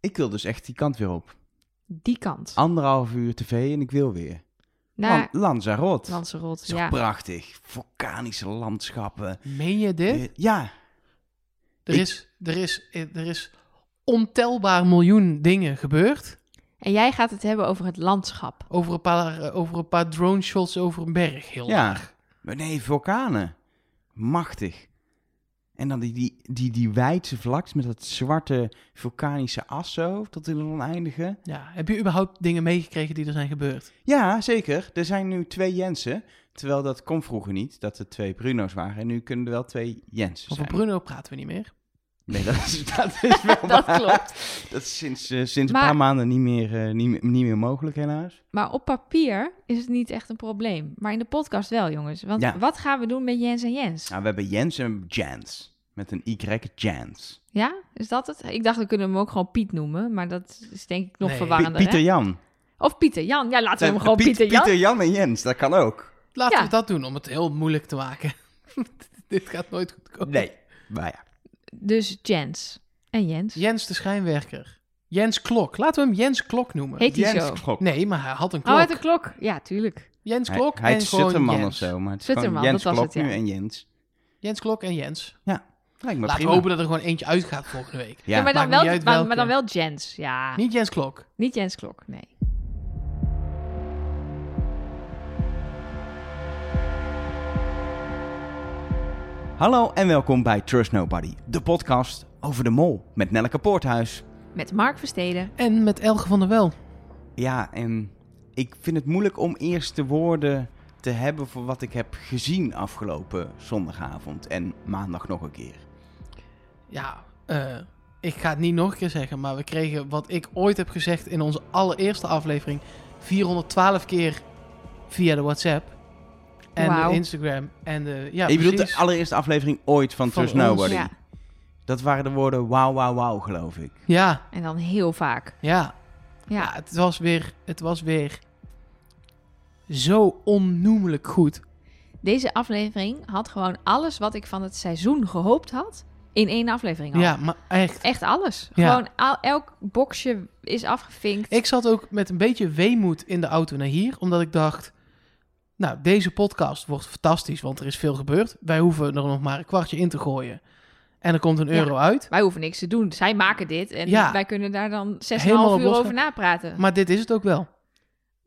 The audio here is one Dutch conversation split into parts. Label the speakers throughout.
Speaker 1: ik wil dus echt die kant weer op.
Speaker 2: Die kant.
Speaker 1: Anderhalf uur tv en ik wil weer.
Speaker 2: Naar
Speaker 1: Lan- Lanzarote.
Speaker 2: Nou, Lanzarote,
Speaker 1: Zo
Speaker 2: ja.
Speaker 1: prachtig. Vulkanische landschappen.
Speaker 3: Meen je dit?
Speaker 1: Eh, Ja,
Speaker 3: er,
Speaker 1: ik-
Speaker 3: is, er, is, er is ontelbaar miljoen dingen gebeurd.
Speaker 2: En jij gaat het hebben over het landschap.
Speaker 3: Over een paar, eh, over een paar drone shots over een berg. Heel
Speaker 1: ja.
Speaker 3: laag.
Speaker 1: Maar nee, vulkanen. Machtig. En dan die, die, die, die wijdse vlakte met dat zwarte vulkanische as zo, tot in het oneindige.
Speaker 3: Ja. Heb je überhaupt dingen meegekregen die er zijn gebeurd?
Speaker 1: Ja, zeker. Er zijn nu twee Jensen. Terwijl dat kon vroeger niet, dat er twee Bruno's waren. En nu kunnen er wel twee Jensen
Speaker 3: Over
Speaker 1: zijn.
Speaker 3: Bruno praten we niet meer.
Speaker 1: Nee, dat is, dat is wel
Speaker 2: Dat
Speaker 1: waar.
Speaker 2: klopt.
Speaker 1: Dat is sinds, eh, sinds
Speaker 2: Maar-
Speaker 1: een paar maanden niet meer, eh, niet, meer- niet meer mogelijk, helaas.
Speaker 2: Maar op papier is het niet echt een probleem. Maar in de podcast wel, jongens. Want
Speaker 1: Ja.
Speaker 2: wat gaan we doen met Jens en Jens?
Speaker 1: Nou, we hebben Jens en Jans. Met een Y, Jans.
Speaker 2: Ja, is dat het? Ik dacht, we kunnen hem ook gewoon Piet noemen. Maar dat is denk ik nog
Speaker 3: Nee.
Speaker 1: Pi-
Speaker 2: verwarrender.
Speaker 1: Pieter
Speaker 2: hè?
Speaker 1: Jan.
Speaker 2: Of Pieter Jan. Ja, laten we hem
Speaker 1: Eh,
Speaker 2: gewoon
Speaker 1: Piet-
Speaker 2: Pieter Jan.
Speaker 1: Pieter Jan en Jens, dat kan ook.
Speaker 3: Laten
Speaker 2: Ja.
Speaker 3: we dat doen om het heel moeilijk te maken. Dit gaat nooit goed komen.
Speaker 1: Nee, maar ja.
Speaker 2: Dus Jens en Jens.
Speaker 3: Jens de Schijnwerker. Jens Klok. Laten we hem Jens Klok noemen.
Speaker 2: Heet hij
Speaker 1: Jens
Speaker 2: zo?
Speaker 1: Klok.
Speaker 3: Nee, maar hij had een
Speaker 2: Oh,
Speaker 3: klok.
Speaker 2: uit de klok. Ja, tuurlijk.
Speaker 3: Jens
Speaker 1: Hij-
Speaker 3: Klok
Speaker 1: hij
Speaker 3: en
Speaker 1: heet
Speaker 3: gewoon
Speaker 1: Sutterman
Speaker 3: Jens.
Speaker 1: of zo, maar het is gewoon
Speaker 2: Sutterman,
Speaker 1: Jens
Speaker 2: dat was
Speaker 1: Klok
Speaker 2: het, ja.
Speaker 1: nu en Jens.
Speaker 3: Jens Klok en Jens.
Speaker 1: Lijkt me
Speaker 3: Laten
Speaker 1: prima.
Speaker 3: we hopen dat er gewoon eentje uitgaat volgende week.
Speaker 1: Ja.
Speaker 2: Ja, maar, dan
Speaker 3: Maakt
Speaker 2: wel,
Speaker 3: niet uit
Speaker 2: maar,
Speaker 3: welke.
Speaker 2: maar dan wel Jens. Ja, niet,
Speaker 3: Niet Jens Klok.
Speaker 2: Jens Klok, nee.
Speaker 1: Hallo en welkom bij Trust Nobody, de podcast over de mol met Nelleke Poorthuis.
Speaker 2: Met Mark Versteden.
Speaker 3: En met Elge van der Wel.
Speaker 1: Ja, en ik vind het moeilijk om eerst de woorden te hebben voor wat ik heb gezien afgelopen zondagavond en maandag nog een keer.
Speaker 3: Ja, eh, ik ga het niet nog een keer zeggen, maar we kregen wat ik ooit heb gezegd in onze allereerste aflevering 412 keer via de WhatsApp en
Speaker 2: Wauw.
Speaker 3: de Instagram en de ja,
Speaker 1: je bedoelt de
Speaker 3: precies.
Speaker 1: allereerste aflevering ooit van,
Speaker 3: Van
Speaker 1: Trust
Speaker 3: ons.
Speaker 1: Nobody.
Speaker 2: Ja,
Speaker 1: Dat waren de woorden wauw, wauw, wauw, geloof ik.
Speaker 3: ja,
Speaker 2: en dan heel vaak.
Speaker 3: ja, ja,
Speaker 2: Ja,
Speaker 3: het was weer het was weer zo onnoemelijk goed.
Speaker 2: deze aflevering had gewoon alles wat ik van het seizoen gehoopt had in één aflevering. al.
Speaker 3: Ja, maar echt.
Speaker 2: Echt alles.
Speaker 3: Ja.
Speaker 2: Gewoon al- elk boxje is afgevinkt.
Speaker 3: Ik zat ook met een beetje weemoed in de auto naar hier, omdat ik dacht: Nou, deze podcast wordt fantastisch, want er is veel gebeurd. Wij hoeven er nog maar een kwartje in te gooien. En er komt een
Speaker 2: Ja.
Speaker 3: euro uit.
Speaker 2: Wij hoeven niks te doen. Zij maken dit en
Speaker 3: Ja.
Speaker 2: wij kunnen daar dan 6,5
Speaker 3: Helemaal
Speaker 2: uur
Speaker 3: los-
Speaker 2: over napraten.
Speaker 3: Maar dit is het ook wel.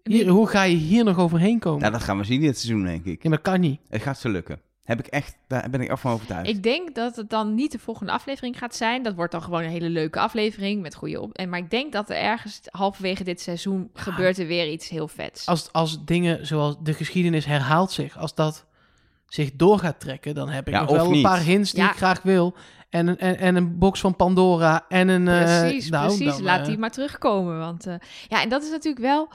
Speaker 3: Hier, hoe ga je hier nog overheen komen?
Speaker 1: Nou, dat gaan we zien dit seizoen, denk ik.
Speaker 3: Ja, maar dat kan niet.
Speaker 1: Het gaat zo lukken. Heb ik echt, daar ben ik af van overtuigd.
Speaker 2: Ik denk dat het dan niet de volgende aflevering gaat zijn. Dat wordt dan gewoon een hele leuke aflevering met goede op. En maar ik denk dat er ergens halverwege dit seizoen gebeurt er weer iets heel vets.
Speaker 3: Als, als dingen zoals de geschiedenis herhaalt zich, als dat zich door gaat trekken, dan heb ik
Speaker 1: Ja,
Speaker 3: nog
Speaker 1: of
Speaker 3: wel een
Speaker 1: niet.
Speaker 3: paar hints die
Speaker 2: Ja.
Speaker 3: ik graag wil. En een, en, en een box van Pandora en een... eh,
Speaker 2: Precies,
Speaker 3: nou,
Speaker 2: precies.
Speaker 3: dan,
Speaker 2: Laat
Speaker 3: eh,
Speaker 2: die maar terugkomen. Want eh, ja, en dat is natuurlijk wel.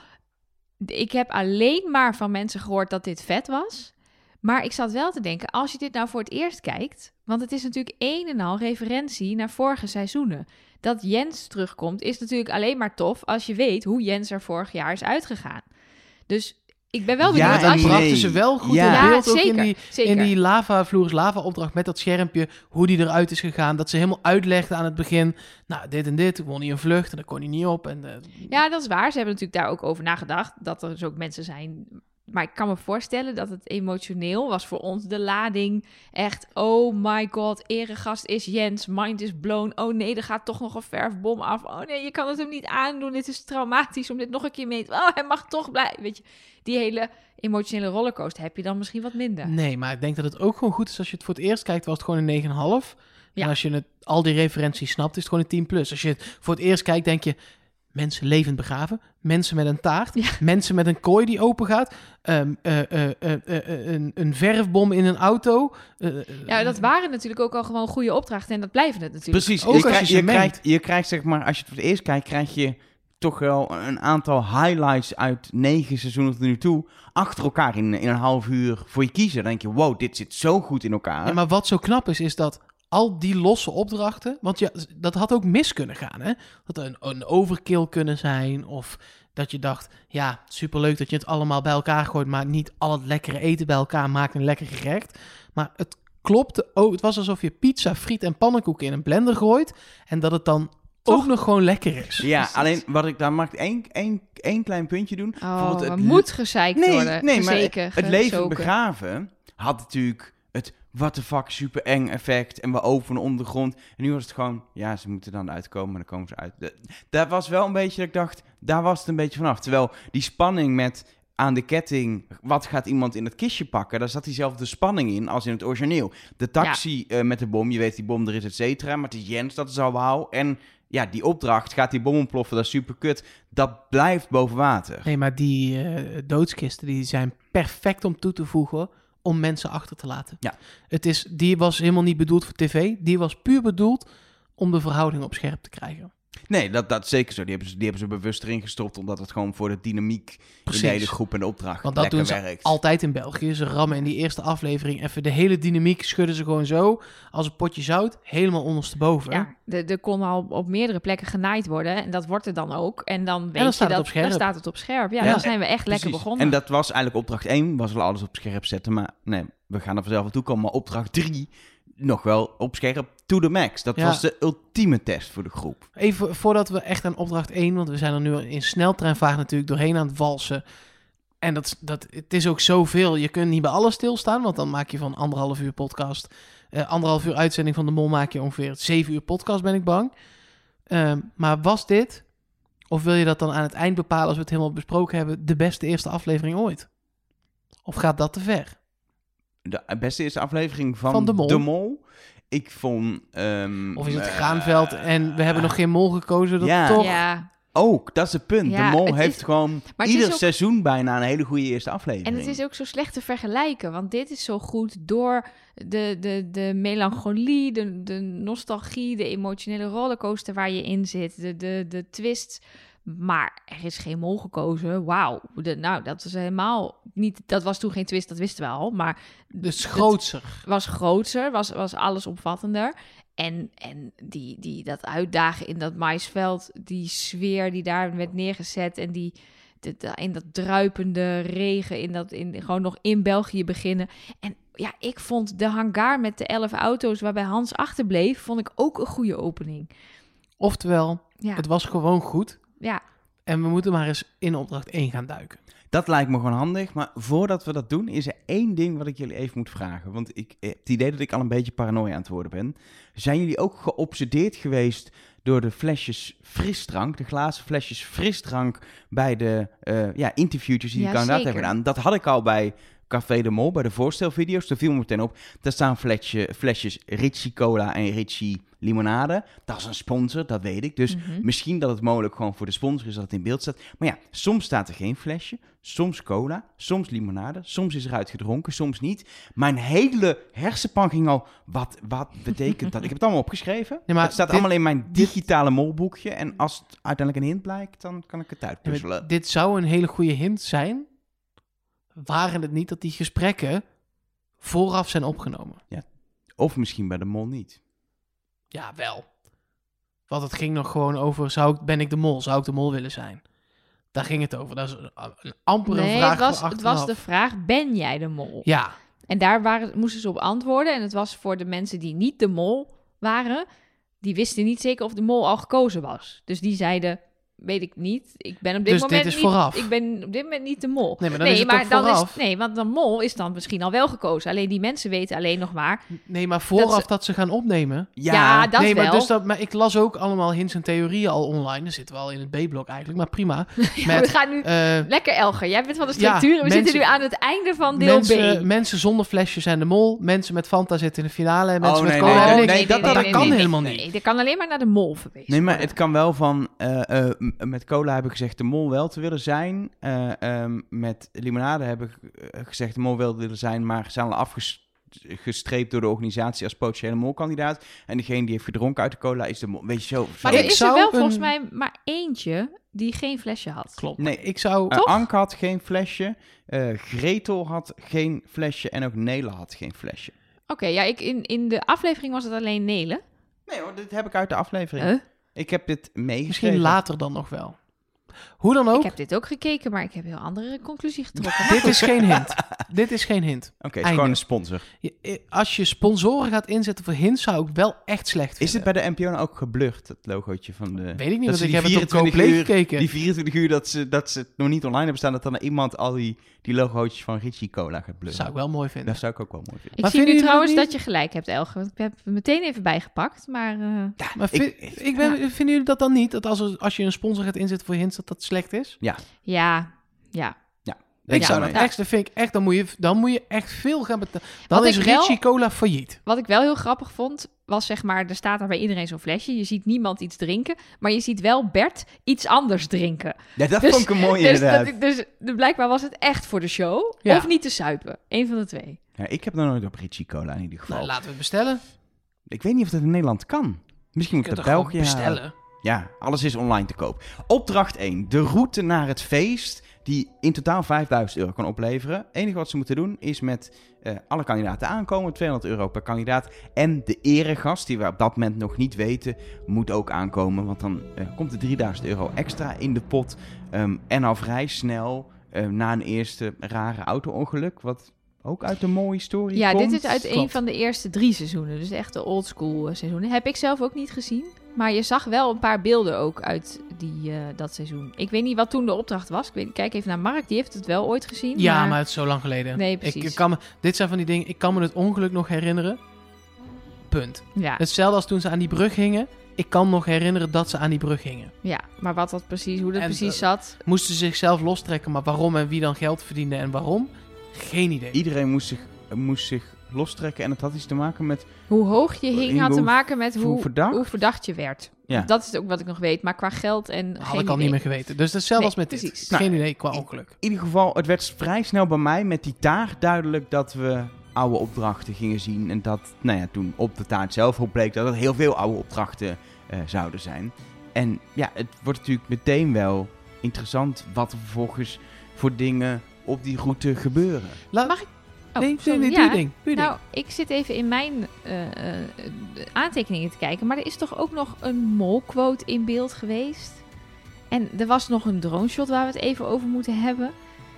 Speaker 2: Ik heb alleen maar van mensen gehoord dat dit vet was. Maar ik zat wel te denken, als je dit nou voor het eerst kijkt. Want het is natuurlijk een en al referentie naar vorige seizoenen. Dat Jens terugkomt is natuurlijk alleen maar tof als je weet hoe Jens er vorig jaar is uitgegaan. Dus ik ben wel
Speaker 1: Ja,
Speaker 2: benieuwd
Speaker 1: en
Speaker 2: als je.
Speaker 1: nee.
Speaker 3: brachten ze wel goed
Speaker 1: Ja.
Speaker 3: in
Speaker 2: Ja,
Speaker 3: beeld. Ook in
Speaker 2: zeker,
Speaker 3: die,
Speaker 2: zeker.
Speaker 3: in die lava, vloers lava opdracht met dat schermpje, hoe die eruit is gegaan. Dat ze helemaal uitlegde aan het begin, nou dit en dit, won hij een vlucht en dan kon hij niet op. En, eh,
Speaker 2: Ja, dat is waar. Ze hebben natuurlijk daar ook over nagedacht. Dat er dus ook mensen zijn. Maar ik kan me voorstellen dat het emotioneel was voor ons de lading. Echt, oh my god, eregast is Jens. Mind is blown. Oh nee, er gaat toch nog een verfbom af. Oh nee, je kan het hem niet aandoen. Dit is traumatisch om dit nog een keer mee te... Oh, hij mag toch blijven. Weet je, die hele emotionele rollercoaster heb je dan misschien wat minder.
Speaker 3: Nee, maar ik denk dat het ook gewoon goed is als je het voor het eerst kijkt, was het gewoon een 9,5.
Speaker 2: Ja.
Speaker 3: En als je het, al die referenties snapt, is het gewoon een 10 plus. Als je het voor het eerst kijkt, denk je, mensen levend begraven, mensen met een taart,
Speaker 2: Ja.
Speaker 3: mensen met een kooi die open gaat, ehm, eh, eh, eh, eh, eh, een, een verfbom in een auto. eh, eh,
Speaker 2: Ja, dat waren natuurlijk ook al gewoon goede opdrachten. En dat blijven het natuurlijk.
Speaker 1: Precies.
Speaker 3: Ook
Speaker 1: je,
Speaker 3: als je
Speaker 1: krijgt-
Speaker 3: ze
Speaker 1: je,
Speaker 3: mengt.
Speaker 1: krijgt, je krijgt, zeg maar, als je het voor het eerst kijkt, krijg je toch wel een aantal highlights uit negen seizoenen tot nu toe achter elkaar in, in een half uur voor je kiezen. Dan denk je, wow, dit zit zo goed in elkaar.
Speaker 3: Ja, maar wat zo knap is, is dat al die losse opdrachten. Want ja, dat had ook mis kunnen gaan. Hè? Dat er een, een overkill kunnen zijn. Of dat je dacht, ja, superleuk dat je het allemaal bij elkaar gooit. Maar niet al het lekkere eten bij elkaar maakt een lekker gerecht. Maar het klopte ook. Het was alsof je pizza, friet en pannenkoeken in een blender gooit. En dat het dan ook nog gewoon lekker is.
Speaker 1: Ja,
Speaker 2: precies.
Speaker 1: alleen wat ik daar mag ik één, één, één klein puntje doen.
Speaker 2: Oh,
Speaker 1: Bijvoorbeeld
Speaker 2: het
Speaker 1: le-
Speaker 2: moet gezeikt
Speaker 1: nee,
Speaker 2: worden.
Speaker 1: nee, maar
Speaker 2: Zeker.
Speaker 1: het leven begraven had natuurlijk het what the fuck super eng effect en we openen ondergrond. En nu was het gewoon, ja, ze moeten dan uitkomen, maar dan komen ze uit. De- Daar was wel een beetje dat ik dacht, daar was het een beetje vanaf. Terwijl die spanning met aan de ketting, wat gaat iemand in het kistje pakken? Daar zat diezelfde spanning in als in het origineel. De taxi eh, met de bom, je weet die bom er is, et cetera. Maar het is Jens, dat is al wauw. En ja, die opdracht, gaat die bom ontploffen, dat is super kut. Dat blijft boven water.
Speaker 3: Nee, maar die eh, doodskisten die zijn perfect om toe te voegen om mensen achter te laten.
Speaker 1: Ja.
Speaker 3: Het is, die was helemaal niet bedoeld voor tv. Die was puur bedoeld om de verhouding op scherp te krijgen.
Speaker 1: Nee, dat, dat is zeker zo. Die hebben, ze, die hebben ze bewust erin gestopt, omdat het gewoon voor de dynamiek in de hele groep en de opdracht
Speaker 3: Want dat
Speaker 1: lekker
Speaker 3: doen ze
Speaker 1: werkt.
Speaker 3: altijd in België. Ze rammen in die eerste aflevering even de hele dynamiek schudden ze gewoon zo als een potje zout helemaal ondersteboven.
Speaker 2: Ja, er er kon al op meerdere plekken genaaid worden. En dat wordt er dan ook. En dan weet
Speaker 3: dan
Speaker 2: je
Speaker 3: staat het
Speaker 2: dat,
Speaker 3: op scherp.
Speaker 2: dan staat het op scherp. Ja,
Speaker 1: Ja,
Speaker 2: dan zijn we echt lekker
Speaker 1: Precies.
Speaker 2: begonnen.
Speaker 1: En dat was eigenlijk opdracht 1, was al alles op scherp zetten. Maar nee, we gaan er vanzelf aan toe komen. Maar opdracht 3, nog wel op scherp to the max. Dat
Speaker 3: Ja.
Speaker 1: was de ultieme test voor de groep.
Speaker 3: Even voordat we echt aan opdracht 1, want we zijn er nu in sneltreinvaart natuurlijk doorheen aan het walsen. En dat, is- dat, het is ook zoveel. Je kunt niet bij alles stilstaan, want dan maak je van anderhalf uur podcast. eh, anderhalf uur uitzending van de Mol maak je ongeveer zeven uur podcast, ben ik bang. Ehm, maar was dit, of wil je dat dan aan het eind bepalen als we het helemaal besproken hebben, de beste eerste aflevering ooit? Of gaat dat te ver?
Speaker 1: De beste eerste aflevering van,
Speaker 3: Van De Mol.
Speaker 1: Ik vond... ehm,
Speaker 3: Of is het
Speaker 1: eh,
Speaker 3: Graanveld en we hebben nog geen mol gekozen? Dat
Speaker 1: Ja.
Speaker 3: toch?
Speaker 2: ja,
Speaker 1: Ook, dat is het punt.
Speaker 2: Ja,
Speaker 1: de Mol
Speaker 2: het
Speaker 1: heeft
Speaker 2: is-
Speaker 1: gewoon
Speaker 2: het
Speaker 1: ieder
Speaker 2: is ook-
Speaker 1: seizoen bijna een hele goede eerste aflevering.
Speaker 2: En het is ook zo slecht te vergelijken, want dit is zo goed door de, de, de melancholie, de, de nostalgie, de emotionele rollercoaster waar je in zit, de, de, de twist. Maar er is geen mol gekozen. Wauw. De- Nou, dat was helemaal niet. Dat was toen geen twist, dat wisten we al. Maar
Speaker 3: Dus grootser.
Speaker 2: was groter, was, was allesomvattender. En, en die, die, dat uitdagen in dat maisveld, die sfeer die daar werd neergezet en die, de- de- in dat druipende regen, in dat, in, gewoon nog in België beginnen. En ja, ik vond de hangar met de elf auto's waarbij Hans achterbleef, vond ik ook een goede opening.
Speaker 3: Oftewel,
Speaker 2: Ja,
Speaker 3: het was gewoon goed.
Speaker 2: ja.
Speaker 3: En we moeten maar eens in opdracht 1 gaan duiken.
Speaker 1: Dat lijkt me gewoon handig. Maar voordat we dat doen, is er één ding wat ik jullie even moet vragen. Want ik heb het idee dat ik al een beetje paranoia aan het worden ben. Zijn jullie ook geobsedeerd geweest door de flesjes frisdrank, de glazen flesjes frisdrank bij de eh ja, interviewtjes die
Speaker 2: Ja,
Speaker 1: ik kandidaat hebben
Speaker 2: zeker.
Speaker 1: gedaan? Dat had ik al bij Café de Mol, bij de voorstelvideo's. Daar viel me meteen op. Daar staan flesje, flesjes Ritchie Cola en Ritchie Limonade. Dat is een sponsor, dat weet ik. Dus
Speaker 2: Mhm.
Speaker 3: Hm?
Speaker 1: Misschien dat het mogelijk gewoon voor de sponsor is dat het in beeld staat. Maar ja, soms staat er geen flesje, soms cola, soms limonade, soms is eruit gedronken, soms niet. Mijn hele hersenpan ging al, wat, wat betekent dat? Ik heb het allemaal opgeschreven.
Speaker 3: Nee, maar
Speaker 1: het staat
Speaker 3: dit-
Speaker 1: allemaal in mijn digitale molboekje. En als het uiteindelijk een hint blijkt, dan kan ik het uitpuzzelen.
Speaker 3: Dit zou een hele goede hint zijn. Waren het niet dat die gesprekken vooraf zijn opgenomen?
Speaker 1: Of misschien bij de mol niet.
Speaker 3: Ja, wel. Want het ging nog gewoon over, zou ik, ben ik de mol? Zou ik de mol willen zijn? Daar ging het over. Dat is een, een amper een
Speaker 2: Nee,
Speaker 3: vraag
Speaker 2: het was,
Speaker 3: voor
Speaker 2: het was de
Speaker 3: 8,5.
Speaker 2: vraag, ben jij de mol?
Speaker 3: Ja,
Speaker 2: En daar waren, moesten ze op antwoorden. En het was voor de mensen die niet de mol waren, die wisten niet zeker of de mol al gekozen was. Dus die zeiden, weet ik niet. Ik ben op dit
Speaker 3: Dus dit
Speaker 2: moment
Speaker 3: is
Speaker 2: niet,
Speaker 3: vooraf.
Speaker 2: Ik ben op dit moment niet de mol.
Speaker 3: Nee, maar dan is het toch
Speaker 2: dan
Speaker 3: vooraf?
Speaker 2: nee, want de mol is dan misschien al wel gekozen. Alleen die mensen weten alleen nog maar.
Speaker 3: nee, maar vooraf dat
Speaker 2: Dat
Speaker 3: ze, gaan opnemen.
Speaker 2: Ja, dat
Speaker 3: nee, maar,
Speaker 2: wel.
Speaker 3: dus dat, maar ik las ook allemaal hints en theorieën al online. Dat zitten we al in het B-blok eigenlijk, maar prima.
Speaker 2: we
Speaker 3: Met,
Speaker 2: gaan nu
Speaker 3: eh,
Speaker 2: lekker Elger. Jij bent van de
Speaker 3: Ja,
Speaker 2: structuur. en we zitten
Speaker 3: mensen-
Speaker 2: nu aan het einde van deel
Speaker 3: mensen,
Speaker 2: B.
Speaker 3: mensen zonder flesje zijn de mol. Mensen met Fanta zitten in de finale. En mensen
Speaker 1: Oh,
Speaker 3: met
Speaker 1: nee,
Speaker 3: cola
Speaker 1: nee,
Speaker 3: hebben
Speaker 1: nee,
Speaker 3: niks.
Speaker 1: nee, dat- dat kan
Speaker 3: helemaal
Speaker 2: nee,
Speaker 3: niet.
Speaker 2: Nee, dat kan alleen maar naar de mol verwezen
Speaker 1: Nee, maar
Speaker 2: worden.
Speaker 1: het kan wel van eh, eh, m- met cola heb ik gezegd de mol wel te willen zijn. Eh, ehm, met limonade heb ik eh, gezegd de mol wel te willen zijn, maar zijn al afgestreept door de organisatie als potentiële molkandidaat. En degene die heeft gedronken uit de cola is de mol. Weet je zo?
Speaker 2: Maar
Speaker 1: zo-
Speaker 2: er
Speaker 3: Ik
Speaker 2: is er
Speaker 3: zou
Speaker 2: wel
Speaker 3: een-
Speaker 2: volgens mij maar eentje die geen flesje had.
Speaker 3: Klopt.
Speaker 1: Nee.
Speaker 3: Nee, ik zou...
Speaker 1: Eh,
Speaker 2: toch?
Speaker 1: Anke had geen flesje, eh, Gretel had geen flesje en ook Nela had geen flesje.
Speaker 2: Oké, ja, ik, in, in de aflevering was het alleen Nelen. Eh?
Speaker 1: Nee hoor, dit heb ik uit de aflevering.
Speaker 2: Huh?
Speaker 1: Ik heb dit meegeschreven.
Speaker 3: Misschien later dan nog wel. Hoe dan
Speaker 2: Ik
Speaker 3: ook,
Speaker 2: heb dit ook gekeken, maar ik heb een heel andere conclusie getrokken.
Speaker 3: dit is geen hint. dit is geen hint.
Speaker 1: Oké, het is
Speaker 3: Einde.
Speaker 1: gewoon een sponsor.
Speaker 3: Je- eh, als je sponsoren gaat inzetten voor hints, zou ik wel echt slecht vinden.
Speaker 1: Is
Speaker 2: Eh.
Speaker 1: het bij de NPO nou ook geblucht, dat logootje van de...
Speaker 3: Weet ik niet,
Speaker 1: dat
Speaker 3: want
Speaker 1: ze
Speaker 3: ik
Speaker 1: die
Speaker 3: heb het op
Speaker 1: 24
Speaker 3: Coplay
Speaker 1: uur-
Speaker 3: gekeken.
Speaker 1: Die 24 uur dat ze, dat ze het nog niet online hebben staan, dat dan iemand al die, die logootjes van Ritchie Cola gaat bluffen.
Speaker 3: Zou ik wel mooi vinden.
Speaker 1: Dat zou ik ook wel mooi vinden.
Speaker 2: Ik
Speaker 3: Maar
Speaker 2: zie
Speaker 3: vinden
Speaker 2: nu
Speaker 3: jullie
Speaker 2: trouwens
Speaker 3: het niet?
Speaker 2: dat je gelijk hebt, Elge. Want ik heb hem meteen even bijgepakt, maar... eh,
Speaker 3: Maar
Speaker 1: ik-
Speaker 3: vind, ik, ben, vinden jullie dat dan niet? Dat als, er- als je een sponsor gaat inzetten voor hints, dat dat slecht is?
Speaker 2: Ja, ja.
Speaker 1: Ben
Speaker 3: Ik
Speaker 1: ik
Speaker 3: zou
Speaker 1: wel
Speaker 3: dat
Speaker 2: mee.
Speaker 3: echt, dat vind ik echt, dan moet je, dan moet je echt veel gaan betalen. Dan
Speaker 2: Wat
Speaker 3: is
Speaker 2: ik wel-
Speaker 3: Richie Cola failliet.
Speaker 2: Wat ik wel heel grappig vond, was zeg maar, er staat daar bij iedereen zo'n flesje. Je ziet niemand iets drinken, maar je ziet wel Bert iets anders drinken.
Speaker 1: Ja, dat
Speaker 2: Dus-
Speaker 1: vond ik een mooie
Speaker 2: dus,
Speaker 1: inderdaad.
Speaker 2: dat- dus de- blijkbaar was het echt voor de show,
Speaker 3: Ja.
Speaker 2: of niet te suipen. Eén van de twee.
Speaker 1: Ja, ik heb nog nooit op Ritchie Cola in ieder geval.
Speaker 3: Nou, laten we het bestellen.
Speaker 1: Ik weet niet of dat in Nederland kan. Misschien
Speaker 3: Je
Speaker 1: moet ik
Speaker 3: kunt
Speaker 1: dat
Speaker 3: er gewoon
Speaker 1: België
Speaker 3: bestellen.
Speaker 1: halen. Ja, alles is online te koop. Opdracht 1. De route naar het feest, die in totaal 5000 euro kan opleveren. Het enige wat ze moeten doen is met eh, alle kandidaten aankomen. 200 euro per kandidaat. En de eregast, die we op dat moment nog niet weten, moet ook aankomen. Want dan eh, komt er 3000 euro extra in de pot. Ehm, en al vrij snel, eh, na een eerste rare auto-ongeluk, wat ook uit de mooie story
Speaker 2: Ja,
Speaker 1: komt.
Speaker 2: dit is uit een
Speaker 3: klopt.
Speaker 2: van de eerste drie seizoenen. Dus echt de oldschool eh, seizoenen. Heb ik zelf ook niet gezien. Maar je zag wel een paar beelden ook uit die, eh, dat seizoen. Ik weet niet wat toen de opdracht was. Ik weet, kijk even naar Mark, die heeft het wel ooit gezien.
Speaker 3: Ja, maar het is zo lang geleden.
Speaker 2: Nee,
Speaker 3: Ik,
Speaker 2: precies.
Speaker 3: kan me, dit zijn van die dingen, ik kan me het ongeluk nog herinneren. Punt.
Speaker 2: Ja,
Speaker 3: Hetzelfde als toen ze aan die brug hingen. Ik kan nog herinneren dat ze aan die brug hingen.
Speaker 2: ja, maar wat dat precies, hoe dat
Speaker 3: En,
Speaker 2: precies
Speaker 3: eh,
Speaker 2: zat.
Speaker 3: Moesten ze zichzelf lostrekken, maar waarom en wie dan geld verdiende en waarom? Geen idee.
Speaker 1: Iedereen moest zich, moest zich lostrekken en het had iets te maken met...
Speaker 2: Hoe hoog je hing
Speaker 1: in
Speaker 2: had te
Speaker 1: hoe-
Speaker 2: maken met
Speaker 1: hoe
Speaker 2: hoe, hoe,
Speaker 1: verdacht?
Speaker 2: verdacht? je werd.
Speaker 1: Ja.
Speaker 2: Dat is ook wat ik nog weet. Maar qua geld en
Speaker 3: Dat
Speaker 2: geen
Speaker 3: had ik al
Speaker 2: idee.
Speaker 3: niet meer geweten. Dus hetzelfde
Speaker 2: Nee,
Speaker 3: als met dit.
Speaker 2: precies.
Speaker 3: Geen idee qua ongeluk.
Speaker 1: In ieder geval, het werd vrij snel bij mij met die taart duidelijk dat we oude opdrachten gingen zien. En dat, nou ja, toen op de taart zelf ook bleek dat er heel veel oude opdrachten eh, zouden zijn. En ja, het wordt natuurlijk meteen wel interessant wat er vervolgens voor dingen op die route gebeuren.
Speaker 3: Laat,
Speaker 2: Mag ik- Oh,
Speaker 3: nee, nee,
Speaker 2: sorry.
Speaker 3: nee, doe
Speaker 2: Ja,
Speaker 3: je ding. Doe je
Speaker 2: Nou, ik zit even in mijn eh, eh, aantekeningen te kijken. Maar er is toch ook nog een molquote in beeld geweest. En er was nog een drone shot waar we het even over moeten hebben.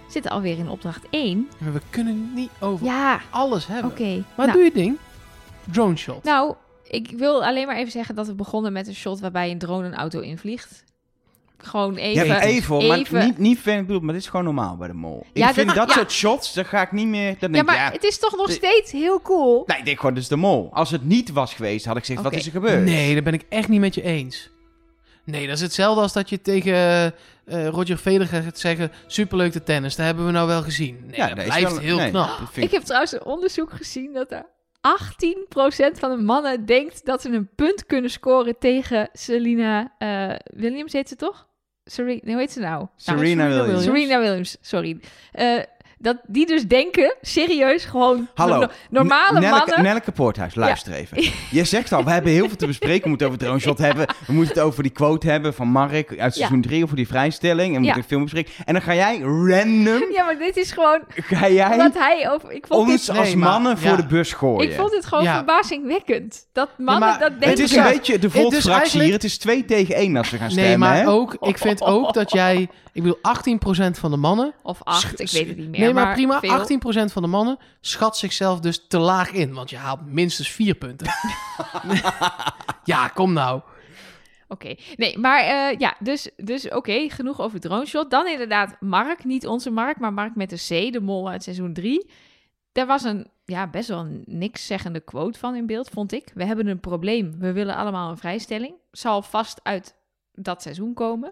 Speaker 2: Zit alweer in opdracht 1.
Speaker 3: ding. Maar we kunnen niet over
Speaker 2: Nou. Ja,
Speaker 3: alles hebben.
Speaker 2: oké.
Speaker 3: Maar
Speaker 2: nou,
Speaker 3: doe je ding. Drone shot.
Speaker 2: nou, ik wil alleen maar even zeggen dat we begonnen met een shot waarbij een drone een auto invliegt. Gewoon even.
Speaker 1: ja, even, hoor,
Speaker 2: even-
Speaker 1: maar niet, niet fan bedoeld, maar dit is gewoon normaal bij de mol.
Speaker 2: Ja,
Speaker 1: ik vind
Speaker 2: dat-
Speaker 1: dat,
Speaker 2: ja.
Speaker 1: soort shots, daar ga ik niet meer... Dan
Speaker 2: ja,
Speaker 1: denk ik,
Speaker 2: maar
Speaker 1: ja,
Speaker 2: het is toch nog
Speaker 1: de-
Speaker 2: steeds heel cool.
Speaker 1: nee, ik denk gewoon, dit is de mol. Als het niet was geweest, had ik gezegd,
Speaker 2: Oké.
Speaker 1: wat is er gebeurd?
Speaker 3: Nee, daar ben ik echt niet met je eens. Nee, dat is hetzelfde als dat je tegen eh, Roger Federer gaat zeggen... superleuk de tennis, dat hebben we nou wel gezien. Nee,
Speaker 1: Ja,
Speaker 3: dat
Speaker 1: nee, is
Speaker 3: blijft
Speaker 1: wel-
Speaker 3: heel
Speaker 1: nee,
Speaker 3: knap.
Speaker 1: dat vind
Speaker 2: Ik heb trouwens een onderzoek gezien dat er 18% van de mannen denkt dat ze een punt kunnen scoren tegen Selena eh, Williams, heet ze toch? Serena, hoe heet ze nou?
Speaker 1: Serena
Speaker 2: Nou,
Speaker 1: Williams.
Speaker 2: Serena Williams, sorry. Eh, dat die dus denken, serieus, gewoon
Speaker 1: Hallo.
Speaker 2: no- normale
Speaker 1: N- Nelke,
Speaker 2: mannen.
Speaker 1: Nelke Poorthuis, luister even. Je zegt al, we hebben heel veel te bespreken. We moeten over het drone shot hebben. We moeten het over die quote hebben van Mark uit seizoen 3 over die vrijstelling. En we moeten
Speaker 2: Ja.
Speaker 1: een film bespreken. En dan ga jij random,
Speaker 2: Ja, maar dit is gewoon
Speaker 1: ga jij
Speaker 2: omdat hij over. Ik vond
Speaker 1: ons
Speaker 2: dit,
Speaker 3: Nee,
Speaker 1: als
Speaker 3: maar-
Speaker 1: mannen
Speaker 3: ja.
Speaker 1: voor de bus gooien.
Speaker 2: ik vond dit gewoon
Speaker 3: Ja.
Speaker 2: verbazingwekkend. Dat mannen
Speaker 3: maar
Speaker 2: dat denken.
Speaker 1: het is een
Speaker 3: Ja.
Speaker 1: beetje de
Speaker 3: Het is
Speaker 1: volksfractie
Speaker 3: eigenlijk-
Speaker 1: hier. Het is 2 tegen 1 als we gaan stemmen.
Speaker 3: nee, maar
Speaker 1: hè?
Speaker 3: ook, ik vind ook dat jij... Ik bedoel, 18% van de mannen...
Speaker 2: Of acht, ik weet het niet meer.
Speaker 3: nee, maar, prima,
Speaker 2: veel.
Speaker 3: 18% van de mannen schat zichzelf dus te laag in. Want je haalt minstens vier punten. ja, kom nou.
Speaker 2: Oké, nee, maar eh, ja, dus, dus oké, genoeg over drone shot. Dan inderdaad Mark, niet onze Mark, maar Mark met de C, de mol uit seizoen 3. Daar was een, ja, best wel een niks zeggende quote van in beeld, vond ik. We hebben een probleem, we willen allemaal een vrijstelling. Zal vast uit dat seizoen komen.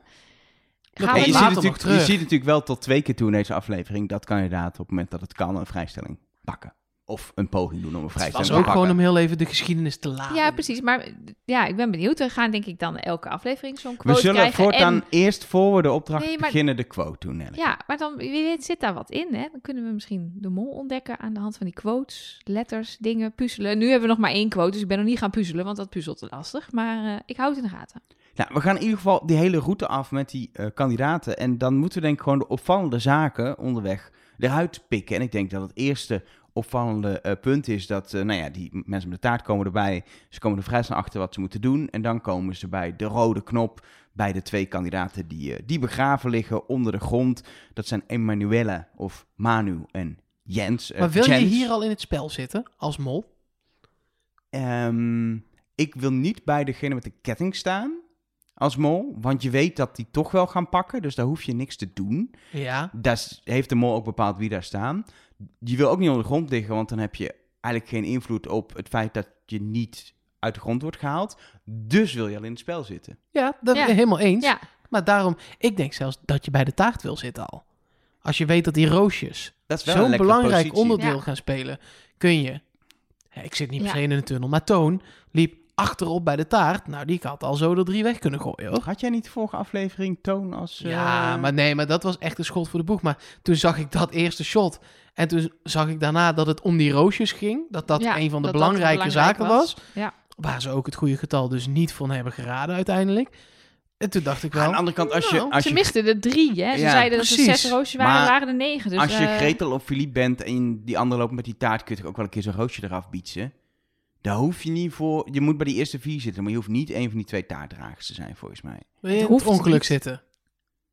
Speaker 3: Dat
Speaker 2: Gaan
Speaker 1: En
Speaker 2: we
Speaker 3: komt
Speaker 1: je, ziet
Speaker 3: later
Speaker 2: later...
Speaker 3: nog
Speaker 1: natuurlijk, je
Speaker 3: terug.
Speaker 1: ziet natuurlijk wel tot twee keer toe in deze aflevering dat kandidaten op het moment dat het kan een vrijstelling pakken. Of een poging doen om een
Speaker 3: Het
Speaker 1: vrijstelling
Speaker 3: was
Speaker 1: te
Speaker 3: ook
Speaker 1: pakken.
Speaker 3: gewoon om heel even de geschiedenis te laten.
Speaker 2: Ja, precies, maar ja, ik ben benieuwd. We gaan denk ik dan elke aflevering zo'n
Speaker 1: We
Speaker 2: quote
Speaker 1: zullen
Speaker 2: krijgen.
Speaker 1: voortaan
Speaker 2: En,
Speaker 1: eerst voor we de opdracht
Speaker 2: Nee, maar-
Speaker 1: beginnen de quote doen. Nelly.
Speaker 2: ja, maar dan wie weet, zit daar wat in, hè? Dan kunnen we misschien de mol ontdekken aan de hand van die quotes, letters, dingen, puzzelen. Nu hebben we nog maar één quote, dus ik ben nog niet gaan puzzelen, want dat puzzelt te lastig. Maar eh, ik houd het in de gaten.
Speaker 1: Nou, we gaan in ieder geval die hele route af met die eh, kandidaten. En dan moeten we denk ik gewoon de opvallende zaken onderweg eruit pikken. En ik denk dat het eerste opvallende eh, punt is dat, eh, nou ja, die mensen met de taart komen erbij. Ze komen er vrij snel achter wat ze moeten doen. En dan komen ze bij de rode knop bij de twee kandidaten die, eh, die begraven liggen onder de grond. Dat zijn Emanuele of Manu en Jens. eh,
Speaker 3: Maar wil je
Speaker 1: Jens.
Speaker 3: hier al in het spel zitten als mol?
Speaker 1: Ehm, ik wil niet bij degene met de ketting staan als mol, want je weet dat die toch wel gaan pakken, dus daar hoef je niks te doen.
Speaker 3: Ja.
Speaker 1: Daar s- heeft de mol ook bepaald wie daar staan. Je wil ook niet onder de grond liggen, want dan heb je eigenlijk geen invloed op het feit dat je niet uit de grond wordt gehaald. Dus wil je al in het spel zitten.
Speaker 3: Ja, dat
Speaker 2: Ja.
Speaker 3: helemaal eens.
Speaker 2: Ja,
Speaker 3: Maar daarom, ik denk zelfs dat je bij de taart wil zitten al. Als je weet dat die roosjes
Speaker 1: Dat is wel een
Speaker 3: zo'n
Speaker 1: lekkere
Speaker 3: belangrijk
Speaker 1: positie.
Speaker 3: onderdeel
Speaker 2: Ja.
Speaker 3: gaan spelen, kun je... Ja, ik zit niet per
Speaker 2: Ja.
Speaker 3: se in een tunnel, maar Toon liep achterop bij de taart. Nou, die had al zo de drie weg kunnen gooien, hoor. Dus,
Speaker 1: Had jij niet de vorige aflevering toon als...
Speaker 3: Ja,
Speaker 1: eh,
Speaker 3: maar nee, maar dat was echt een schot voor de boeg. Maar toen zag ik dat eerste shot. En toen zag ik daarna dat het om die roosjes ging. Dat dat
Speaker 2: ja,
Speaker 3: een van de
Speaker 2: dat dat
Speaker 3: belangrijke
Speaker 2: belangrijk
Speaker 3: zaken was.
Speaker 2: Ja.
Speaker 3: Waar ze ook het goede getal dus niet van hebben geraden uiteindelijk. En toen dacht ik wel...
Speaker 1: Aan de andere kant, als je,
Speaker 3: Nou,
Speaker 1: als
Speaker 2: Ze
Speaker 1: je
Speaker 2: misten er drie, hè? Ze
Speaker 1: Ja,
Speaker 2: zeiden dat er
Speaker 3: precies.
Speaker 2: zes roosjes waren,
Speaker 1: Maar
Speaker 2: waren er negen. Dus,
Speaker 1: Als je
Speaker 2: eh,
Speaker 1: Gretel of Philippe bent en die ander loopt met die taart, kun je toch ook wel een keer zo'n roosje eraf bietsen. Daar hoef je niet voor. Je moet bij die eerste vier zitten, maar je hoeft niet één van die twee taartdragers te zijn, volgens mij.
Speaker 3: wil je
Speaker 2: Het
Speaker 3: in het,
Speaker 2: hoeft
Speaker 3: ongeluk
Speaker 2: niet.
Speaker 3: zitten.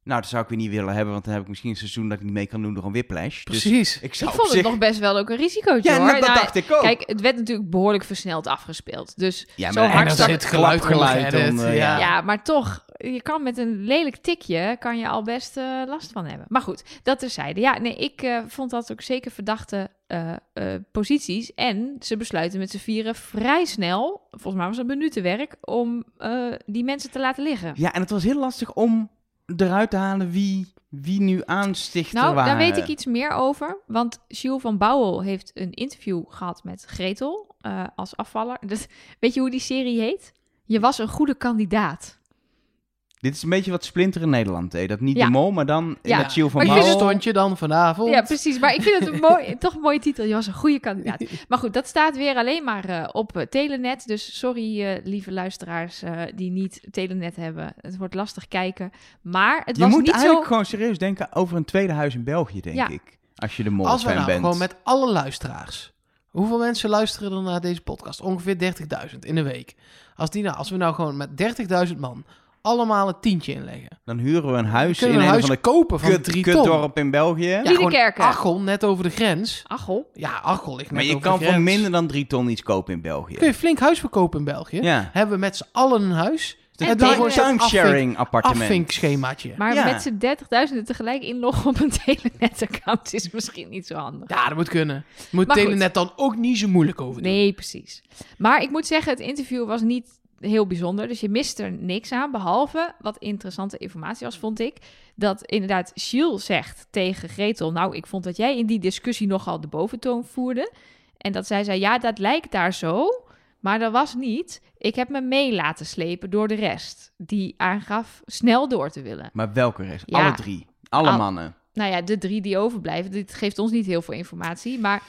Speaker 1: Nou, dat zou ik weer niet willen hebben, want dan heb ik misschien een seizoen dat ik niet mee kan doen door een whiplash. Dus
Speaker 3: Precies.
Speaker 1: ik
Speaker 2: ik
Speaker 1: zou
Speaker 2: vond
Speaker 1: op zich...
Speaker 2: het nog best wel ook een risicootje,
Speaker 1: ja,
Speaker 2: hoor.
Speaker 1: nou, dat
Speaker 2: Nou,
Speaker 1: dacht ik ook.
Speaker 2: Kijk, het werd natuurlijk behoorlijk versneld afgespeeld. Dus
Speaker 1: ja,
Speaker 2: zo
Speaker 1: dan
Speaker 2: hard
Speaker 1: heb je
Speaker 2: zak-
Speaker 1: dat
Speaker 3: zit geluid
Speaker 1: klapgeluid
Speaker 3: onder
Speaker 1: onder,
Speaker 3: het,
Speaker 1: ja.
Speaker 2: ja.
Speaker 3: Ja.
Speaker 2: maar toch, je kan met een lelijk tikje kan je al best eh, last van hebben. Maar goed, dat terzijde. Ja, nee, ik eh, vond dat ook zeker verdachte eh, eh, posities. En ze besluiten met z'n vieren vrij snel, volgens mij was het een minutenwerk, om eh, die mensen te laten liggen.
Speaker 1: Ja, en het was heel lastig om eruit te halen wie, wie nu aanstichter
Speaker 2: Nou,
Speaker 1: waren.
Speaker 2: daar weet ik iets meer over. Want Jules van Bouwel heeft een interview gehad met Gretel eh, als afvaller. Dus, weet je hoe die serie heet? Je was een goede kandidaat.
Speaker 1: Dit is een beetje wat Splinter in Nederland deed. Dat niet
Speaker 2: Ja.
Speaker 1: de mol, maar dan in
Speaker 2: Ja.
Speaker 1: dat chill van
Speaker 2: Maar ik
Speaker 3: Waar
Speaker 2: vind
Speaker 1: Bouwel.
Speaker 2: het-
Speaker 3: stond je dan vanavond?
Speaker 2: Ja, precies. Maar ik vind het een mooi, toch een mooie titel. Je was een goede kandidaat. Maar goed, dat staat weer alleen maar eh, op eh, Telenet. Dus sorry, eh, lieve luisteraars eh, die niet Telenet hebben. Het wordt lastig kijken. Maar het
Speaker 1: je
Speaker 2: was
Speaker 1: moet
Speaker 2: niet
Speaker 1: eigenlijk
Speaker 2: zo...
Speaker 1: gewoon serieus denken over een tweede huis in België, denk
Speaker 2: Ja.
Speaker 1: ik. Als je de mol
Speaker 3: Als we
Speaker 1: fan
Speaker 3: nou
Speaker 1: bent.
Speaker 3: gewoon met alle luisteraars. Hoeveel mensen luisteren er naar deze podcast? Ongeveer 30.000 in een week. Als, die nou, als we nou gewoon met 30.000 man allemaal een tientje inleggen.
Speaker 1: Dan huren we een huis
Speaker 3: kunnen we
Speaker 1: in
Speaker 3: een
Speaker 1: een,
Speaker 3: huis
Speaker 1: van de
Speaker 3: kopen van
Speaker 1: kut,
Speaker 3: drie ton.
Speaker 1: kutdorp in België.
Speaker 2: Ja.
Speaker 3: gewoon
Speaker 2: Liedekerken.
Speaker 3: Achel, net over de grens.
Speaker 2: Achel.
Speaker 3: Ja, Achel ligt net
Speaker 1: Maar je
Speaker 3: over
Speaker 1: kan
Speaker 3: de
Speaker 1: voor
Speaker 3: grens.
Speaker 1: minder dan drie ton iets kopen in België.
Speaker 3: Kun je flink huis verkopen in België.
Speaker 1: Ja.
Speaker 3: Hebben we met z'n allen een huis.
Speaker 1: Het
Speaker 2: En
Speaker 1: is
Speaker 3: dan
Speaker 2: dan
Speaker 1: een
Speaker 3: gewoon
Speaker 2: wordt
Speaker 1: time-
Speaker 2: het
Speaker 3: zo'n afvink,
Speaker 1: timesharing appartement.
Speaker 3: afvinkschemaatje.
Speaker 2: Maar
Speaker 1: Ja.
Speaker 2: met z'n 30.000 tegelijk inloggen op een Telenet-account is misschien niet zo handig.
Speaker 3: Ja, dat moet kunnen. Moet
Speaker 2: Maar goed.
Speaker 3: Telenet dan ook niet zo moeilijk over doen.
Speaker 2: Nee, precies. Maar ik moet zeggen, het interview was niet heel bijzonder. Dus je mist er niks aan. Behalve wat interessante informatie was, vond ik. Dat inderdaad Gilles zegt tegen Gretel... Nou, ik vond dat jij in die discussie nogal de boventoon voerde. En dat zij zei, ja, dat lijkt daar zo. Maar dat was niet. Ik heb me mee laten slepen door de rest. Die aangaf snel door te willen.
Speaker 1: Maar welke rest?
Speaker 2: Ja.
Speaker 1: Alle drie. Alle
Speaker 2: Al-
Speaker 1: mannen.
Speaker 2: Nou ja, de drie die overblijven. Dit geeft ons niet heel veel informatie, maar...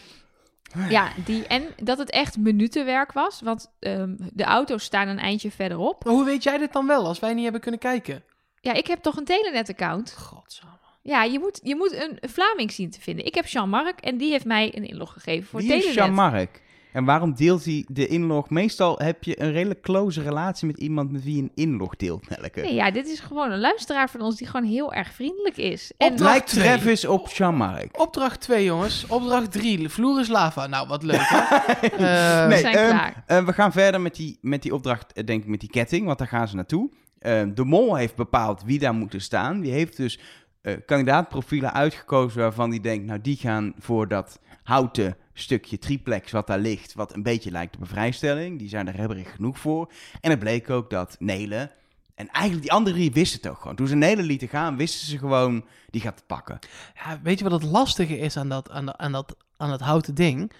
Speaker 2: Ja, die, en dat het echt minutenwerk was, want ehm, de auto's staan een eindje verderop.
Speaker 3: Maar hoe weet jij dit dan wel, als wij niet hebben kunnen kijken?
Speaker 2: Ja, ik heb toch een Telenet-account?
Speaker 3: Godsamme.
Speaker 2: Ja, je moet, je moet een Vlaming zien te vinden. Ik heb Jean-Marc en die heeft mij een inlog gegeven voor
Speaker 1: Wie is
Speaker 2: Telenet.
Speaker 1: Jean-Marc? En waarom deelt hij de inlog? Meestal heb je een redelijk close relatie met iemand met wie je een inlog deelt, Nelke.
Speaker 2: Nee, ja, dit is gewoon een luisteraar van ons die gewoon heel erg vriendelijk is.
Speaker 3: Op
Speaker 2: En
Speaker 3: de-
Speaker 1: Lijkt
Speaker 3: twee.
Speaker 1: Travis op Jean-Marc?
Speaker 3: Opdracht 2, jongens. Opdracht 3. Vloer is lava. Nou, wat leuk, hè? Eh,
Speaker 2: Nee. zijn
Speaker 1: ehm,
Speaker 2: klaar.
Speaker 1: eh, we gaan verder met die, met die opdracht, eh, denk ik, met die ketting, want daar gaan ze naartoe. Eh, de mol heeft bepaald wie daar moeten staan. Die heeft dus eh, kandidaatprofielen uitgekozen waarvan die denkt, nou die gaan voor dat houten stukje triplex wat daar ligt, wat een beetje lijkt op een vrijstelling. Die zijn er hebberig genoeg voor. En het bleek ook dat Nelen, en eigenlijk die andere drie wisten het ook gewoon. Toen ze Nelen lieten gaan, wisten ze gewoon, die gaat het pakken.
Speaker 3: Ja, weet je wat het lastige is aan dat, aan, dat- aan, dat, aan dat houten ding?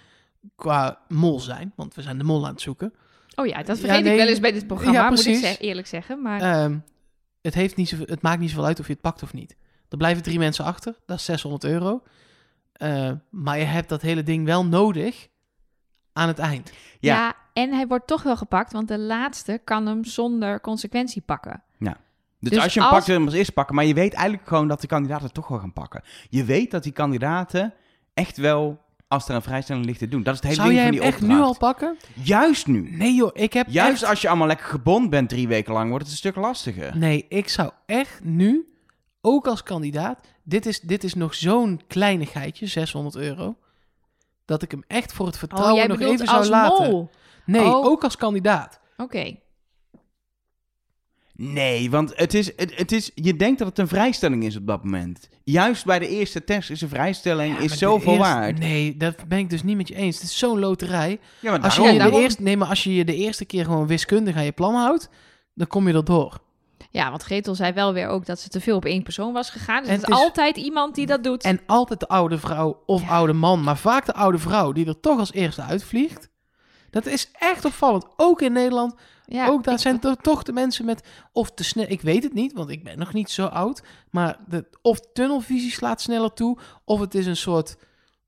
Speaker 3: Qua mol zijn, want we zijn de mol aan het zoeken.
Speaker 2: Oh ja, dat
Speaker 3: Ja,
Speaker 2: vergeet
Speaker 3: nee.
Speaker 2: ik wel eens bij dit programma,
Speaker 3: Ja,
Speaker 2: moet ik
Speaker 3: precies.
Speaker 2: ze- eerlijk zeggen. Maar
Speaker 3: Ehm, het, heeft niet zoveel, het maakt niet zoveel uit of je het pakt of niet. Er blijven drie mensen achter, dat is 600 euro. Eh, maar je hebt dat hele ding wel nodig aan het eind.
Speaker 2: Ja.
Speaker 1: Ja.
Speaker 2: en hij wordt toch wel gepakt, want de laatste kan hem zonder consequentie pakken.
Speaker 1: Dus,
Speaker 2: Dus
Speaker 1: als je hem
Speaker 2: als-
Speaker 1: pakt, wil je hem als eerste pakken. Maar je weet eigenlijk gewoon dat de kandidaten het toch wel gaan pakken. Je weet dat die kandidaten echt wel als er een vrijstelling ligt te doen. Dat is het hele
Speaker 3: Zou
Speaker 1: ding
Speaker 3: jij
Speaker 1: van
Speaker 3: hem
Speaker 1: die
Speaker 3: echt
Speaker 1: opdracht.
Speaker 3: nu al pakken?
Speaker 1: Juist nu.
Speaker 3: Nee joh, ik heb
Speaker 1: Juist
Speaker 3: echt-
Speaker 1: als je allemaal lekker gebond bent drie weken lang, wordt het een stuk lastiger.
Speaker 3: Nee, ik zou echt nu, ook als kandidaat... Dit is, dit is nog zo'n kleinigheidje, 600 euro... Dat ik hem echt voor het
Speaker 2: Oh,
Speaker 3: vertrouwen
Speaker 2: jij
Speaker 3: nog
Speaker 2: bedoelt
Speaker 3: even zou
Speaker 2: als
Speaker 3: laten.
Speaker 2: mol. Oké.
Speaker 3: Nee,
Speaker 2: Oh.
Speaker 3: ook als kandidaat.
Speaker 1: Nee, want het is, het, het is, je denkt dat het een vrijstelling is op dat moment. Juist bij de eerste test is een vrijstelling
Speaker 3: Ja,
Speaker 1: is
Speaker 3: maar
Speaker 1: zoveel
Speaker 3: de eerste-
Speaker 1: waard.
Speaker 3: Nee, dat ben ik dus niet met je eens. Het is zo'n loterij.
Speaker 1: Ja, maar
Speaker 3: Als je,
Speaker 1: daarom-
Speaker 3: je de
Speaker 2: daarom.
Speaker 3: eerste, nee, maar als je je de eerste keer gewoon wiskundig aan je plan houdt, dan kom je erdoor.
Speaker 2: Ja, want Gretel zei wel weer ook dat ze te veel op één persoon was gegaan. Dus
Speaker 3: En
Speaker 2: het is
Speaker 3: het is-
Speaker 2: altijd iemand die dat doet.
Speaker 3: En altijd de oude vrouw of
Speaker 2: Ja.
Speaker 3: oude man, maar vaak de oude vrouw die er toch als eerste uitvliegt. Dat is echt opvallend. Ook in Nederland.
Speaker 2: ja,
Speaker 3: ook daar zijn to- toch de mensen met. Of te snel. Ik weet het niet, want ik ben nog niet zo oud. Maar de, of tunnelvisie slaat sneller toe. Of het is een soort.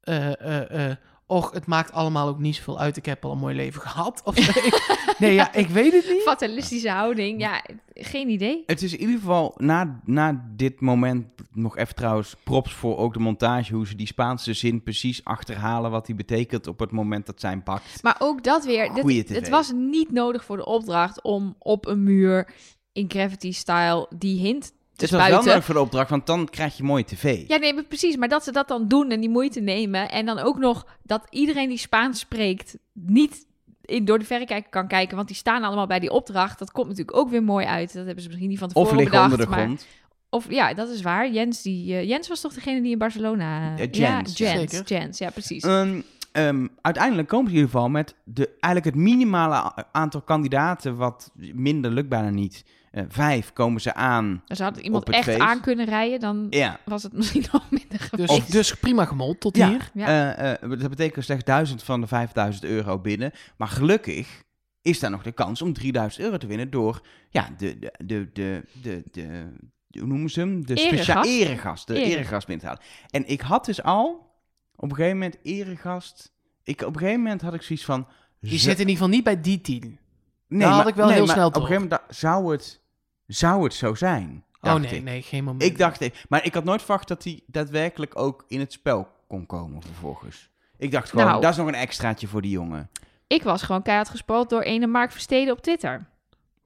Speaker 3: eh, eh, eh, och, het maakt allemaal ook niet zoveel uit. Ik heb al een mooi leven gehad. Of, ik- nee, ja, ik weet het niet.
Speaker 2: fatalistische houding. Ja, geen idee.
Speaker 1: Het is in ieder geval na, na dit moment nog even trouwens props voor ook de montage. Hoe ze die Spaanse zin precies achterhalen wat die betekent op het moment dat zij hem pakt.
Speaker 2: Maar ook dat weer. Dit,
Speaker 1: Goeie tv.
Speaker 2: het was niet nodig voor de opdracht om op een muur in Gravity-style die hint te
Speaker 1: het was wel
Speaker 2: spuiten.
Speaker 1: leuk voor de opdracht, want dan krijg je mooie tv.
Speaker 2: Ja, nee, maar precies. Maar dat ze dat dan doen en die moeite nemen. En dan ook nog dat iedereen die Spaans spreekt niet in, door de verrekijker kan kijken. Want die staan allemaal bij die opdracht. Dat komt natuurlijk ook weer mooi uit. Dat hebben ze misschien niet van tevoren
Speaker 1: of liggen
Speaker 2: bedacht.
Speaker 1: onder de
Speaker 2: maar-
Speaker 1: grond.
Speaker 2: Of ja, dat is waar. Jens, die, eh, Jens was toch degene die in Barcelona.
Speaker 1: Ja, Jens.
Speaker 2: Ja, Jens,
Speaker 3: Zeker.
Speaker 2: Jens, ja, precies.
Speaker 1: Ehm, ehm, uiteindelijk komen ze in ieder geval met de, eigenlijk het minimale a- aantal kandidaten, wat minder lukt bijna niet. Eh, vijf komen ze aan.
Speaker 2: Als Dus had iemand
Speaker 1: op het
Speaker 2: echt
Speaker 1: feest.
Speaker 2: aan kunnen rijden, dan
Speaker 1: Ja.
Speaker 2: was het misschien nog minder geweest.
Speaker 3: Dus, dus prima gemold tot
Speaker 1: Ja.
Speaker 3: hier.
Speaker 2: Ja.
Speaker 1: Eh, eh, dat betekent slechts 1000 van de 5000 euro binnen. Maar gelukkig is daar nog de kans om 3000 euro te winnen door ja, de, de, de, de, de, de- hoe noemen ze hem? De
Speaker 2: Eregast.
Speaker 1: speciale eregast. De
Speaker 2: Ere.
Speaker 1: eregast binnen te halen. En ik had dus al op een gegeven moment eregast. Ik, op een gegeven moment had ik zoiets van.
Speaker 3: Je
Speaker 1: zo-
Speaker 3: zit in ieder geval niet bij die tien.
Speaker 1: nee,
Speaker 3: daar had ik wel
Speaker 1: nee,
Speaker 3: heel
Speaker 1: maar
Speaker 3: snel
Speaker 1: Op een gegeven moment da- zou het, zou het zo zijn.
Speaker 3: Oh
Speaker 1: dacht
Speaker 3: nee,
Speaker 1: ik.
Speaker 3: nee, geen moment.
Speaker 1: Ik dacht, even- maar ik had nooit verwacht dat hij daadwerkelijk ook in het spel kon komen vervolgens. Ik dacht gewoon,
Speaker 2: Nou.
Speaker 1: dat is nog een extraatje voor die jongen.
Speaker 2: Ik was gewoon keihard gespoeld door ene Mark Versteden op Twitter.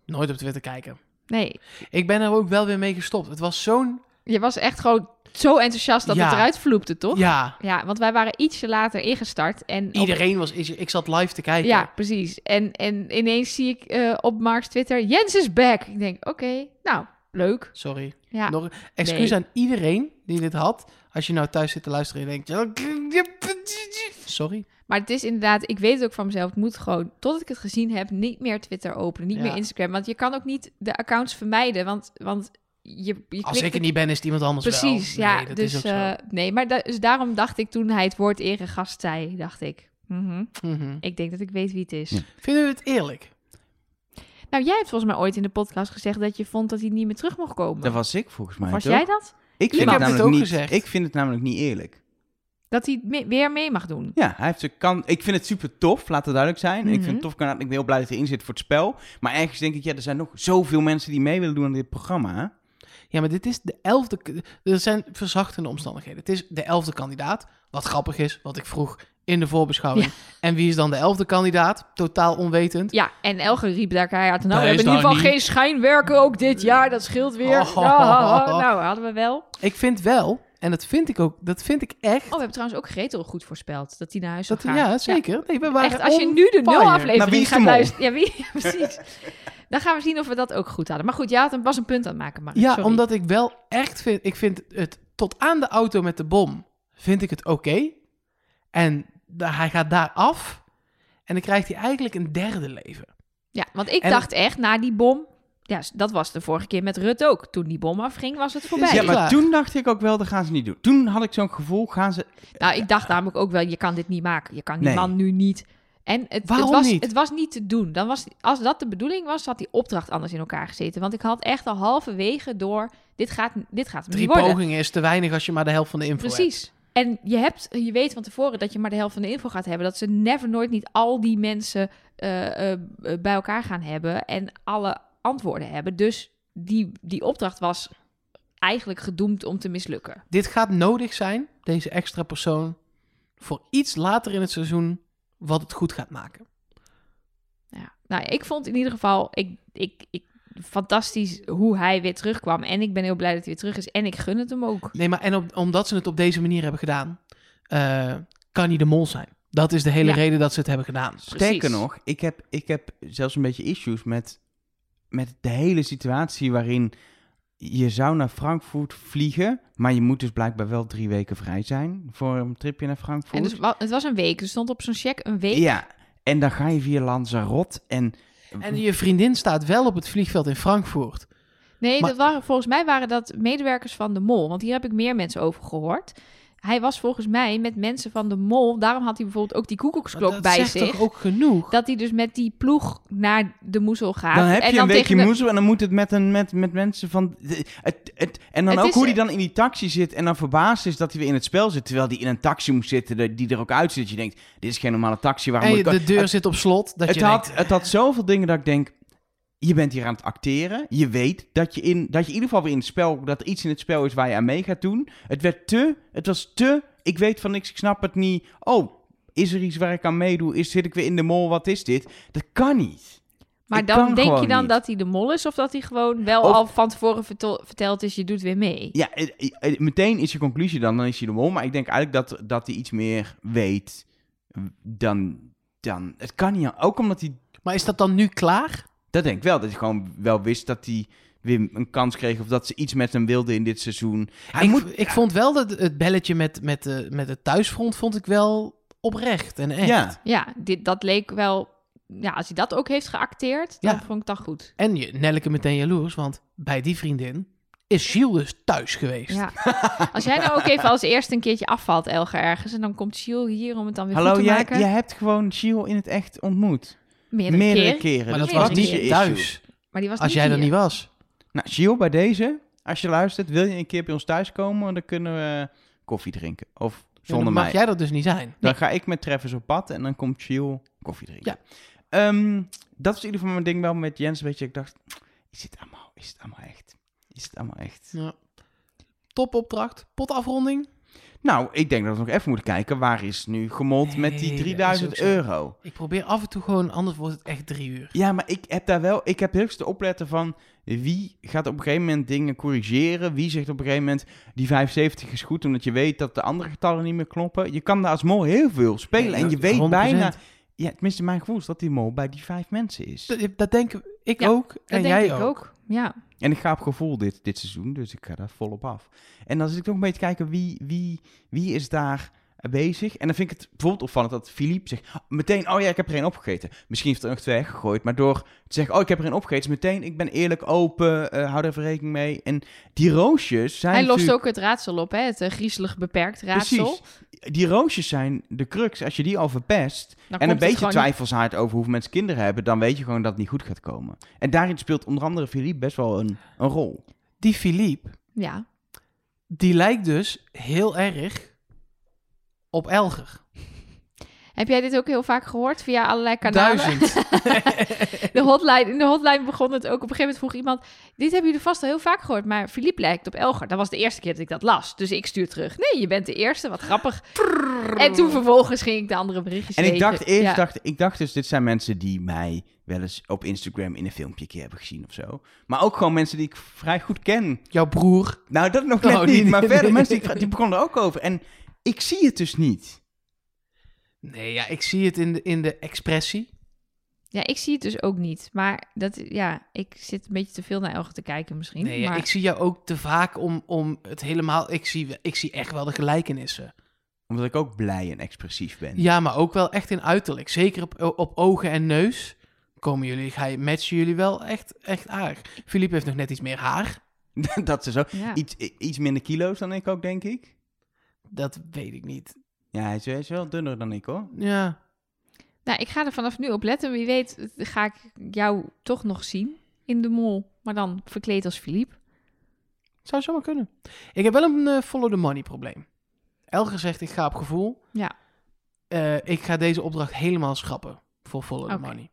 Speaker 3: Nooit op Twitter kijken.
Speaker 2: Nee,
Speaker 3: Ik ben er ook wel weer mee gestopt. Het was zo'n.
Speaker 2: je was echt gewoon zo enthousiast dat
Speaker 3: Ja.
Speaker 2: het eruit vloepte, toch?
Speaker 3: Ja,
Speaker 2: Ja, want wij waren ietsje later ingestart. En op-
Speaker 3: iedereen was. is- Ik zat live te kijken.
Speaker 2: Ja, precies. En, en ineens zie ik eh, op Mark's Twitter, Jens is back. Ik denk, oké, nou, leuk.
Speaker 3: Sorry.
Speaker 2: Ja.
Speaker 3: Nog, excuus
Speaker 2: Nee.
Speaker 3: aan iedereen die dit had. Als je nou thuis zit te luisteren en je denkt... Sorry.
Speaker 2: Maar het is inderdaad, ik weet het ook van mezelf, het moet gewoon, tot ik het gezien heb, niet meer Twitter openen, niet
Speaker 3: Ja.
Speaker 2: meer Instagram. Want je kan ook niet de accounts vermijden, want, want je, je
Speaker 3: Als
Speaker 2: klikt
Speaker 3: ik er niet ben, is het iemand anders wel.
Speaker 2: Precies,
Speaker 3: Nee,
Speaker 2: ja.
Speaker 3: dat
Speaker 2: dus,
Speaker 3: is ook zo.
Speaker 2: eh, nee, maar da- dus daarom dacht ik toen hij het woord eregast zei, dacht ik, mhm,
Speaker 3: Mhm.
Speaker 2: ik denk dat ik weet wie het is.
Speaker 1: Ja.
Speaker 3: Vinden we het eerlijk?
Speaker 2: Nou, jij hebt volgens mij ooit in de podcast gezegd dat je vond dat hij niet meer terug mocht komen.
Speaker 1: Dat was ik volgens mij.
Speaker 2: was
Speaker 1: toch?
Speaker 2: jij dat?
Speaker 1: Ik vind
Speaker 2: Ik heb
Speaker 1: het
Speaker 2: dit
Speaker 1: namelijk
Speaker 3: ook
Speaker 1: niet,
Speaker 3: gezegd.
Speaker 1: Ik vind het namelijk niet eerlijk.
Speaker 2: Dat hij me- weer mee mag doen.
Speaker 1: Ja, hij heeft zijn kan. Ik vind het super tof, laat het duidelijk zijn. Ik vind
Speaker 2: Mhm.
Speaker 1: het tof kanaal. Ik ben heel blij dat hij erin zit voor het spel. Maar ergens denk ik, ja, er zijn nog zoveel mensen die mee willen doen aan dit programma. hè?
Speaker 3: Ja, maar dit is de elfde... k- Er zijn verzachtende omstandigheden. Het is de elfde kandidaat. Wat grappig is, wat ik vroeg in de voorbeschouwing.
Speaker 2: Ja.
Speaker 3: En wie is dan de elfde kandidaat? Totaal onwetend.
Speaker 2: Ja, en Elger riep daar keihard. Nou,
Speaker 3: Dat
Speaker 2: we hebben in
Speaker 3: is
Speaker 2: ieder
Speaker 3: daar
Speaker 2: geval geen schijnwerken ook dit jaar. Dat scheelt weer.
Speaker 3: Oh.
Speaker 2: Ja, ha, ha. Nou, hadden we wel. Oh,
Speaker 3: Ik vind wel, en dat vind ik ook... Dat vind ik echt...
Speaker 2: we hebben trouwens ook Gretel goed voorspeld. Dat die naar huis zou
Speaker 3: dat,
Speaker 2: gaan.
Speaker 3: ja, zeker. Nee, we waren
Speaker 2: Echt, als je nu de
Speaker 3: on
Speaker 2: nul
Speaker 3: fire.
Speaker 1: Maar wie
Speaker 2: aflevering
Speaker 1: is de
Speaker 2: gaat
Speaker 1: mol?
Speaker 2: luisteren. Ja, wie? ja, precies. Dan gaan we zien of we dat ook goed hadden. Maar goed, ja, had een, was een punt aan het maken. Maar
Speaker 3: Ja,
Speaker 2: sorry.
Speaker 3: omdat ik wel echt vind... Ik vind het tot aan de auto met de bom vind ik het oké. En da- hij gaat daar af. En dan krijgt hij eigenlijk een derde leven.
Speaker 2: Ja, want ik
Speaker 3: En-
Speaker 2: dacht echt, na die bom... Ja, dat was de vorige keer met Rut ook. Toen die bom afging, was het voorbij.
Speaker 3: Nee.
Speaker 1: Ja, maar
Speaker 3: Klaar.
Speaker 1: toen dacht ik ook wel, dat gaan ze niet doen. Toen had ik zo'n gevoel, gaan ze...
Speaker 2: Nou, ik dacht namelijk ook wel, je kan dit niet maken. Je kan die
Speaker 1: Nee.
Speaker 2: man nu niet. En het,
Speaker 3: Waarom
Speaker 2: het, was,
Speaker 3: niet?
Speaker 2: het was niet te doen. Dan was, als dat de bedoeling was, had die opdracht anders in elkaar gezeten. Want ik had echt al halverwege door, dit gaat, dit gaat hem
Speaker 3: Drie
Speaker 2: niet worden.
Speaker 3: pogingen is te weinig als je maar de helft van de info hebt.
Speaker 2: Precies. En je, hebt, je weet van tevoren dat je maar de helft van de info gaat hebben. Dat ze never nooit niet al die mensen eh, eh, bij elkaar gaan hebben en alle antwoorden hebben. Dus die, die opdracht was eigenlijk gedoemd om te mislukken.
Speaker 3: Dit gaat nodig zijn, deze extra persoon, voor iets later in het seizoen wat het goed gaat maken.
Speaker 2: Ja. Nou, ik vond in ieder geval ik, ik, ik, fantastisch hoe hij weer terugkwam. En ik ben heel blij dat hij weer terug is. En ik gun het hem ook.
Speaker 3: Nee, maar en op- omdat ze het op deze manier hebben gedaan, eh, kan hij de mol zijn. Dat is de hele
Speaker 2: Ja.
Speaker 3: reden dat ze het hebben gedaan.
Speaker 1: Sterker nog, ik heb, ik heb zelfs een beetje issues met, met de hele situatie waarin je zou naar Frankfurt vliegen, maar je moet dus blijkbaar wel drie weken vrij zijn voor een tripje naar Frankfurt.
Speaker 2: En dus, wa- het was een week. Er stond op zo'n check een week.
Speaker 1: Ja, en dan ga je via Lanzarote en...
Speaker 3: En je vriendin staat wel op het vliegveld in Frankfurt.
Speaker 2: Nee,
Speaker 3: Maar-
Speaker 2: dat waren, volgens mij waren dat medewerkers van de Mol. Want hier heb ik meer mensen over gehoord. Hij was volgens mij met mensen van de Mol. Daarom had hij bijvoorbeeld ook die koekoeksklok
Speaker 3: dat
Speaker 2: bij
Speaker 3: zegt
Speaker 2: zich.
Speaker 3: toch ook genoeg?
Speaker 2: Dat hij dus met die ploeg naar de moezel gaat.
Speaker 1: Dan heb
Speaker 2: en
Speaker 1: je een weekje
Speaker 2: tegen de-
Speaker 1: moezel en dan moet het met, een, met, met mensen van... Het, het, en dan
Speaker 2: Het
Speaker 1: ook
Speaker 2: is-
Speaker 1: hoe die dan in die taxi zit en dan verbaasd is dat hij weer in het spel zit. Terwijl die in een taxi moet zitten de- die er ook uit zit. Je denkt, dit is geen normale taxi, waarom
Speaker 3: en
Speaker 1: moet ik...
Speaker 3: de deur zit op slot. Dat
Speaker 1: het,
Speaker 3: je
Speaker 1: had,
Speaker 3: denkt,
Speaker 1: het had zoveel dingen dat ik denk, je bent hier aan het acteren. Je weet dat je in, dat je in ieder geval weer in het spel, dat er iets in het spel is waar je aan mee gaat doen. Het werd te, het was te, ik weet van niks, ik snap het niet. Oh, is er iets waar ik aan meedoe? Is, zit ik weer in de mol? Wat is dit? Dat kan niet.
Speaker 2: Maar
Speaker 1: Ik
Speaker 2: dan
Speaker 1: kan
Speaker 2: denk je
Speaker 1: gewoon
Speaker 2: dan
Speaker 1: niet.
Speaker 2: dat hij de mol is of dat hij gewoon wel
Speaker 1: Of-
Speaker 2: al van tevoren vertel- verteld is, je doet weer mee.
Speaker 1: Ja, eh, eh, eh, meteen is je conclusie dan, dan is je de mol. Maar ik denk eigenlijk dat, dat hij iets meer weet dan, dan... Het kan niet, ook omdat hij
Speaker 3: maar is dat dan nu klaar?
Speaker 1: Dat denk ik wel. Dat je gewoon wel wist dat hij weer een kans kreeg. Of dat ze iets met hem wilden in dit seizoen. Hij
Speaker 3: ik,
Speaker 1: moet...
Speaker 3: ik vond wel dat het belletje met, met, de, met het thuisfront vond ik wel oprecht en echt.
Speaker 1: Ja.
Speaker 2: Ja, dit, dat leek wel... Ja, als hij dat ook heeft geacteerd, dan
Speaker 3: Ja.
Speaker 2: vond ik dat goed.
Speaker 3: En je, Nelleke meteen jaloers, want bij die vriendin is Gilles dus thuis geweest.
Speaker 2: Ja. Als jij nou ook even als eerste een keertje afvalt, Elger, ergens... en dan komt Gilles hier om het dan weer
Speaker 1: Hallo,
Speaker 2: goed te
Speaker 1: jij,
Speaker 2: maken.
Speaker 1: jij hebt gewoon Gilles in het echt ontmoet.
Speaker 2: Meerdere, keer.
Speaker 1: keren.
Speaker 3: Maar dat
Speaker 1: Dus
Speaker 2: Ja,
Speaker 3: was
Speaker 1: wat is
Speaker 3: niet
Speaker 2: die
Speaker 1: je issue?
Speaker 3: thuis,
Speaker 2: Maar die was
Speaker 3: als jij er
Speaker 2: hier.
Speaker 3: niet was.
Speaker 1: Nou, Gilles, bij deze. Als je luistert, wil je een keer bij ons thuis komen? Dan kunnen we koffie drinken. Of
Speaker 3: Ja, dan
Speaker 1: zonder
Speaker 3: mag
Speaker 1: mij.
Speaker 3: jij dat dus niet zijn.
Speaker 1: Dan ga ik met Travis op pad en dan komt Chill koffie drinken.
Speaker 3: Ja.
Speaker 1: Ja. dat is in ieder geval mijn ding wel met Jens. Weet je, ik dacht, is dit allemaal, is het allemaal echt? Is het allemaal echt?
Speaker 3: Ja. Topopdracht, potafronding.
Speaker 1: Nou, ik denk dat we nog even moeten kijken. Waar is nu gemold met
Speaker 3: Nee,
Speaker 1: die
Speaker 3: dat is
Speaker 1: 3000
Speaker 3: ook zo.
Speaker 1: euro?
Speaker 3: Ik probeer af en toe gewoon, anders wordt het echt drie uur.
Speaker 1: Ja, maar ik heb daar wel... Ik heb heel te opletten van... Wie gaat op een gegeven moment dingen corrigeren? Wie zegt op een gegeven moment... Die 75 is goed, omdat je weet dat de andere getallen niet meer kloppen. Je kan daar als mol heel veel spelen.
Speaker 3: Nee,
Speaker 1: en je
Speaker 3: ja,
Speaker 1: weet
Speaker 3: 100%.
Speaker 1: bijna... Ja, tenminste, mijn gevoel is dat die mol bij die vijf mensen is.
Speaker 3: Dat, dat denk ik
Speaker 2: Ja,
Speaker 3: ook
Speaker 2: Dat
Speaker 3: en
Speaker 2: denk
Speaker 3: jij
Speaker 2: ik ook. Ja.
Speaker 1: En ik ga op gevoel dit, dit seizoen, dus ik ga daar volop af. En dan zit ik toch een beetje te kijken wie, wie, wie is daar bezig. En dan vind ik het bijvoorbeeld opvallend dat Philippe zegt meteen, oh ja, ik heb er een opgegeten. Misschien heeft hij er nog twee weggegooid, maar door te zeggen, oh, ik heb er een opgegeten, is meteen, ik ben eerlijk, open, eh, hou daar even rekening mee. En die roosjes zijn
Speaker 2: Hij lost
Speaker 1: natuurlijk-
Speaker 2: ook het raadsel op, hè? het eh, griezelig beperkt raadsel.
Speaker 1: Precies. Die roosjes zijn de crux. Als je die al verpest,
Speaker 2: Dan
Speaker 1: en
Speaker 2: komt
Speaker 1: een
Speaker 2: het
Speaker 1: beetje
Speaker 2: gewoon-
Speaker 1: twijfelzaart over hoeveel mensen kinderen hebben, dan weet je gewoon dat het niet goed gaat komen. En daarin speelt onder andere Philippe best wel een, een rol.
Speaker 3: Die Philippe,
Speaker 2: Ja.
Speaker 3: die lijkt dus heel erg op Elger.
Speaker 2: Heb jij dit ook heel vaak gehoord via allerlei kanalen?
Speaker 3: Duizend.
Speaker 2: De hotline, in de hotline begon het ook. Op een gegeven moment vroeg iemand... Dit hebben jullie vast al heel vaak gehoord, maar Philippe lijkt op Elger. Dat was de eerste keer dat ik dat las. Dus ik stuur terug. Nee, je bent de eerste. Wat grappig. En toen vervolgens ging ik de andere berichtjes
Speaker 1: En ik
Speaker 2: lezen.
Speaker 1: dacht eerst,
Speaker 2: Ja.
Speaker 1: dacht, ik dacht dus, dit zijn mensen die mij wel eens op Instagram in een filmpje een keer hebben gezien of zo. Maar ook gewoon mensen die ik vrij goed ken.
Speaker 3: Jouw broer.
Speaker 1: Nou, dat nog
Speaker 3: Oh,
Speaker 1: net niet,
Speaker 3: die-
Speaker 1: maar
Speaker 3: die-
Speaker 1: verder
Speaker 3: die-
Speaker 1: mensen die, ik vra- die begonnen er ook over. En ik zie het dus niet.
Speaker 3: Nee, ja, ik zie het in de, in de expressie.
Speaker 2: Ja, ik zie het dus ook niet. Maar dat, ja, ik zit een beetje te veel naar Elger te kijken misschien.
Speaker 3: Nee, ja,
Speaker 2: maar...
Speaker 3: ik zie jou ook te vaak om, om het helemaal... Ik zie, ik zie echt wel de gelijkenissen.
Speaker 1: Omdat ik ook blij en expressief ben.
Speaker 3: Ja, maar ook wel echt in uiterlijk. Zeker op, op ogen en neus komen jullie, ga je, matchen jullie wel echt, echt aardig. Philippe heeft nog net iets meer haar.
Speaker 1: dat ze zo.
Speaker 2: ja.
Speaker 1: Iets, i- iets minder kilo's dan ik ook, denk ik.
Speaker 3: Dat weet ik niet.
Speaker 1: Ja, hij is, hij is wel dunner dan ik hoor.
Speaker 3: Ja,
Speaker 2: Nou, ik ga er vanaf nu op letten. Wie weet ga ik jou toch nog zien in de mol. Maar dan verkleed als Philippe.
Speaker 3: zou zomaar kunnen. Ik heb wel een eh, follow the money probleem. Elger zegt, ik ga op gevoel.
Speaker 2: Ja.
Speaker 3: Eh, ik ga deze opdracht helemaal schrappen voor follow the
Speaker 2: Oké.
Speaker 3: money.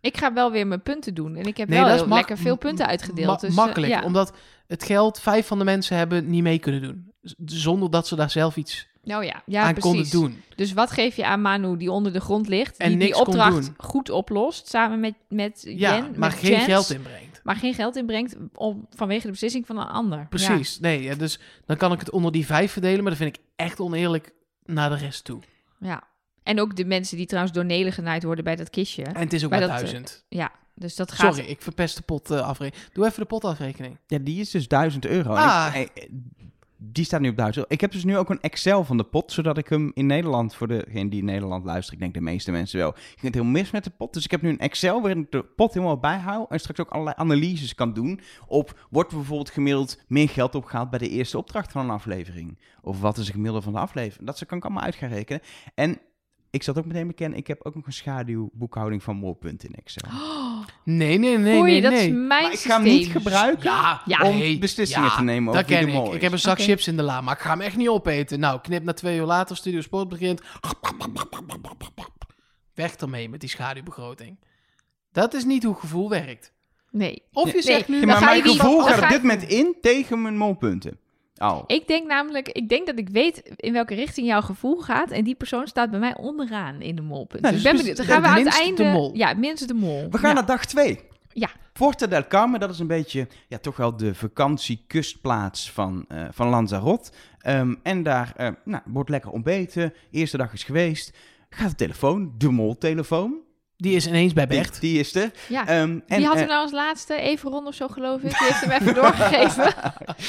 Speaker 2: Ik ga wel weer mijn punten doen. En ik heb
Speaker 3: Nee,
Speaker 2: wel
Speaker 3: dat is
Speaker 2: heel
Speaker 3: mak-
Speaker 2: lekker veel punten uitgedeeld.
Speaker 3: Ma-
Speaker 2: dus, eh,
Speaker 3: makkelijk,
Speaker 2: ja.
Speaker 3: omdat het geld vijf van de mensen hebben niet mee kunnen doen. Z- Zonder dat ze daar zelf iets
Speaker 2: Nou ja, ja
Speaker 3: aan
Speaker 2: precies.
Speaker 3: konden doen.
Speaker 2: Dus wat geef je aan Manu die onder de grond ligt,
Speaker 3: En
Speaker 2: die
Speaker 3: niks
Speaker 2: die
Speaker 3: kon
Speaker 2: opdracht
Speaker 3: doen.
Speaker 2: goed oplost samen met, met Jen,
Speaker 3: Ja,
Speaker 2: met
Speaker 3: maar geen
Speaker 2: Jens,
Speaker 3: geld inbrengt.
Speaker 2: Maar geen geld inbrengt om, vanwege de beslissing van een ander. Ja.
Speaker 3: Precies, nee. Ja, dus dan kan ik het onder die vijf verdelen, maar dat vind ik echt oneerlijk naar de rest toe.
Speaker 2: ja. En ook de mensen die trouwens door Nelen genaaid worden bij dat kistje.
Speaker 3: En het is ook
Speaker 2: Maar
Speaker 3: maar
Speaker 2: dat, eh,
Speaker 3: duizend.
Speaker 2: Ja, dus dat gaat...
Speaker 3: Sorry, ik verpest de pot eh, afrekening. Doe even de potafrekening.
Speaker 1: Ja, die is dus 1000 euro. En
Speaker 3: Ah.
Speaker 1: ik- eh, die staat nu op 1000 euro. Ik heb dus nu ook een Excel van de pot, zodat ik hem in Nederland, voor degene die in Nederland luistert, ik denk de meeste mensen wel, ging het heel mis met de pot. Dus ik heb nu een Excel waarin ik de pot helemaal bijhoud en straks ook allerlei analyses kan doen op, wordt er bijvoorbeeld gemiddeld meer geld opgehaald bij de eerste opdracht van een aflevering? Of wat is het gemiddelde van de aflevering? Dat kan ik allemaal uit gaan rekenen. En ik zat ook meteen bekennen, ik heb ook nog een schaduwboekhouding van Moorpunt in Excel.
Speaker 2: Oh,
Speaker 3: Nee, nee, nee,
Speaker 2: oei,
Speaker 3: nee,
Speaker 2: dat
Speaker 3: nee.
Speaker 2: is mijn
Speaker 1: maar ik ga hem
Speaker 2: systeem.
Speaker 1: niet gebruiken
Speaker 3: Ja, ja,
Speaker 1: om
Speaker 3: nee,
Speaker 1: beslissingen
Speaker 3: ja,
Speaker 1: te nemen over
Speaker 3: Dat
Speaker 1: wie
Speaker 3: ken
Speaker 1: de
Speaker 3: ik.
Speaker 1: mol
Speaker 3: Ik
Speaker 1: is.
Speaker 3: heb een zak
Speaker 2: Oké.
Speaker 3: chips in de la, maar ik ga hem echt niet opeten. Nou, knip na twee uur later, Studio Sport begint. Weg ermee met die schaduwbegroting. Dat is niet hoe gevoel werkt.
Speaker 2: Nee.
Speaker 3: Of je
Speaker 2: Nee,
Speaker 3: zegt nu...
Speaker 1: Ja,
Speaker 2: Dan
Speaker 1: maar
Speaker 2: ga
Speaker 1: mijn
Speaker 2: je die-
Speaker 1: gevoel
Speaker 2: dan
Speaker 1: gaat
Speaker 2: ga
Speaker 1: op
Speaker 2: je-
Speaker 1: dit moment in tegen mijn molpunten. Oh.
Speaker 2: Ik denk namelijk, ik denk dat ik weet in welke richting jouw gevoel gaat. En die persoon staat bij mij onderaan in de molpunt.
Speaker 1: Nou, dus
Speaker 2: dus ik ben
Speaker 1: precies-
Speaker 2: benieuwd. Dan gaan we aan het
Speaker 3: minst
Speaker 2: einde...
Speaker 3: de mol.
Speaker 2: Ja, minstens de mol.
Speaker 1: We gaan
Speaker 2: Ja.
Speaker 1: naar dag 2.
Speaker 2: Ja.
Speaker 1: Porta del Carmen, dat is een beetje ja, toch wel de vakantiekustplaats van, eh, van Lanzarote. Ehm, en daar eh, nou, wordt lekker ontbeten. Eerste dag is geweest. Gaat de telefoon, de moltelefoon.
Speaker 3: Die is ineens bij
Speaker 1: Die,
Speaker 3: Bert.
Speaker 1: die is er.
Speaker 2: Ja.
Speaker 1: Ehm, en,
Speaker 2: die had
Speaker 1: eh,
Speaker 2: hem nou als laatste, even rond of zo geloof ik. Die heeft hem even doorgegeven.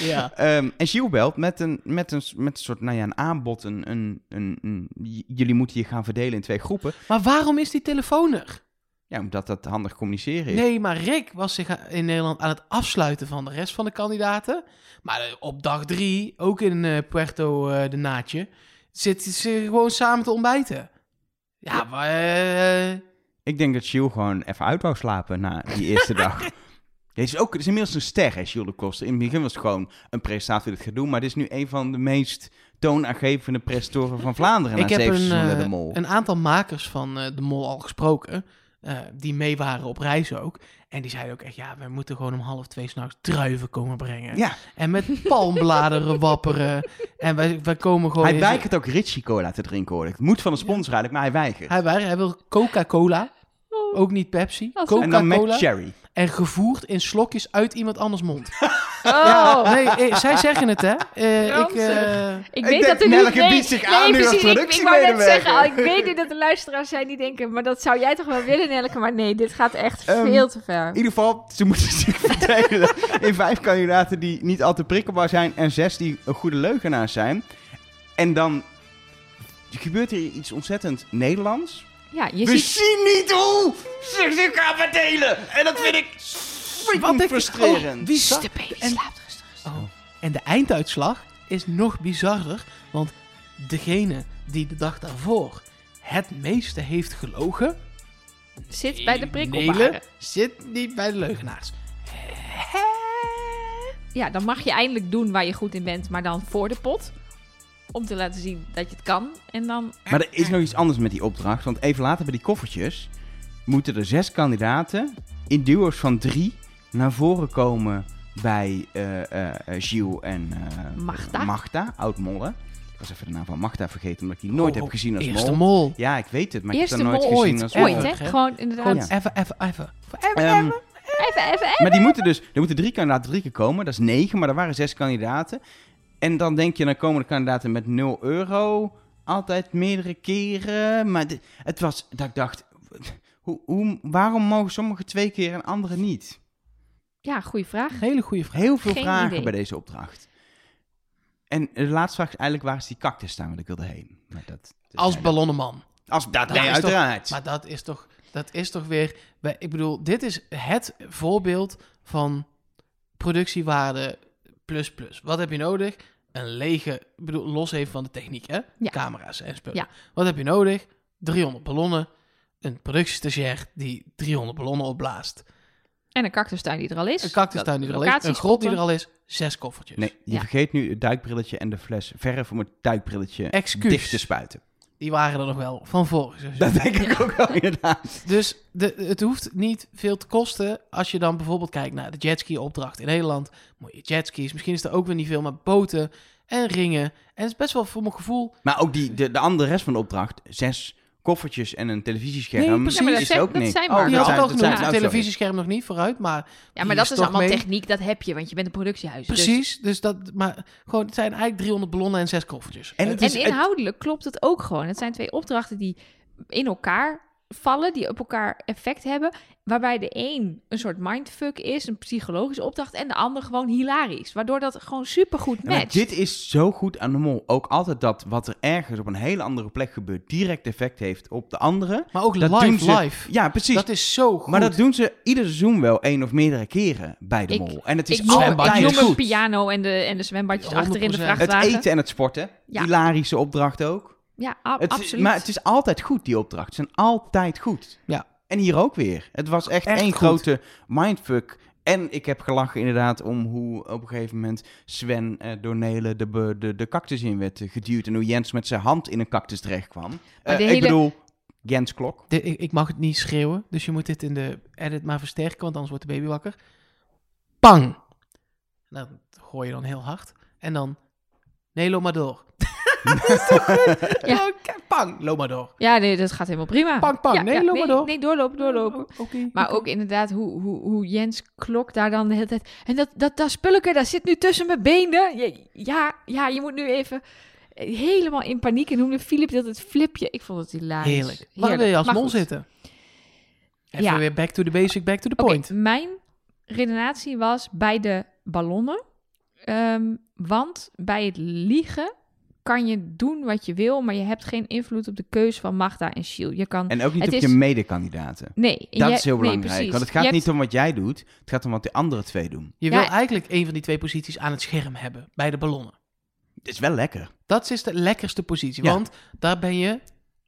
Speaker 3: Ja.
Speaker 1: Ehm, en Gilles belt met een, met een, met een soort nou ja, een aanbod. Een, een, een, een- j- jullie moeten je gaan verdelen in twee groepen.
Speaker 3: Maar waarom is die telefoon er?
Speaker 1: Ja, omdat dat handig communiceren is.
Speaker 3: Nee, maar Rick was zich a- in Nederland aan het afsluiten van de rest van de kandidaten. Maar eh, op dag drie, ook in eh, Puerto eh, de Naatje, zitten ze gewoon samen te ontbijten. Ja, maar... eh,
Speaker 1: Ik denk dat Gilles gewoon even uit wou slapen na die eerste dag. Dit is, ook, het is inmiddels een ster, hè, Gilles de Koster. In het begin was het gewoon een presentatie die het gaat doen. Maar dit is nu een van de meest toonaangevende prestatoren van Vlaanderen. na
Speaker 3: ik heb
Speaker 1: zeven
Speaker 3: een,
Speaker 1: seizoenen
Speaker 3: eh,
Speaker 1: de mol.
Speaker 3: een aantal makers van eh, De Mol al gesproken. eh, die mee waren op reis ook. En die zeiden ook echt, ja, we moeten gewoon om half twee s'nachts druiven komen brengen.
Speaker 1: ja,
Speaker 3: En met palmbladeren wapperen. En wij, wij komen gewoon...
Speaker 1: hij
Speaker 3: in-
Speaker 1: weigert ook Ritchie Cola te drinken, hoor ik. Het moet van een sponsor eigenlijk, maar hij weigert.
Speaker 3: Hij, wij- hij wil Coca-Cola.
Speaker 2: Oh.
Speaker 3: Ook niet Pepsi.
Speaker 2: Als-
Speaker 1: en dan met
Speaker 3: Coca-Cola.
Speaker 1: Cherry.
Speaker 3: En gevoerd in slokjes uit iemand anders mond.
Speaker 2: Oh.
Speaker 3: Nee, eh, zij zeggen het, hè? Eh, ik,
Speaker 2: Ranzig.
Speaker 3: eh,
Speaker 2: Ik
Speaker 1: Ik
Speaker 2: weet
Speaker 1: denk,
Speaker 2: dat er
Speaker 1: Nelke
Speaker 2: nu... nee,
Speaker 1: biedt zich
Speaker 2: nee,
Speaker 1: aan nu als
Speaker 2: precies, ik- ik, wou net
Speaker 1: productiemedewerker.
Speaker 2: zeggen, al, ik weet nu dat er luisteraars zijn die denken... maar dat zou jij toch wel willen, Nelke? Maar nee, dit gaat echt
Speaker 1: Ehm,
Speaker 2: veel te ver.
Speaker 1: In ieder geval, ze moeten zich verdelen in vijf kandidaten die niet al te prikkelbaar zijn en zes die een goede leugenaar zijn. En dan gebeurt hier iets ontzettend Nederlands.
Speaker 2: Ja, je
Speaker 1: We
Speaker 2: ziet...
Speaker 1: zien niet hoe ze zich gaan verdelen. En dat vind ik
Speaker 3: wat
Speaker 1: freaking
Speaker 3: ik-
Speaker 1: frustrerend.
Speaker 3: oh, wie eh, zag-
Speaker 2: De baby
Speaker 3: en-
Speaker 2: slaapt rustig. rustig.
Speaker 3: Oh. En de einduitslag is nog bizarder. Want degene die de dag daarvoor het meeste heeft gelogen...
Speaker 2: Zit bij de
Speaker 3: Nelen,
Speaker 2: prikkelbare.
Speaker 3: zit niet bij de leugenaars.
Speaker 2: Ja, dan mag je eindelijk doen waar je goed in bent, maar dan voor de pot. Om te laten zien dat je het kan. En dan...
Speaker 1: Maar er is nog iets anders met die opdracht. Want even later bij die koffertjes moeten er zes kandidaten in duo's van drie naar voren komen bij eh eh, eh, Gilles en eh,
Speaker 2: Magda.
Speaker 1: Magda, oud mollen. Ik was even de naam van Magda vergeten, omdat ik die nooit
Speaker 3: Oh,
Speaker 1: heb gezien als
Speaker 3: Eerste
Speaker 1: mol.
Speaker 3: mol.
Speaker 1: Ja, ik weet het, maar
Speaker 2: Eerste
Speaker 1: ik heb haar nooit
Speaker 2: mol
Speaker 1: gezien
Speaker 3: ooit.
Speaker 1: als mol.
Speaker 2: Ooit,
Speaker 3: Erg,
Speaker 2: hè?
Speaker 3: hè?
Speaker 2: Gewoon inderdaad.
Speaker 1: Oh,
Speaker 3: Gewoon even, even, even.
Speaker 1: Ehm,
Speaker 2: Even, even, even.
Speaker 1: Maar die moeten dus, er moeten drie kandidaten drie keer komen. Dat is negen, maar er waren zes kandidaten. En dan denk je, dan komen de kandidaten met 0 euro. Altijd meerdere keren. Maar dit- het was dat ik dacht, hoe, hoe, waarom mogen sommigen twee keer en anderen niet?
Speaker 2: Ja, goede vraag.
Speaker 3: Hele goede vraag.
Speaker 1: Heel veel
Speaker 2: Geen
Speaker 1: vragen
Speaker 2: idee.
Speaker 1: bij deze opdracht. En de laatste vraag is eigenlijk, waar is die cactus staan? Want ik wilde heen. Maar dat, dat
Speaker 3: Als
Speaker 1: zei-
Speaker 3: ballonnenman.
Speaker 1: Als dat,
Speaker 3: Dat
Speaker 1: nee,
Speaker 3: is toch-
Speaker 1: uiteraard.
Speaker 3: Maar dat is toch, dat is toch weer. wij- Ik bedoel, dit is het voorbeeld van productiewaarde plus plus. Wat heb je nodig? Een lege, ik bedoel, los even van de techniek, hè?
Speaker 2: Ja.
Speaker 3: Camera's en spullen.
Speaker 2: Ja.
Speaker 3: Wat heb je nodig? 300 ballonnen. Een productiestagiair die 300 ballonnen opblaast.
Speaker 2: En een cactustuin die er al is.
Speaker 3: Een cactustuin die er al is. Een
Speaker 2: locaties
Speaker 3: grot die er
Speaker 2: spotten.
Speaker 3: al is. Zes koffertjes.
Speaker 1: Nee, je
Speaker 2: Ja.
Speaker 1: vergeet nu het duikbrilletje en de fles verf om het duikbrilletje
Speaker 3: Excuus.
Speaker 1: dicht te spuiten.
Speaker 3: Die waren er nog wel van vorig seizoen.
Speaker 1: Dat denk ik ook wel inderdaad.
Speaker 3: Dus de, het hoeft niet veel te kosten als je dan bijvoorbeeld kijkt naar de jetski-opdracht in Nederland. Moet je jetskis, misschien is er ook weer niet veel, maar boten. en ringen. En het is best wel voor mijn gevoel
Speaker 1: Maar ook die, de, de andere rest van de opdracht, zes koffertjes en een televisiescherm, Nou,
Speaker 3: Nee, precies. Ja, maar dat
Speaker 1: is
Speaker 2: zijn-
Speaker 1: ook
Speaker 2: dat
Speaker 1: niks.
Speaker 2: zijn maar.
Speaker 1: dat
Speaker 3: Die had ik
Speaker 1: zijn-
Speaker 3: al
Speaker 1: dat
Speaker 3: genoemd.
Speaker 1: zijn-
Speaker 3: Het
Speaker 1: oh, sorry.
Speaker 3: televisiescherm nog niet, vooruit. Maar
Speaker 2: Ja,
Speaker 3: Die
Speaker 2: maar dat
Speaker 3: is
Speaker 2: is
Speaker 3: toch
Speaker 2: allemaal
Speaker 3: mee.
Speaker 2: techniek, dat heb je, want je bent een productiehuis. dus-
Speaker 3: precies. Dus dat, maar gewoon, het zijn eigenlijk 300 ballonnen en zes koffertjes.
Speaker 1: En
Speaker 3: Eh,
Speaker 1: het is-
Speaker 2: En inhoudelijk klopt het ook gewoon. Het zijn twee opdrachten die in elkaar vallen, die op elkaar effect hebben. Waarbij de een een soort mindfuck is, een psychologische opdracht, en de ander gewoon hilarisch. Waardoor dat gewoon supergoed
Speaker 1: Ja, maar
Speaker 2: matcht.
Speaker 1: dit is zo goed aan de mol. Ook altijd dat wat er ergens op een hele andere plek gebeurt, direct effect heeft op de andere.
Speaker 3: maar ook
Speaker 1: Dat doen
Speaker 3: live,
Speaker 1: ze-
Speaker 3: live.
Speaker 1: Ja, precies.
Speaker 3: Dat is zo goed.
Speaker 1: maar dat doen ze ieder seizoen wel één of meerdere keren bij de
Speaker 2: Ik-
Speaker 1: mol. En het
Speaker 2: Ik
Speaker 1: is
Speaker 2: noem
Speaker 3: zwembadjes.
Speaker 2: ik
Speaker 1: altijd
Speaker 2: noem een
Speaker 1: goed.
Speaker 2: piano en de, en de zwembadjes achterin de
Speaker 3: 100%.
Speaker 1: Het
Speaker 2: vrachtwagen.
Speaker 1: eten en het sporten.
Speaker 2: Ja.
Speaker 1: Hilarische opdracht ook.
Speaker 2: Ja, a-
Speaker 1: Het,
Speaker 2: absoluut.
Speaker 1: Maar het is altijd goed, die opdrachten. Ze zijn altijd goed.
Speaker 3: Ja.
Speaker 1: En hier ook weer. Het was echt,
Speaker 3: Echt
Speaker 1: één
Speaker 3: goed.
Speaker 1: grote mindfuck. En ik heb gelachen inderdaad om hoe op een gegeven moment Sven eh, door Nelen de, be- de, de cactus in werd eh, geduwd. En hoe Jens met zijn hand in een cactus terecht kwam.
Speaker 2: Maar
Speaker 1: Eh,
Speaker 2: de
Speaker 1: Ik
Speaker 2: hele- Mm.
Speaker 1: bedoel, Jens Klok.
Speaker 3: Dit- ik, ik mag het niet schreeuwen, dus je moet dit in de edit maar versterken, want anders wordt de baby wakker. Pang! Nou, dat gooi je dan heel hard. En dan, nee, loop maar door.
Speaker 2: Ja.
Speaker 3: Oké, Pang, loop maar door.
Speaker 2: Ja, nee, dat gaat helemaal prima.
Speaker 3: Pang, pang.
Speaker 2: Ja,
Speaker 3: Nee,
Speaker 2: ja,
Speaker 3: loop maar door.
Speaker 2: Nee, doorlopen, doorlopen.
Speaker 3: Oh, Oké.
Speaker 2: Maar ook inderdaad hoe, hoe, hoe Jens Klok daar dan de hele tijd... En dat, dat, dat spulleke, daar zit nu tussen mijn benen. Je- Ja, ja, je moet nu even helemaal in paniek. En noemde Filip dat het flipje. Ik vond het hilarisch.
Speaker 3: Heerlijk. Waar wil je als
Speaker 2: Maar
Speaker 3: mol
Speaker 2: goed.
Speaker 3: zitten? Even
Speaker 2: Ja.
Speaker 3: weer back to the basic, back to the
Speaker 2: Oké,
Speaker 3: point.
Speaker 2: mijn redenatie was bij de ballonnen. Ehm, want bij het liegen kan je doen wat je wil... maar je hebt geen invloed op de keuze van Magda en Shiel. Je kan...
Speaker 1: En ook niet
Speaker 2: Het
Speaker 1: op
Speaker 2: is-
Speaker 1: je medekandidaten.
Speaker 2: Nee,
Speaker 1: Dat
Speaker 2: je-
Speaker 1: is heel
Speaker 2: nee,
Speaker 1: belangrijk.
Speaker 2: precies.
Speaker 1: want het
Speaker 2: Je
Speaker 1: gaat
Speaker 2: hebt-
Speaker 1: niet om wat jij doet. Het gaat om wat de andere twee doen.
Speaker 3: Je
Speaker 2: Ja.
Speaker 3: wil eigenlijk een van die twee posities aan het scherm hebben, bij de ballonnen.
Speaker 1: Het is wel lekker.
Speaker 3: Dat is de lekkerste positie,
Speaker 1: Ja.
Speaker 3: want daar ben je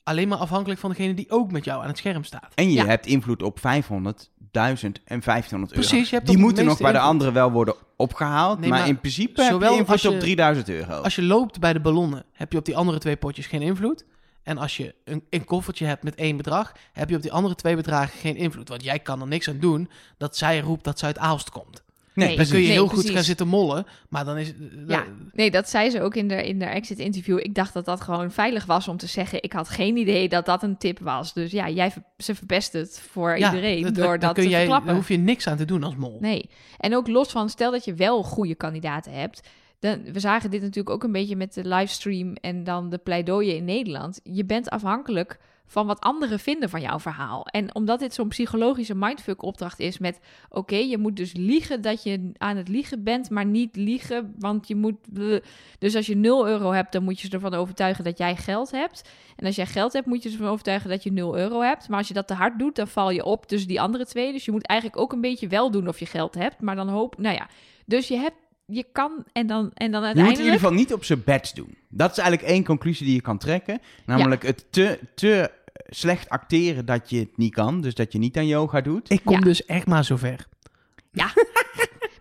Speaker 3: alleen maar afhankelijk van degene die ook met jou aan het scherm staat.
Speaker 1: En je
Speaker 2: Ja.
Speaker 1: hebt invloed op 500, 1000 en 1500 euro.
Speaker 3: Precies, je hebt
Speaker 1: Die
Speaker 3: op de
Speaker 1: moeten nog bij
Speaker 3: meeste
Speaker 1: de
Speaker 3: invloed.
Speaker 1: anderen wel worden opgehaald.
Speaker 3: Nee,
Speaker 1: maar,
Speaker 3: maar
Speaker 1: in principe heb je
Speaker 3: zowel
Speaker 1: invloed
Speaker 3: als je-
Speaker 1: op 3000 euro.
Speaker 3: Als je loopt bij de ballonnen, heb je op die andere twee potjes geen invloed. En als je een, een koffertje hebt met één bedrag, heb je op die andere twee bedragen geen invloed. Want jij kan er niks aan doen dat zij roept dat ze uit Aalst komt.
Speaker 1: Nee,
Speaker 2: Nee,
Speaker 3: Dan
Speaker 1: precies.
Speaker 3: kun je heel goed
Speaker 2: precies.
Speaker 3: gaan zitten mollen, maar dan is...
Speaker 2: Ja, nee, dat zei ze ook in de, in de exit-interview. Ik dacht dat dat gewoon veilig was om te zeggen. Ik had geen idee dat dat een tip was. Dus ja, jij, ver- ze verpest het voor
Speaker 3: ja,
Speaker 2: iedereen
Speaker 3: dat- dat-
Speaker 2: door
Speaker 3: dan
Speaker 2: dat
Speaker 3: kun
Speaker 2: te
Speaker 3: jij,
Speaker 2: verklappen.
Speaker 3: Daar hoef je niks aan te doen als mol.
Speaker 2: Nee, en ook los van, stel dat je wel goede kandidaten hebt. Dan, we zagen dit natuurlijk ook een beetje met de livestream en dan de pleidooien in Nederland. Je bent afhankelijk van wat anderen vinden van jouw verhaal. En omdat dit zo'n psychologische mindfuck opdracht is met... oké, je moet dus liegen dat je aan het liegen bent, maar niet liegen, want je moet... bleh. Dus als je 0 euro hebt, dan moet je ze ervan overtuigen dat jij geld hebt. En als jij geld hebt, moet je ze ervan overtuigen dat je 0 euro hebt. Maar als je dat te hard doet, dan val je op tussen die andere twee. Dus je moet eigenlijk ook een beetje wel doen of je geld hebt, maar dan hoop... Nou ja, dus je hebt... Je kan en dan, en dan
Speaker 1: Je moet het in
Speaker 2: uiteindelijk...
Speaker 1: ieder geval niet op zijn bets doen. Dat is eigenlijk één conclusie die je kan trekken. Namelijk het te, te slecht acteren dat je het niet kan. Dus dat je niet aan yoga doet.
Speaker 3: Ik kom
Speaker 2: Ja.
Speaker 3: dus echt maar zover.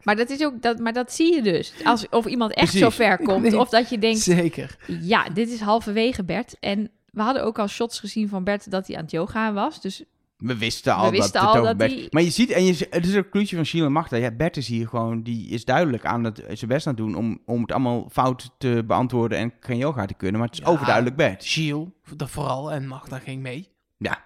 Speaker 2: Maar dat is ook dat, maar dat zie je dus. Als, of iemand echt
Speaker 1: Precies.
Speaker 2: zo ver komt.
Speaker 3: Nee.
Speaker 2: Of dat je denkt,
Speaker 3: Zeker.
Speaker 2: ja, dit is halverwege Bert. En we hadden ook al shots gezien van Bert dat hij aan het yoga was. Dus
Speaker 1: We wisten al
Speaker 2: wisten
Speaker 1: dat
Speaker 2: al
Speaker 1: het over
Speaker 2: dat
Speaker 1: Bert...
Speaker 2: die-
Speaker 1: Maar je ziet, en je, z- het is een conclusie van Sheila Magda. Ja, Bert is hier gewoon, die is duidelijk aan het zijn best aan het doen... om, om het allemaal fout te beantwoorden en geen yoga te kunnen. Maar het is
Speaker 3: Ja.
Speaker 1: overduidelijk Bert.
Speaker 3: Gilles, dat vooral, en Magda ging mee.
Speaker 1: Ja,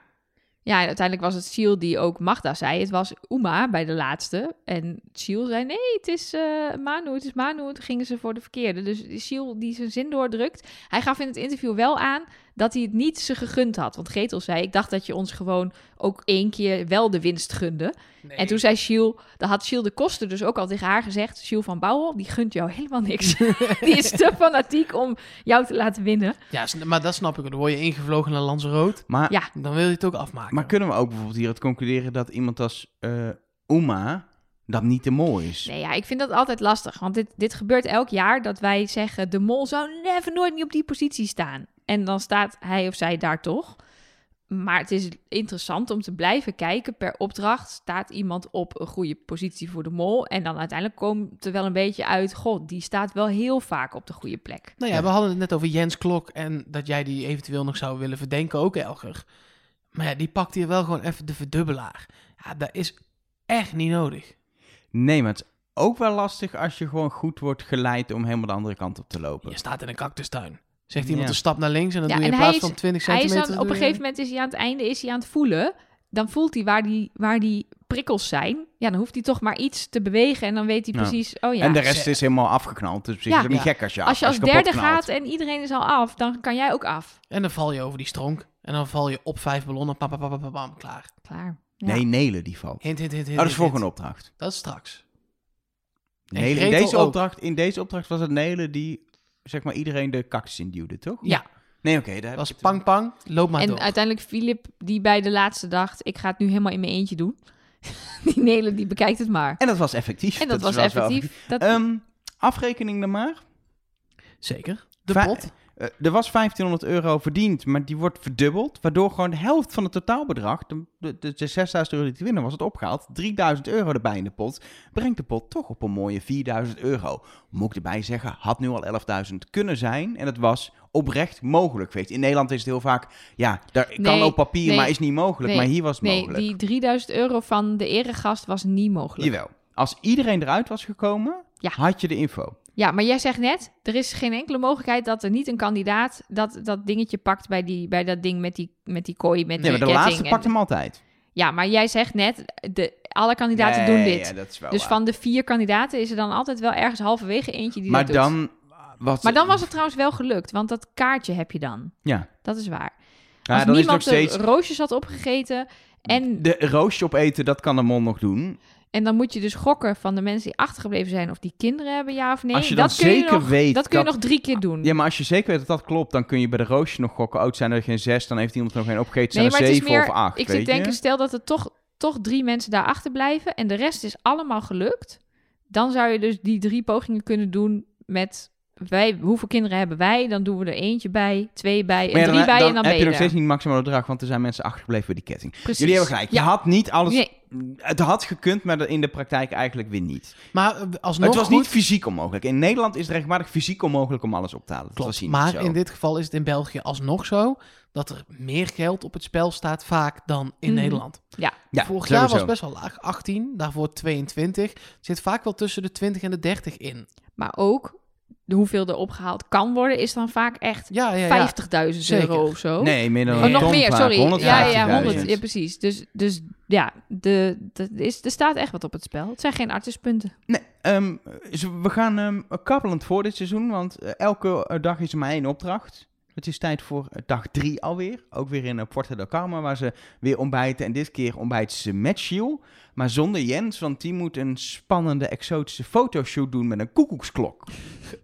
Speaker 2: ja, en uiteindelijk was het Siel die ook Magda zei. Het was Uma bij de laatste. En Siel zei, nee, het is eh, Manu, het is Manu. En Toen gingen ze voor de verkeerde. Dus Siel die zijn zin doordrukt. Hij gaf in het interview wel aan dat hij het niet ze gegund had. Want Getel zei, ik dacht dat je ons gewoon ook één keer wel de winst gunde. En toen zei Shiel, dan had Shiel de kosten dus ook al tegen haar gezegd. Shiel van Bouwel, die gunt jou helemaal niks. die is te fanatiek om jou te laten winnen.
Speaker 3: Ja, sn- maar dat snap ik. Dan word je ingevlogen naar Lanzarote.
Speaker 1: maar...
Speaker 2: Ja.
Speaker 3: Dan wil je het ook afmaken.
Speaker 1: Maar kunnen we ook bijvoorbeeld hieruit concluderen dat iemand als eh Uma dat niet te mooi is?
Speaker 2: Nee, ja, ik vind dat altijd lastig. Want dit, dit gebeurt elk jaar dat wij zeggen... de mol zou never nooit niet op die positie staan. En dan staat hij of zij daar toch. Maar het is interessant om te blijven kijken. Per opdracht staat iemand op een goede positie voor de mol. En dan uiteindelijk komt er wel een beetje uit... god, die staat wel heel vaak op de goede plek.
Speaker 3: Nou ja,
Speaker 1: Ja.
Speaker 3: we hadden het net over Jens Klok en dat jij die eventueel nog zou willen verdenken, ook Elger. Maar ja, die pakt hier wel gewoon even de verdubbelaar. Ja, dat is echt niet nodig.
Speaker 1: Nee, maar het is ook wel lastig als je gewoon goed wordt geleid om helemaal de andere kant op te lopen.
Speaker 3: Je staat in een cactustuin. Zegt iemand
Speaker 1: Ja.
Speaker 3: een stap naar links en dan
Speaker 2: Ja,
Speaker 3: doe je
Speaker 2: en
Speaker 3: in plaats
Speaker 2: hij is-
Speaker 3: van 20
Speaker 2: Hij is
Speaker 3: centimeter...
Speaker 2: dan, op een
Speaker 3: doe je-
Speaker 2: gegeven moment is hij aan het einde is hij aan het voelen. Dan voelt hij waar die, waar die prikkels zijn. Ja, dan hoeft hij toch maar iets te bewegen. En dan weet hij
Speaker 1: Ja.
Speaker 2: precies. Oh ja,
Speaker 1: en de
Speaker 3: ze-
Speaker 1: rest is helemaal afgeknald. Dus op zich
Speaker 2: Ja.
Speaker 1: is het ook niet
Speaker 3: Ja.
Speaker 1: gek als je af-
Speaker 2: als je als
Speaker 1: kapot
Speaker 2: derde
Speaker 1: knalt.
Speaker 2: gaat en iedereen is al af, dan kan jij ook af.
Speaker 3: En dan val je over die stronk. En dan val je op vijf ballonnen. Pam, pam, pam, pam, pam, pam, klaar.
Speaker 2: Klaar. Ja.
Speaker 1: Nee, Nelen die valt.
Speaker 3: Hint, hint, hint, hint.
Speaker 1: Oh, dat is
Speaker 3: hint,
Speaker 1: volgende
Speaker 3: hint.
Speaker 1: opdracht.
Speaker 3: Dat is straks. En
Speaker 1: Nelen, in,
Speaker 3: Gretel
Speaker 1: deze
Speaker 3: ook.
Speaker 1: opdracht in deze opdracht was het Nelen die zeg maar iedereen de cactus induwde, toch?
Speaker 3: Ja.
Speaker 1: Nee, oké. daar heb
Speaker 3: Dat
Speaker 1: ik
Speaker 3: was
Speaker 1: het-
Speaker 3: pang, pang. Loop maar
Speaker 2: en
Speaker 3: door.
Speaker 2: uiteindelijk Filip, die bij de laatste dacht: ik ga het nu helemaal in mijn eentje doen. die Nelen, die bekijkt het maar.
Speaker 1: En dat was effectief.
Speaker 2: En dat, was
Speaker 1: wel-
Speaker 2: effectief. Dat,
Speaker 1: Ehm, afrekening dan maar.
Speaker 3: Zeker. De
Speaker 1: Va-
Speaker 3: pot.
Speaker 1: Eh, er was 1500 euro verdiend, maar die wordt verdubbeld. Waardoor gewoon de helft van het totaalbedrag, de, de, de, de 6000 euro die te winnen was, het opgehaald. 3000 euro erbij in de pot. Brengt de pot toch op een mooie 4000 euro. Moet ik erbij zeggen, had nu al 11.000 kunnen zijn. En het was oprecht mogelijk geweest. In Nederland is het heel vaak, ja, daar kan
Speaker 2: Nee,
Speaker 1: op papier,
Speaker 2: nee,
Speaker 1: maar is niet mogelijk.
Speaker 2: nee,
Speaker 1: maar hier was het
Speaker 2: nee,
Speaker 1: mogelijk.
Speaker 2: die 3000 euro van de eregast was niet mogelijk.
Speaker 1: Jawel. Als iedereen eruit was gekomen,
Speaker 2: Ja.
Speaker 1: had je de info.
Speaker 2: Ja, maar jij zegt net, er is geen enkele mogelijkheid dat er niet een kandidaat dat, dat dingetje pakt bij, die, bij dat ding met die, met die kooi, met
Speaker 1: Nee,
Speaker 2: die
Speaker 1: maar de
Speaker 2: ketting.
Speaker 1: laatste
Speaker 2: en-
Speaker 1: pakt hem altijd.
Speaker 2: Ja, maar jij zegt net, de, alle kandidaten
Speaker 1: Nee,
Speaker 2: doen dit.
Speaker 1: Ja, dat is wel
Speaker 2: dus
Speaker 1: waar.
Speaker 2: van de vier kandidaten is er dan altijd wel ergens halverwege eentje die
Speaker 1: maar
Speaker 2: dat doet.
Speaker 1: dan, eh, wat,
Speaker 2: Maar dan was het trouwens wel gelukt, want dat kaartje heb je dan.
Speaker 1: Ja.
Speaker 2: Dat is waar.
Speaker 1: Ja,
Speaker 2: Als
Speaker 1: dat is
Speaker 2: niemand
Speaker 1: nog steeds.
Speaker 2: de roosjes had opgegeten en,
Speaker 1: De roosje opeten, dat kan de mond nog doen.
Speaker 2: en dan moet je dus gokken van de mensen die achtergebleven zijn of die kinderen hebben, ja of nee.
Speaker 1: als je dan
Speaker 2: dat kun
Speaker 1: zeker
Speaker 2: je nog,
Speaker 1: weet.
Speaker 2: dat kun je nog drie keer doen.
Speaker 1: Ja, maar als je zeker weet dat dat klopt, dan kun je bij de roosje nog gokken. Oud zijn er geen zes, dan heeft iemand er nog geen opgegeten. Zijn
Speaker 2: Nee, maar
Speaker 1: er
Speaker 2: het is
Speaker 1: zeven
Speaker 2: meer.
Speaker 1: of acht.
Speaker 2: ik
Speaker 1: weet
Speaker 2: zit denken,
Speaker 1: je?
Speaker 2: stel dat er toch, toch drie mensen daar achterblijven en de rest is allemaal gelukt. Dan zou je dus die drie pogingen kunnen doen met wij, hoeveel kinderen hebben wij? Dan doen we er eentje bij, twee bij en
Speaker 1: Maar ja,
Speaker 2: drie bij en dan
Speaker 1: heb
Speaker 2: ben
Speaker 1: je
Speaker 2: je
Speaker 1: nog steeds
Speaker 2: er.
Speaker 1: niet maximaal bedrag, want er zijn mensen achtergebleven bij die ketting.
Speaker 2: Precies.
Speaker 1: Jullie hebben gelijk.
Speaker 2: Ja.
Speaker 1: Je had niet alles.
Speaker 2: Nee,
Speaker 1: Het had gekund, maar in de praktijk eigenlijk weer niet.
Speaker 3: Maar eh, alsnog
Speaker 1: het was
Speaker 3: goed.
Speaker 1: niet fysiek onmogelijk. In Nederland is het rechtmatig fysiek onmogelijk om alles op te halen. Dus Dat was
Speaker 3: Klopt,
Speaker 1: hier niet
Speaker 3: maar
Speaker 1: zo.
Speaker 3: in dit geval is het in België alsnog zo dat er meer geld op het spel staat vaak dan in
Speaker 2: Mhm.
Speaker 3: Nederland.
Speaker 1: Ja,
Speaker 3: Vorig
Speaker 1: sowieso.
Speaker 3: jaar was het best wel laag, 18, daarvoor 22. Het zit vaak wel tussen de 20 en de 30 in.
Speaker 2: maar ook de hoeveel er opgehaald kan worden is dan vaak echt
Speaker 3: Ja, ja, ja.
Speaker 2: 50.000
Speaker 3: Zeker.
Speaker 2: euro of zo.
Speaker 1: Nee, meer dan
Speaker 2: Oh,
Speaker 3: Nee.
Speaker 1: een
Speaker 2: nog
Speaker 1: ton
Speaker 2: meer,
Speaker 1: vaak,
Speaker 2: sorry. Ja, ja,
Speaker 1: 150.000.
Speaker 2: 100. Ja, precies. Dus, dus ja, de, de, is, er staat echt wat op het spel. Het zijn geen artiestpunten.
Speaker 1: Nee, ehm, dus we gaan ehm kappelend voor dit seizoen, want eh, elke eh, dag is er maar één opdracht. Het is tijd voor eh, dag drie alweer. Ook weer in eh, Porta del Carmen, waar ze weer ontbijten. En dit keer ontbijten ze met Giel, maar zonder Jens, want die moet een spannende exotische fotoshoot doen met een koekoeksklok.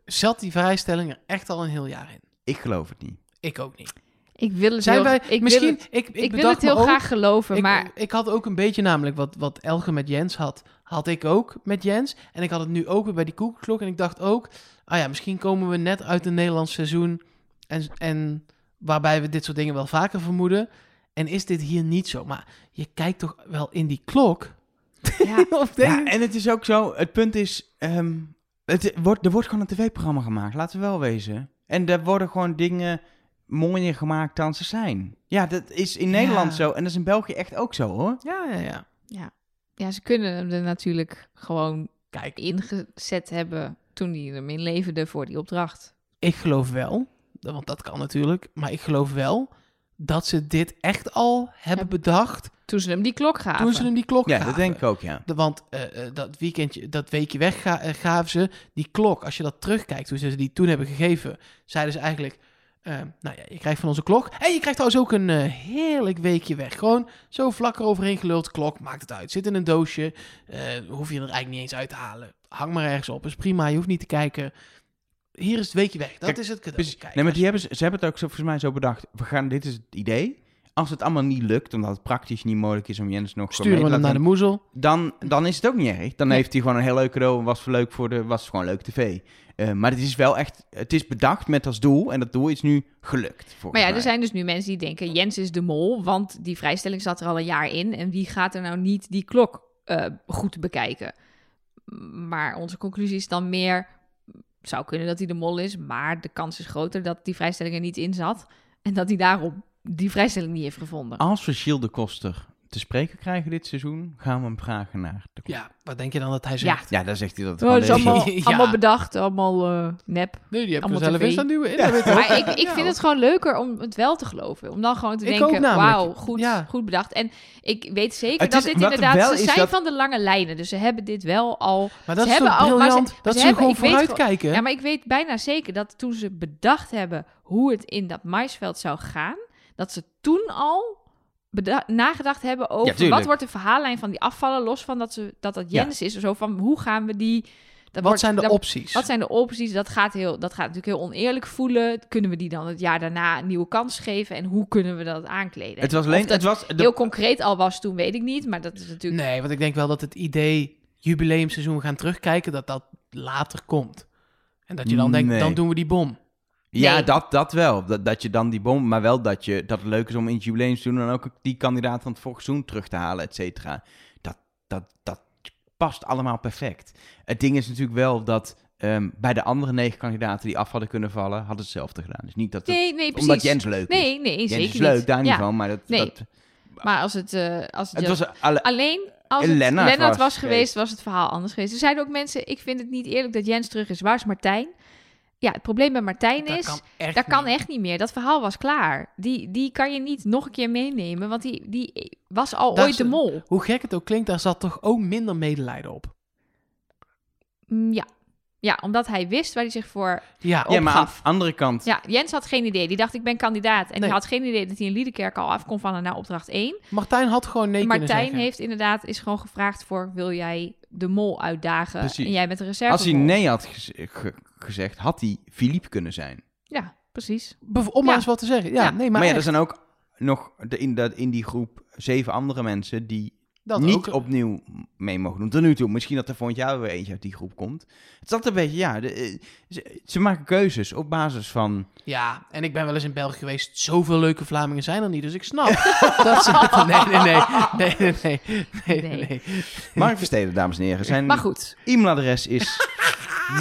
Speaker 3: Zat die vrijstelling er echt al een heel jaar in?
Speaker 1: Ik geloof het niet.
Speaker 3: Ik ook niet.
Speaker 2: Ik wil het
Speaker 3: Zijn
Speaker 2: heel,
Speaker 3: wij,
Speaker 2: ik wil
Speaker 3: misschien,
Speaker 2: het-
Speaker 3: ik, ik,
Speaker 2: ik wil
Speaker 3: bedacht
Speaker 2: het heel
Speaker 3: me ook-
Speaker 2: graag geloven,
Speaker 3: Ik,
Speaker 2: maar
Speaker 3: ik had ook een beetje namelijk wat, wat Elge met Jens had, had ik ook met Jens. En ik had het nu ook weer bij die koekklok. En ik dacht ook, ah ja, misschien komen we net uit een Nederlands seizoen. En, en waarbij we dit soort dingen wel vaker vermoeden. En is dit hier niet zo? Maar je kijkt toch wel in die klok?
Speaker 2: ja,
Speaker 3: Of denk
Speaker 1: Ja,
Speaker 3: je-
Speaker 1: en het is ook zo, het punt is, ehm, het wordt, er wordt gewoon een tv-programma gemaakt, laten we wel wezen. En er worden gewoon dingen mooier gemaakt dan ze zijn. Ja, dat is in
Speaker 3: Ja.
Speaker 1: Nederland zo en dat is in België echt ook zo hoor.
Speaker 3: ja, ja, ja.
Speaker 2: ja, ze kunnen hem er natuurlijk gewoon
Speaker 3: Kijk,
Speaker 2: ingezet hebben toen hij hem inleverde voor die opdracht.
Speaker 3: ik geloof wel, want dat kan natuurlijk. Maar ik geloof wel dat ze dit echt al hebben
Speaker 2: Hebben-
Speaker 3: bedacht
Speaker 2: Toen ze hem die klok gaven.
Speaker 3: toen ze hem die klok
Speaker 1: Ja,
Speaker 3: gaven.
Speaker 1: dat denk ik ook, ja.
Speaker 3: De- want eh, eh, dat weekendje, dat weekje weg ga- eh, gaven ze die klok. Als je dat terugkijkt, hoe ze die toen hebben gegeven, zeiden ze eigenlijk: eh, Nou ja, je krijgt van onze klok. En je krijgt trouwens ook een eh, heerlijk weekje weg. Gewoon zo vlak eroverheen geluld. Klok maakt het uit. Zit in een doosje. eh, hoef je er eigenlijk niet eens uit te halen. Hang maar ergens op. Is prima. Je hoeft niet te kijken. Hier is het weekje weg. Dat
Speaker 1: Kijk,
Speaker 3: is het cadeau.
Speaker 1: Precies.
Speaker 3: Kijk,
Speaker 1: nee, maar
Speaker 3: als
Speaker 1: die hebben, ze ze hebben het ook zo, volgens mij zo bedacht. We gaan, dit is het idee. Als het allemaal niet lukt, omdat het praktisch niet mogelijk is om Jens nog
Speaker 3: je-
Speaker 1: gewoon
Speaker 3: eh, sturen we
Speaker 1: mee te
Speaker 3: hem naar de
Speaker 1: laten-
Speaker 3: moezel.
Speaker 1: dan, dan is het ook niet erg. Dan
Speaker 3: Nee.
Speaker 1: heeft hij gewoon een heel leuk cadeau en was, voor leuk voor de, was gewoon leuk tv. Eh, maar het is wel echt, het is bedacht met als doel en dat doel is nu gelukt. volgens
Speaker 2: maar ja,
Speaker 1: mij.
Speaker 2: er zijn dus nu mensen die denken: Jens is de mol, want die vrijstelling zat er al een jaar in. En wie gaat er nou niet die klok eh, goed bekijken? Maar onze conclusie is dan meer: het zou kunnen dat hij de mol is, maar de kans is groter dat die
Speaker 1: Oh,
Speaker 2: vrijstelling er niet in zat. En dat hij daarom die vrijstelling niet heeft gevonden.
Speaker 1: Als we Shield de Koster te spreken krijgen dit seizoen, gaan we hem vragen naar. de-
Speaker 3: Ja, wat denk je dan dat hij
Speaker 2: Ja.
Speaker 3: zegt?
Speaker 1: ja daar zegt hij dat het
Speaker 2: Oh, dat is
Speaker 1: gewoon leeg
Speaker 2: allemaal,
Speaker 3: Ja.
Speaker 2: allemaal bedacht, allemaal eh, nep.
Speaker 3: Nee, die heb ik er
Speaker 2: Allemaal
Speaker 3: zelf
Speaker 2: tv.
Speaker 3: in staan duwen. Ja.
Speaker 2: Maar ik, ik vind het gewoon leuker om het wel te geloven. Om dan gewoon te
Speaker 3: Ik ook
Speaker 2: denken,
Speaker 3: namelijk.
Speaker 2: wauw, goed,
Speaker 3: Ja.
Speaker 2: goed bedacht. En ik weet zeker
Speaker 1: Het
Speaker 2: dat
Speaker 1: is-
Speaker 2: dit
Speaker 1: wat er wel
Speaker 2: inderdaad... Ze
Speaker 1: is
Speaker 2: zijn
Speaker 1: dat-
Speaker 2: van de lange lijnen, dus ze hebben dit wel al...
Speaker 3: Maar dat
Speaker 2: Ze
Speaker 3: is
Speaker 2: hebben
Speaker 3: toch
Speaker 2: al- maar ze-
Speaker 3: briljant
Speaker 2: maar
Speaker 3: dat
Speaker 2: ze
Speaker 3: ze,
Speaker 2: hebben-
Speaker 3: gewoon
Speaker 2: ik weet
Speaker 3: vooruitkijken.
Speaker 2: Ja, maar ik weet bijna zeker dat toen ze bedacht hebben... hoe het in dat maisveld zou gaan... dat ze toen al beda- nagedacht hebben
Speaker 1: Ja,
Speaker 2: over...
Speaker 1: tuurlijk.
Speaker 2: wat wordt de verhaallijn van die afvallen... los van dat ze, dat, dat
Speaker 1: Ja.
Speaker 2: Jens is. Zo van, hoe gaan we die... Dat
Speaker 3: Wat
Speaker 2: wordt-
Speaker 3: zijn de
Speaker 2: dat-
Speaker 3: opties?
Speaker 2: wat zijn de opties? Dat gaat, heel, dat gaat natuurlijk heel oneerlijk voelen. Kunnen we die dan het jaar daarna een nieuwe kans geven? En hoe kunnen we dat aankleden?
Speaker 1: Het was
Speaker 2: Of
Speaker 1: alleen,
Speaker 2: dat
Speaker 1: het was, de-
Speaker 2: heel concreet al was toen, weet ik niet. Maar dat is natuurlijk...
Speaker 3: Nee, want ik denk wel dat het idee jubileumseizoen we gaan terugkijken, dat dat later komt. En dat je dan denkt,
Speaker 1: Nee.
Speaker 3: dan doen we die bom.
Speaker 1: ja,
Speaker 2: nee.
Speaker 1: dat, dat wel. Dat, dat je dan die bom, maar wel dat, je, dat het leuk is om in het jubileum te doen en ook die kandidaat van het vorig seizoen terug te halen, et cetera. Dat, dat, dat past allemaal perfect. Het ding is natuurlijk wel dat ehm, bij de andere negen kandidaten die af hadden kunnen vallen, hadden ze hetzelfde gedaan. Dus niet dat het,
Speaker 2: Nee, nee, precies.
Speaker 1: omdat Jens leuk is.
Speaker 2: Nee, nee,
Speaker 1: Jens
Speaker 2: zeker
Speaker 1: is leuk,
Speaker 2: niet.
Speaker 1: daar niet
Speaker 2: Ja,
Speaker 1: van, maar dat,
Speaker 2: Nee.
Speaker 1: dat,
Speaker 2: Maar als het... eh, als het,
Speaker 1: het
Speaker 2: Jens-
Speaker 1: was alle,
Speaker 2: Alleen als het
Speaker 1: Lennart
Speaker 2: Lennart,
Speaker 1: was
Speaker 2: was,
Speaker 1: geweest.
Speaker 2: geweest, was het verhaal anders geweest. Er zijn ook mensen... Ik vind het niet eerlijk dat Jens terug is. Waar is Martijn? Ja, het probleem bij Martijn
Speaker 3: Dat
Speaker 2: is...
Speaker 3: kan echt
Speaker 2: Dat kan
Speaker 3: niet.
Speaker 2: echt niet meer. Dat verhaal was klaar. Die, die kan je niet nog een keer meenemen, want die, die was al
Speaker 3: Dat
Speaker 2: ooit
Speaker 3: is-
Speaker 2: de mol.
Speaker 3: Hoe gek het ook klinkt, daar zat toch ook minder medelijden op.
Speaker 2: Mm, Ja. ja, omdat hij wist waar hij zich voor
Speaker 3: Ja,
Speaker 1: ja, maar aan de
Speaker 2: opgaf.
Speaker 1: andere kant,
Speaker 2: Ja, Jens had geen idee. Die dacht, ik ben kandidaat. En
Speaker 3: Nee.
Speaker 2: die had geen idee dat hij in Liedekerk al afkomt van naar opdracht 1.
Speaker 3: Martijn had gewoon nee kunnen
Speaker 2: Martijn
Speaker 3: zeggen.
Speaker 2: heeft inderdaad, is gewoon gevraagd voor, wil jij de mol uitdagen?
Speaker 1: Precies.
Speaker 2: En jij bent de reserve
Speaker 1: als hij nee had gez- ge- gezegd, had hij Philippe kunnen zijn.
Speaker 2: Ja, precies.
Speaker 3: Bev- Om maar
Speaker 2: Ja.
Speaker 3: eens wat te zeggen. Ja,
Speaker 2: Ja.
Speaker 3: nee,
Speaker 1: Maar,
Speaker 3: maar,
Speaker 1: ja, er
Speaker 3: echt,
Speaker 1: zijn ook nog de, in, dat, in die groep zeven andere mensen die
Speaker 3: dat
Speaker 1: niet
Speaker 3: ook.
Speaker 1: opnieuw mee mogen doen. Tot nu toe. Misschien dat er volgend jaar weer eentje uit die groep komt. Het is altijd een beetje, ja, de, eh, ze, ze maken keuzes op basis van...
Speaker 3: Ja, en ik ben wel eens in België geweest. Zoveel leuke Vlamingen zijn er niet, dus ik snap dat ze... Nee, nee, nee. Nee, nee, nee. nee, nee,
Speaker 2: Nee.
Speaker 3: nee.
Speaker 1: Mark Versteden, dames en heren. Zijn
Speaker 2: Maar goed,
Speaker 1: e-mailadres is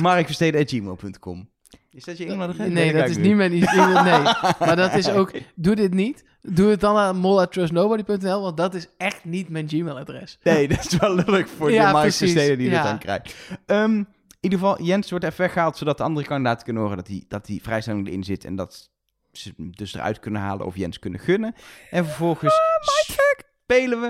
Speaker 1: markversteden.gmail.com. Is dat je e-mailadres?
Speaker 3: Nee, dat
Speaker 1: kijk
Speaker 3: is
Speaker 1: ik
Speaker 3: niet mijn e-mail, nee. Maar dat is ook, doe dit niet. Doe het dan aan mol@trustnobody.nl, want dat is echt niet mijn Gmail-adres.
Speaker 1: Nee, dat is wel lullig voor
Speaker 3: Ja,
Speaker 1: die Mark
Speaker 3: precies,
Speaker 1: Versteden die
Speaker 3: ja.
Speaker 1: dat aan krijgt. Ehm, in ieder geval, Jens wordt even weggehaald... zodat de andere kandidaten kunnen horen dat die, dat die vrijstelling erin zit... en dat ze hem dus eruit kunnen halen of Jens kunnen gunnen. En vervolgens
Speaker 3: Ah,
Speaker 1: spelen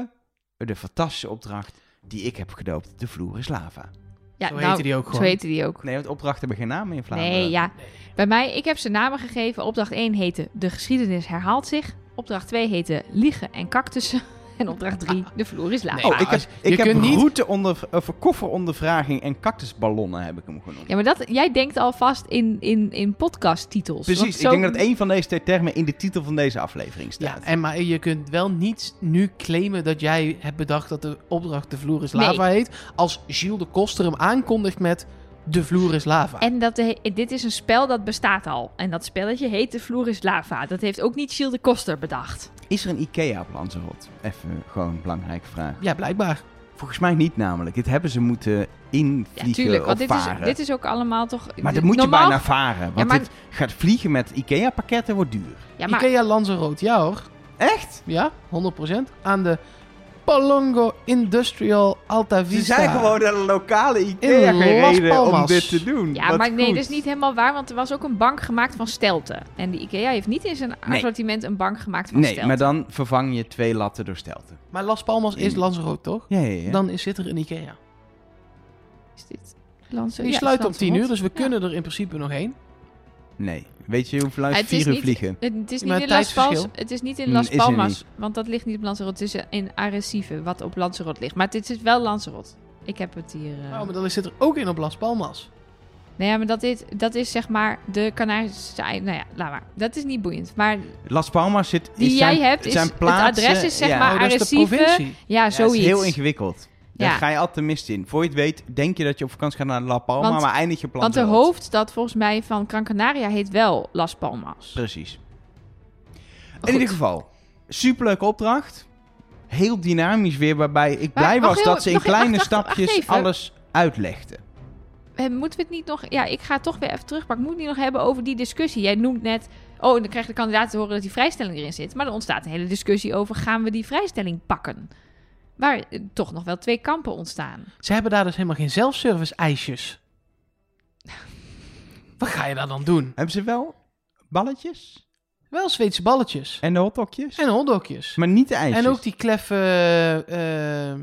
Speaker 1: we de fantastische opdracht... die ik heb gedoopt, de vloer is lava.
Speaker 2: ja,
Speaker 3: Zo
Speaker 2: nou,
Speaker 3: heette die ook
Speaker 2: zo
Speaker 3: gewoon.
Speaker 2: heette die ook.
Speaker 1: Nee, want opdrachten hebben geen namen in Vlaanderen.
Speaker 2: Nee, ja. Bij mij, ik heb ze namen gegeven. Opdracht 1 heette De geschiedenis herhaalt zich. Opdracht 2 heette Liegen en cactussen. En opdracht 3, De vloer is lava.
Speaker 3: Nee,
Speaker 1: Oh, ik heb,
Speaker 3: als-
Speaker 1: ik
Speaker 3: je
Speaker 1: heb
Speaker 3: kunt niet-
Speaker 1: route onder, of kofferondervraging en cactusballonnen heb ik hem genoemd.
Speaker 2: Ja, maar dat, jij denkt alvast in, in, in podcasttitels. Want
Speaker 1: Precies,
Speaker 2: zo-
Speaker 1: ik denk dat één van deze twee termen in de titel van deze aflevering staat.
Speaker 3: Ja, en maar je kunt wel niet nu claimen dat jij hebt bedacht dat de opdracht de vloer is lava heet, als Gilles de Koster hem aankondigt met de vloer is lava.
Speaker 2: En dat de, dit is een spel dat bestaat al. En dat spelletje heet De vloer is lava. Dat heeft ook niet Gilles de Koster bedacht.
Speaker 1: Is er een IKEA op Lanzarote? Even gewoon een belangrijke vraag.
Speaker 3: Ja, blijkbaar.
Speaker 1: Volgens mij niet namelijk. Dit hebben ze moeten
Speaker 2: Ja,
Speaker 1: invliegen
Speaker 2: tuurlijk.
Speaker 1: of
Speaker 2: Want dit is,
Speaker 1: varen.
Speaker 2: dit is ook allemaal toch...
Speaker 1: maar dat moet je
Speaker 2: normaal-
Speaker 1: bijna varen. Want
Speaker 2: maar-
Speaker 1: het gaat vliegen met IKEA pakketten wordt duur.
Speaker 2: Ja, maar
Speaker 3: Ikea Lanzarote, ja hoor.
Speaker 1: Echt?
Speaker 3: Ja, 100%. Aan de Palongo Industrial Altavista.
Speaker 1: Ze zijn gewoon naar de lokale IKEA
Speaker 3: In Las
Speaker 1: gereden om
Speaker 3: Palmas.
Speaker 1: dit te doen.
Speaker 2: Ja,
Speaker 1: Wat
Speaker 2: maar nee,
Speaker 1: goed.
Speaker 2: dat is niet helemaal waar, want er was ook een bank gemaakt van stelten. En de IKEA heeft niet in zijn
Speaker 1: Nee.
Speaker 2: assortiment een bank gemaakt van
Speaker 1: Nee,
Speaker 2: stelten.
Speaker 1: maar dan vervang je twee latten door stelten.
Speaker 3: Maar Las Palmas is Lanzarote, toch?
Speaker 1: Ja, ja, ja.
Speaker 3: Dan is, zit er een Ikea.
Speaker 2: Is dit Lanse-
Speaker 3: Die
Speaker 2: ja,
Speaker 3: sluit om
Speaker 2: Lanse
Speaker 3: 10
Speaker 2: Rot.
Speaker 3: uur, dus we kunnen er in principe nog heen.
Speaker 1: Nee. Weet je hoeveel uit
Speaker 2: Het is
Speaker 1: vier uur
Speaker 2: niet-
Speaker 1: vliegen?
Speaker 2: Het, het is
Speaker 3: Maar
Speaker 2: niet in
Speaker 3: het
Speaker 2: Las Palmas,
Speaker 3: tijdsverschil?
Speaker 2: het is niet in
Speaker 1: Mm,
Speaker 2: Las
Speaker 1: is er
Speaker 2: Palmas,
Speaker 1: niet.
Speaker 2: want dat ligt niet op Lanzarote. Het is in Arrecife, wat op Lanzarote ligt. Maar dit is wel Lanzarote. Ik heb het hier... eh,
Speaker 3: Oh, maar dan zit er ook in op Las Palmas. Oh,
Speaker 2: Nee, ja, maar dat, is, dat is zeg maar de Canarische... ei- Nou ja, laat maar. Dat is niet boeiend. Maar
Speaker 1: Las Palmas zit...
Speaker 2: die
Speaker 1: is
Speaker 2: jij
Speaker 1: zijn-
Speaker 2: hebt, is,
Speaker 1: zijn
Speaker 2: het
Speaker 1: plaatsen-
Speaker 2: adres is zeg
Speaker 1: ja.
Speaker 2: maar
Speaker 3: oh, dat is de
Speaker 2: Arrecife.
Speaker 3: provincie.
Speaker 2: ja,
Speaker 1: Ja,
Speaker 2: zoiets.
Speaker 1: Het is heel ingewikkeld. Daar
Speaker 2: Ja.
Speaker 1: ga je altijd mist in. Voor je het weet, denk je dat je op vakantie gaat naar La Palma,
Speaker 2: Want-
Speaker 1: maar eindig je plan
Speaker 2: Want de
Speaker 1: zelf.
Speaker 2: hoofdstad volgens mij van Gran Canaria heet wel Las Palmas.
Speaker 1: Precies.
Speaker 2: goed.
Speaker 1: In ieder geval, superleuke opdracht. Heel dynamisch weer, waarbij ik
Speaker 2: Maar
Speaker 1: blij
Speaker 2: mag
Speaker 1: was
Speaker 2: heel-
Speaker 1: dat ze in
Speaker 2: nog-
Speaker 1: kleine
Speaker 2: wacht, wacht, wacht
Speaker 1: stapjes
Speaker 2: even.
Speaker 1: alles uitlegden.
Speaker 2: eh, moeten we het niet nog... Ja, ik ga het toch weer even terug, maar ik moet het niet nog hebben over die discussie. Jij noemt net... Oh, en dan krijgt de kandidaat te horen dat die vrijstelling erin zit. Maar er ontstaat een hele discussie over... gaan we die vrijstelling pakken? Waar eh, toch nog wel twee kampen ontstaan.
Speaker 3: Ze hebben daar dus helemaal geen zelfservice ijsjes. Wat ga je daar dan doen?
Speaker 1: Hebben ze wel balletjes
Speaker 3: Wel Zweedse balletjes.
Speaker 1: en de hotdogjes?
Speaker 3: En hotdogjes.
Speaker 1: Maar niet de ijsjes.
Speaker 3: En ook die kleffe... eh, eh,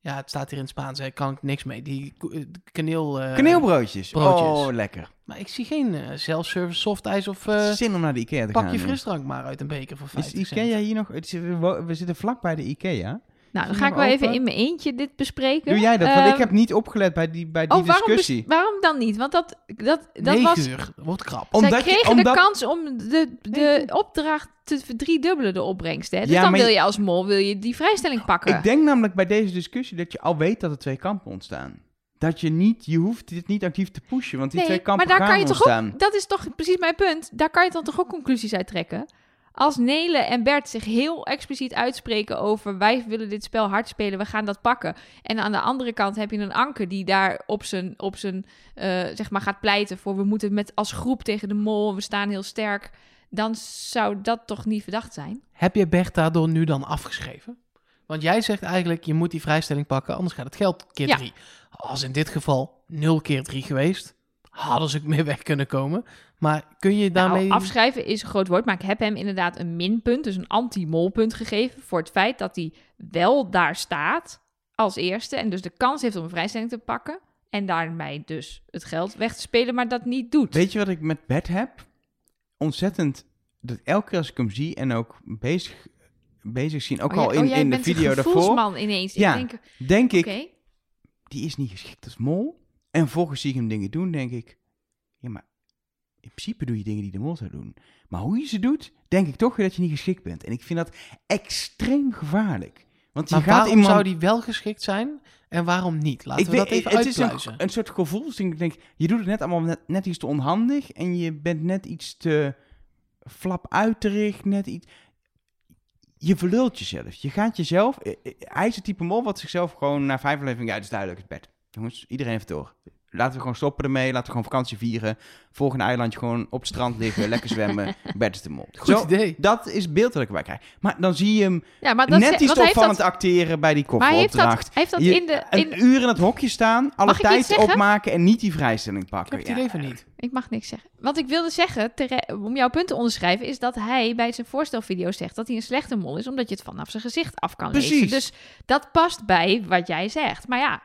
Speaker 3: ja, het staat hier in het Spaans, hè. Kan ik niks mee. Die ko- eh, kaneel... eh,
Speaker 1: Kaneelbroodjes.
Speaker 3: broodjes.
Speaker 1: Oh, lekker.
Speaker 3: Maar ik zie geen eh, zelfservice soft ijs of... eh,
Speaker 1: Zin om naar de Ikea te gaan.
Speaker 3: pak je
Speaker 1: joh.
Speaker 3: frisdrank maar uit een beker voor
Speaker 1: Is
Speaker 3: 50
Speaker 1: Ikea hier nog... het is- we wo- We zitten vlak bij de Ikea.
Speaker 2: Nou, dan
Speaker 1: Zie
Speaker 2: ga
Speaker 1: je
Speaker 2: ik
Speaker 1: hem
Speaker 2: wel even
Speaker 1: open?
Speaker 2: in mijn eentje dit bespreken.
Speaker 1: Doe jij dat? Want ik
Speaker 2: Ehm,
Speaker 1: heb niet opgelet bij die, bij die
Speaker 2: oh, waarom, bes-
Speaker 1: discussie.
Speaker 2: waarom dan niet? Want dat, dat, dat
Speaker 3: 9
Speaker 2: was...
Speaker 3: uur. Wordt krap.
Speaker 2: Zij
Speaker 1: Omdat je-
Speaker 2: kregen
Speaker 1: omdat-
Speaker 2: de kans om de, de opdracht te verdriedubbelen, de opbrengst. Hè? Dus
Speaker 1: Ja,
Speaker 2: dan
Speaker 1: maar
Speaker 2: wil
Speaker 1: je-
Speaker 2: je als mol wil je die vrijstelling pakken.
Speaker 1: Ik denk namelijk bij deze discussie dat je al weet dat er twee kampen ontstaan. Dat je niet, je hoeft dit niet actief te pushen, want die
Speaker 2: Nee,
Speaker 1: twee kampen
Speaker 2: maar daar
Speaker 1: gaan
Speaker 2: kan je toch
Speaker 1: ontstaan.
Speaker 2: ook, dat is toch precies mijn punt. Daar kan je dan toch ook conclusies uit trekken? Als Nele en Bert zich heel expliciet uitspreken over wij willen dit spel hard spelen, we gaan dat pakken. En aan de andere kant heb je een Anker die daar op zijn, op zijn eh, zeg maar gaat pleiten voor we moeten met als groep tegen de mol, we staan heel sterk. Dan zou dat toch niet verdacht zijn?
Speaker 3: Heb je Bert daardoor nu dan afgeschreven? Want jij zegt eigenlijk, je moet die vrijstelling pakken, anders gaat het geld keer
Speaker 2: Ja.
Speaker 3: drie. Als in dit geval 0 keer 3 geweest, hadden ze ook mee weg kunnen komen. Maar kun je daarmee...
Speaker 2: Nou, afschrijven is een groot woord, maar ik heb hem inderdaad een minpunt, dus een anti-molpunt gegeven voor het feit dat hij wel daar staat als eerste en dus de kans heeft om een vrijstelling te pakken en daarmee dus het geld weg te spelen, maar dat niet doet.
Speaker 1: Weet je wat ik met Bert heb? Ontzettend, dat elke keer als ik hem zie en ook bezig, bezig zien, ook
Speaker 2: Oh, jij-
Speaker 1: al
Speaker 2: oh,
Speaker 1: in,
Speaker 2: jij
Speaker 1: in de
Speaker 2: bent een
Speaker 1: video daarvoor,
Speaker 2: gevoelsman ineens.
Speaker 1: Ja,
Speaker 2: ik denk, oké,
Speaker 1: denk ik, die is niet geschikt als mol. En volgens zie ik hem dingen doen, denk ik, ja maar in principe doe je dingen die de mol zou doen. Maar hoe je ze doet, denk ik toch weer dat je niet geschikt bent. En ik vind dat extreem gevaarlijk. Want je
Speaker 3: maar
Speaker 1: gaat
Speaker 3: waarom
Speaker 1: iemand...
Speaker 3: zou die wel geschikt zijn en waarom niet? Laten
Speaker 1: Ik
Speaker 3: we
Speaker 1: weet-
Speaker 3: dat even
Speaker 1: het is
Speaker 3: uitpluizen.
Speaker 1: een, een soort gevoelsding. Ik denk, je doet het net allemaal net, net iets te onhandig en je bent net iets te flap uitterig, net iets... Je verlult jezelf. Je gaat jezelf... eh, eh, Hij is het type mol wat zichzelf gewoon na vijf afleveringen... Ja, het is duidelijk, het is bed. Jongens, iedereen heeft het door. Laten we gewoon stoppen ermee. Laten we gewoon vakantie vieren. Volgende eilandje gewoon op het strand liggen. lekker zwemmen. Bed is de mol.
Speaker 3: Goed
Speaker 1: Zo,
Speaker 3: idee.
Speaker 1: dat is het beeld dat ik erbij krijg. Maar dan zie je hem
Speaker 2: Ja, maar dat
Speaker 1: net
Speaker 2: ze-
Speaker 1: iets te
Speaker 2: want hij heeft
Speaker 1: opvallend
Speaker 2: dat,
Speaker 1: acteren bij die
Speaker 2: maar hij heeft
Speaker 1: kofferopdracht.
Speaker 2: dat, hij heeft dat
Speaker 1: Je-
Speaker 2: in de... In,
Speaker 1: Een uur in het hokje staan, alle
Speaker 2: Mag ik iets
Speaker 1: tijd
Speaker 2: zeggen?
Speaker 1: opmaken en niet die vrijstelling
Speaker 3: Ik heb
Speaker 1: pakken.
Speaker 3: het
Speaker 1: Ja.
Speaker 3: idee van niet.
Speaker 2: Ik mag niks zeggen. Wat ik wilde zeggen, tere- om jouw punt te onderschrijven, is dat hij bij zijn voorstelvideo zegt dat hij een slechte mol is, omdat je het vanaf zijn gezicht af kan lezen.
Speaker 1: Precies.
Speaker 2: Dus dat past bij wat jij zegt. Maar ja,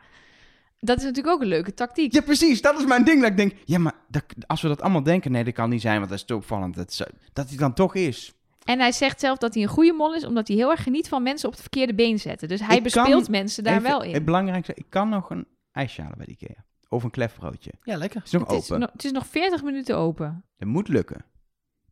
Speaker 2: dat is natuurlijk ook een leuke tactiek.
Speaker 1: Ja, precies. Dat is mijn ding. Dat ik denk, ja, maar dat, als we dat allemaal denken, nee, dat kan niet zijn, want dat is te opvallend. Dat, is- dat hij dan toch is.
Speaker 2: En hij zegt zelf dat hij een goede mol is, omdat hij heel erg geniet van mensen op het verkeerde been zetten. Dus hij
Speaker 1: Ik kan
Speaker 2: bespeelt mensen daar
Speaker 1: Even
Speaker 2: wel in.
Speaker 1: Het belangrijkste, ik kan nog een ijsje halen bij de Ikea. Of een klefbroodje.
Speaker 3: Ja, lekker.
Speaker 1: Het is nog
Speaker 2: het, is
Speaker 1: open.
Speaker 2: nog, het is nog 40 minuten open.
Speaker 1: Dat moet lukken.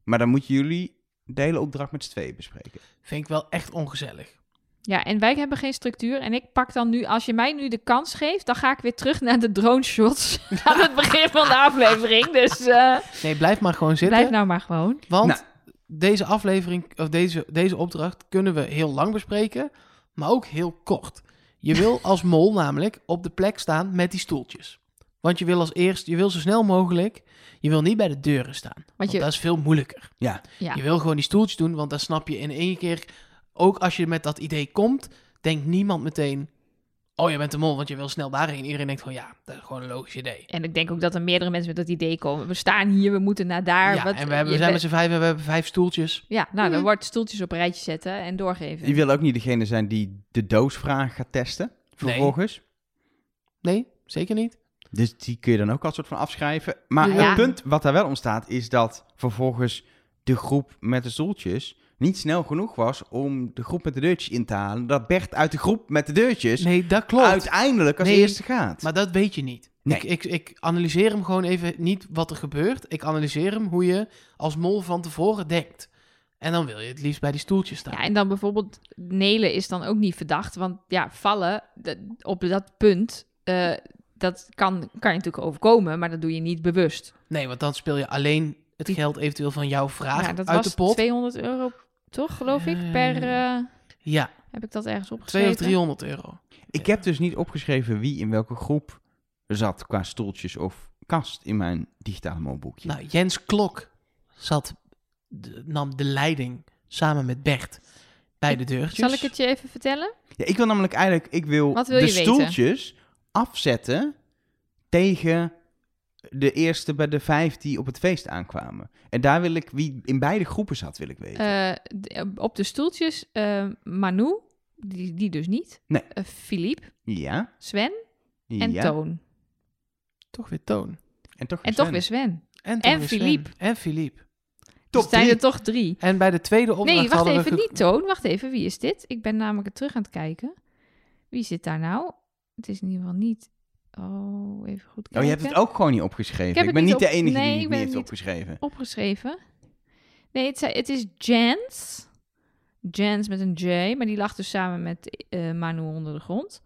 Speaker 1: Maar dan moeten jullie de hele opdracht met z'n tweeën bespreken.
Speaker 3: Vind ik wel echt ongezellig.
Speaker 2: Ja, en wij hebben geen structuur. En ik pak dan nu, als je mij nu de kans geeft, dan ga ik weer terug naar de drone shots. aan het begin van de aflevering. Dus eh,
Speaker 3: Nee, blijf maar gewoon zitten.
Speaker 2: blijf nou maar gewoon.
Speaker 3: Want
Speaker 1: Nou.
Speaker 3: deze aflevering, of deze, deze opdracht, kunnen we heel lang bespreken, maar ook heel kort. Je wil als mol namelijk op de plek staan met die stoeltjes. Want je wil als eerst, je wil zo snel mogelijk, je wil niet bij de deuren staan. Want,
Speaker 2: je-
Speaker 3: dat is veel moeilijker.
Speaker 1: Ja.
Speaker 2: Ja.
Speaker 3: Je wil gewoon die stoeltjes doen, want dan snap je in één keer, ook als je met dat idee komt, denkt niemand meteen, oh je bent de mol, want je wil snel daarheen. Iedereen denkt gewoon, ja, dat is gewoon een logisch idee.
Speaker 2: En ik denk ook dat er meerdere mensen met dat idee komen. We staan hier, we moeten naar daar.
Speaker 3: ja,
Speaker 2: wat-
Speaker 3: en we, hebben,
Speaker 2: je
Speaker 3: we zijn
Speaker 2: bent-
Speaker 3: met Mm. z'n vijf en we hebben vijf stoeltjes.
Speaker 2: Ja, nou, dan wordt stoeltjes op een rijtje zetten en doorgeven.
Speaker 1: Je wil ook niet degene zijn die de doosvraag gaat testen. Vervolgens.
Speaker 3: Nee, zeker niet.
Speaker 1: Dus die kun je dan ook al soort van afschrijven. Maar
Speaker 2: Ja.
Speaker 1: het punt wat daar wel om staat, is dat vervolgens de groep met de stoeltjes niet snel genoeg was om de groep met de deurtjes in te halen. Dat Bert uit de groep met de deurtjes
Speaker 3: Nee, dat klopt.
Speaker 1: uiteindelijk als
Speaker 3: Nee,
Speaker 1: eerste gaat.
Speaker 3: Maar dat weet je niet.
Speaker 1: Nee.
Speaker 3: Ik, ik, ik analyseer hem gewoon even niet wat er gebeurt. Ik analyseer hem hoe je als mol van tevoren denkt. En dan wil je het liefst bij die stoeltjes staan.
Speaker 2: Ja, en dan bijvoorbeeld Nelen is dan ook niet verdacht. Want ja, vallen dat- op dat punt, eh, dat kan, kan je natuurlijk overkomen, maar dat doe je niet bewust.
Speaker 3: Nee, want dan speel je alleen het geld eventueel van jouw vraag
Speaker 2: Ja, dat
Speaker 3: uit
Speaker 2: was
Speaker 3: de pot.
Speaker 2: 200 euro, toch, geloof ik, per... eh,
Speaker 3: Ja,
Speaker 2: heb ik dat ergens opgeschreven?
Speaker 3: 200 of 300 euro.
Speaker 1: Ik heb dus niet opgeschreven wie in welke groep zat qua stoeltjes of kast in mijn digitale mobielboekje.
Speaker 3: Nou, Jens Klok zat, de- nam de leiding samen met Bert bij de deurtjes.
Speaker 2: Zal ik het je even vertellen?
Speaker 1: Ja, ik wil namelijk eigenlijk, ik wil,
Speaker 2: Wat wil
Speaker 1: de
Speaker 2: je weten?
Speaker 1: stoeltjes afzetten tegen de eerste bij de vijf die op het feest aankwamen. En daar wil ik, wie in beide groepen zat, wil ik weten.
Speaker 2: Eh, d- op de stoeltjes eh, Manu, die, die dus niet.
Speaker 1: Nee.
Speaker 2: Eh, Philippe,
Speaker 1: ja.
Speaker 2: Sven en
Speaker 1: ja.
Speaker 2: Toon.
Speaker 3: Toch weer Toon.
Speaker 1: En toch weer
Speaker 2: En toch
Speaker 1: Sven.
Speaker 2: weer Sven.
Speaker 3: toch
Speaker 2: En
Speaker 3: weer Sven.
Speaker 2: Philippe.
Speaker 3: En Philippe.
Speaker 1: Top
Speaker 2: dus zijn
Speaker 1: drie.
Speaker 2: er toch drie.
Speaker 3: En bij de tweede opdracht
Speaker 2: Nee, wacht
Speaker 3: hadden
Speaker 2: even,
Speaker 3: we... ge-
Speaker 2: niet Toon. Wacht even, wie is dit? Ik ben namelijk het terug aan het kijken. Wie zit daar nou? Het is in ieder geval niet... Oh, even goed kijken.
Speaker 1: Oh, je hebt het ook gewoon niet opgeschreven. Ik,
Speaker 2: Ik heb
Speaker 1: ben
Speaker 2: het
Speaker 1: niet
Speaker 2: niet
Speaker 1: de
Speaker 2: op-
Speaker 1: enige
Speaker 2: Nee,
Speaker 1: die
Speaker 2: ik
Speaker 1: het
Speaker 2: ben
Speaker 1: niet heeft
Speaker 2: het niet-
Speaker 1: opgeschreven.
Speaker 2: opgeschreven. Nee, het, zei- het is Jens. Jens met een J, maar die lag dus samen met eh Manu onder de grond.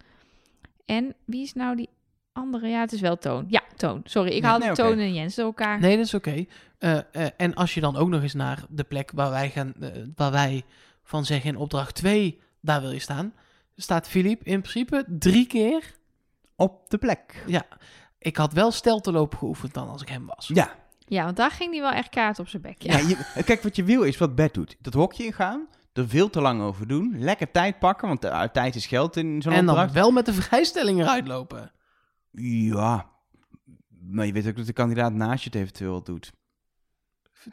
Speaker 2: En wie is nou die andere? Ja, het is wel Toon. Ja, Toon. Sorry, ik
Speaker 1: Ja,
Speaker 2: haalde
Speaker 1: nee, oké.
Speaker 2: Toon en Jens door elkaar.
Speaker 3: Nee, dat is oké. Eh, eh, en als je dan ook nog eens naar de plek waar wij, gaan, eh, waar wij van zeggen in opdracht 2, daar wil je staan, staat Philippe in principe drie keer.
Speaker 1: Op de plek.
Speaker 3: Ja, ik had wel stelteloop geoefend dan als ik hem was.
Speaker 1: Ja.
Speaker 2: Ja, want daar ging die wel echt kaart op zijn bek. Ja.
Speaker 1: Ja, je- kijk, wat je wil is wat Bert doet. Dat hokje ingaan, er veel te lang over doen, lekker tijd pakken, want eh, tijd is geld in zo'n
Speaker 3: en dan
Speaker 1: opdracht.
Speaker 3: wel met de vrijstelling eruit lopen.
Speaker 1: Ja, maar je weet ook dat de kandidaat naast je het eventueel doet.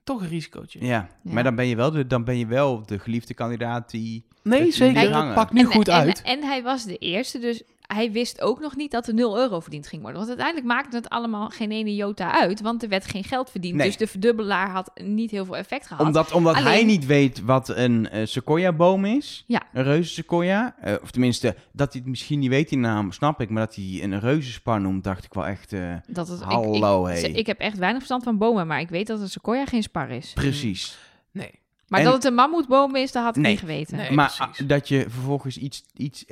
Speaker 3: Toch een risicootje.
Speaker 1: Ja,
Speaker 2: Ja.
Speaker 1: maar dan ben, je wel de, dan ben je wel de geliefde kandidaat die...
Speaker 3: Nee,
Speaker 1: Dat je
Speaker 3: zeker.
Speaker 1: niet
Speaker 3: Dat
Speaker 1: hangen.
Speaker 3: pakt nu
Speaker 2: En-
Speaker 3: goed
Speaker 2: en,
Speaker 3: uit.
Speaker 2: En, hij was de eerste, dus hij wist ook nog niet dat er 0 euro verdiend ging worden. Want uiteindelijk maakte het allemaal geen ene jota uit, want er werd geen geld verdiend.
Speaker 1: Nee.
Speaker 2: Dus de verdubbelaar had niet heel veel effect gehad.
Speaker 1: Omdat, omdat hij
Speaker 2: Ah. Alleen-
Speaker 1: niet weet wat een eh sequoia-boom is.
Speaker 2: Ja.
Speaker 1: Een reuzensequoia. Eh, of tenminste, dat hij het misschien niet weet, die naam snap ik. Maar dat hij een reuzenspar noemt, dacht ik wel echt... eh,
Speaker 2: Dat het, ik-
Speaker 1: Hallo,
Speaker 2: ik,
Speaker 1: hé.
Speaker 2: Ik heb echt weinig verstand van bomen, maar ik weet dat een sequoia geen spar is.
Speaker 1: precies.
Speaker 3: Nee.
Speaker 2: Maar
Speaker 1: En-
Speaker 2: dat het een mammoetboom is, dat had ik
Speaker 1: Nee.
Speaker 2: niet geweten.
Speaker 3: Nee.
Speaker 1: maar
Speaker 3: precies.
Speaker 1: ah, dat je vervolgens iets, iets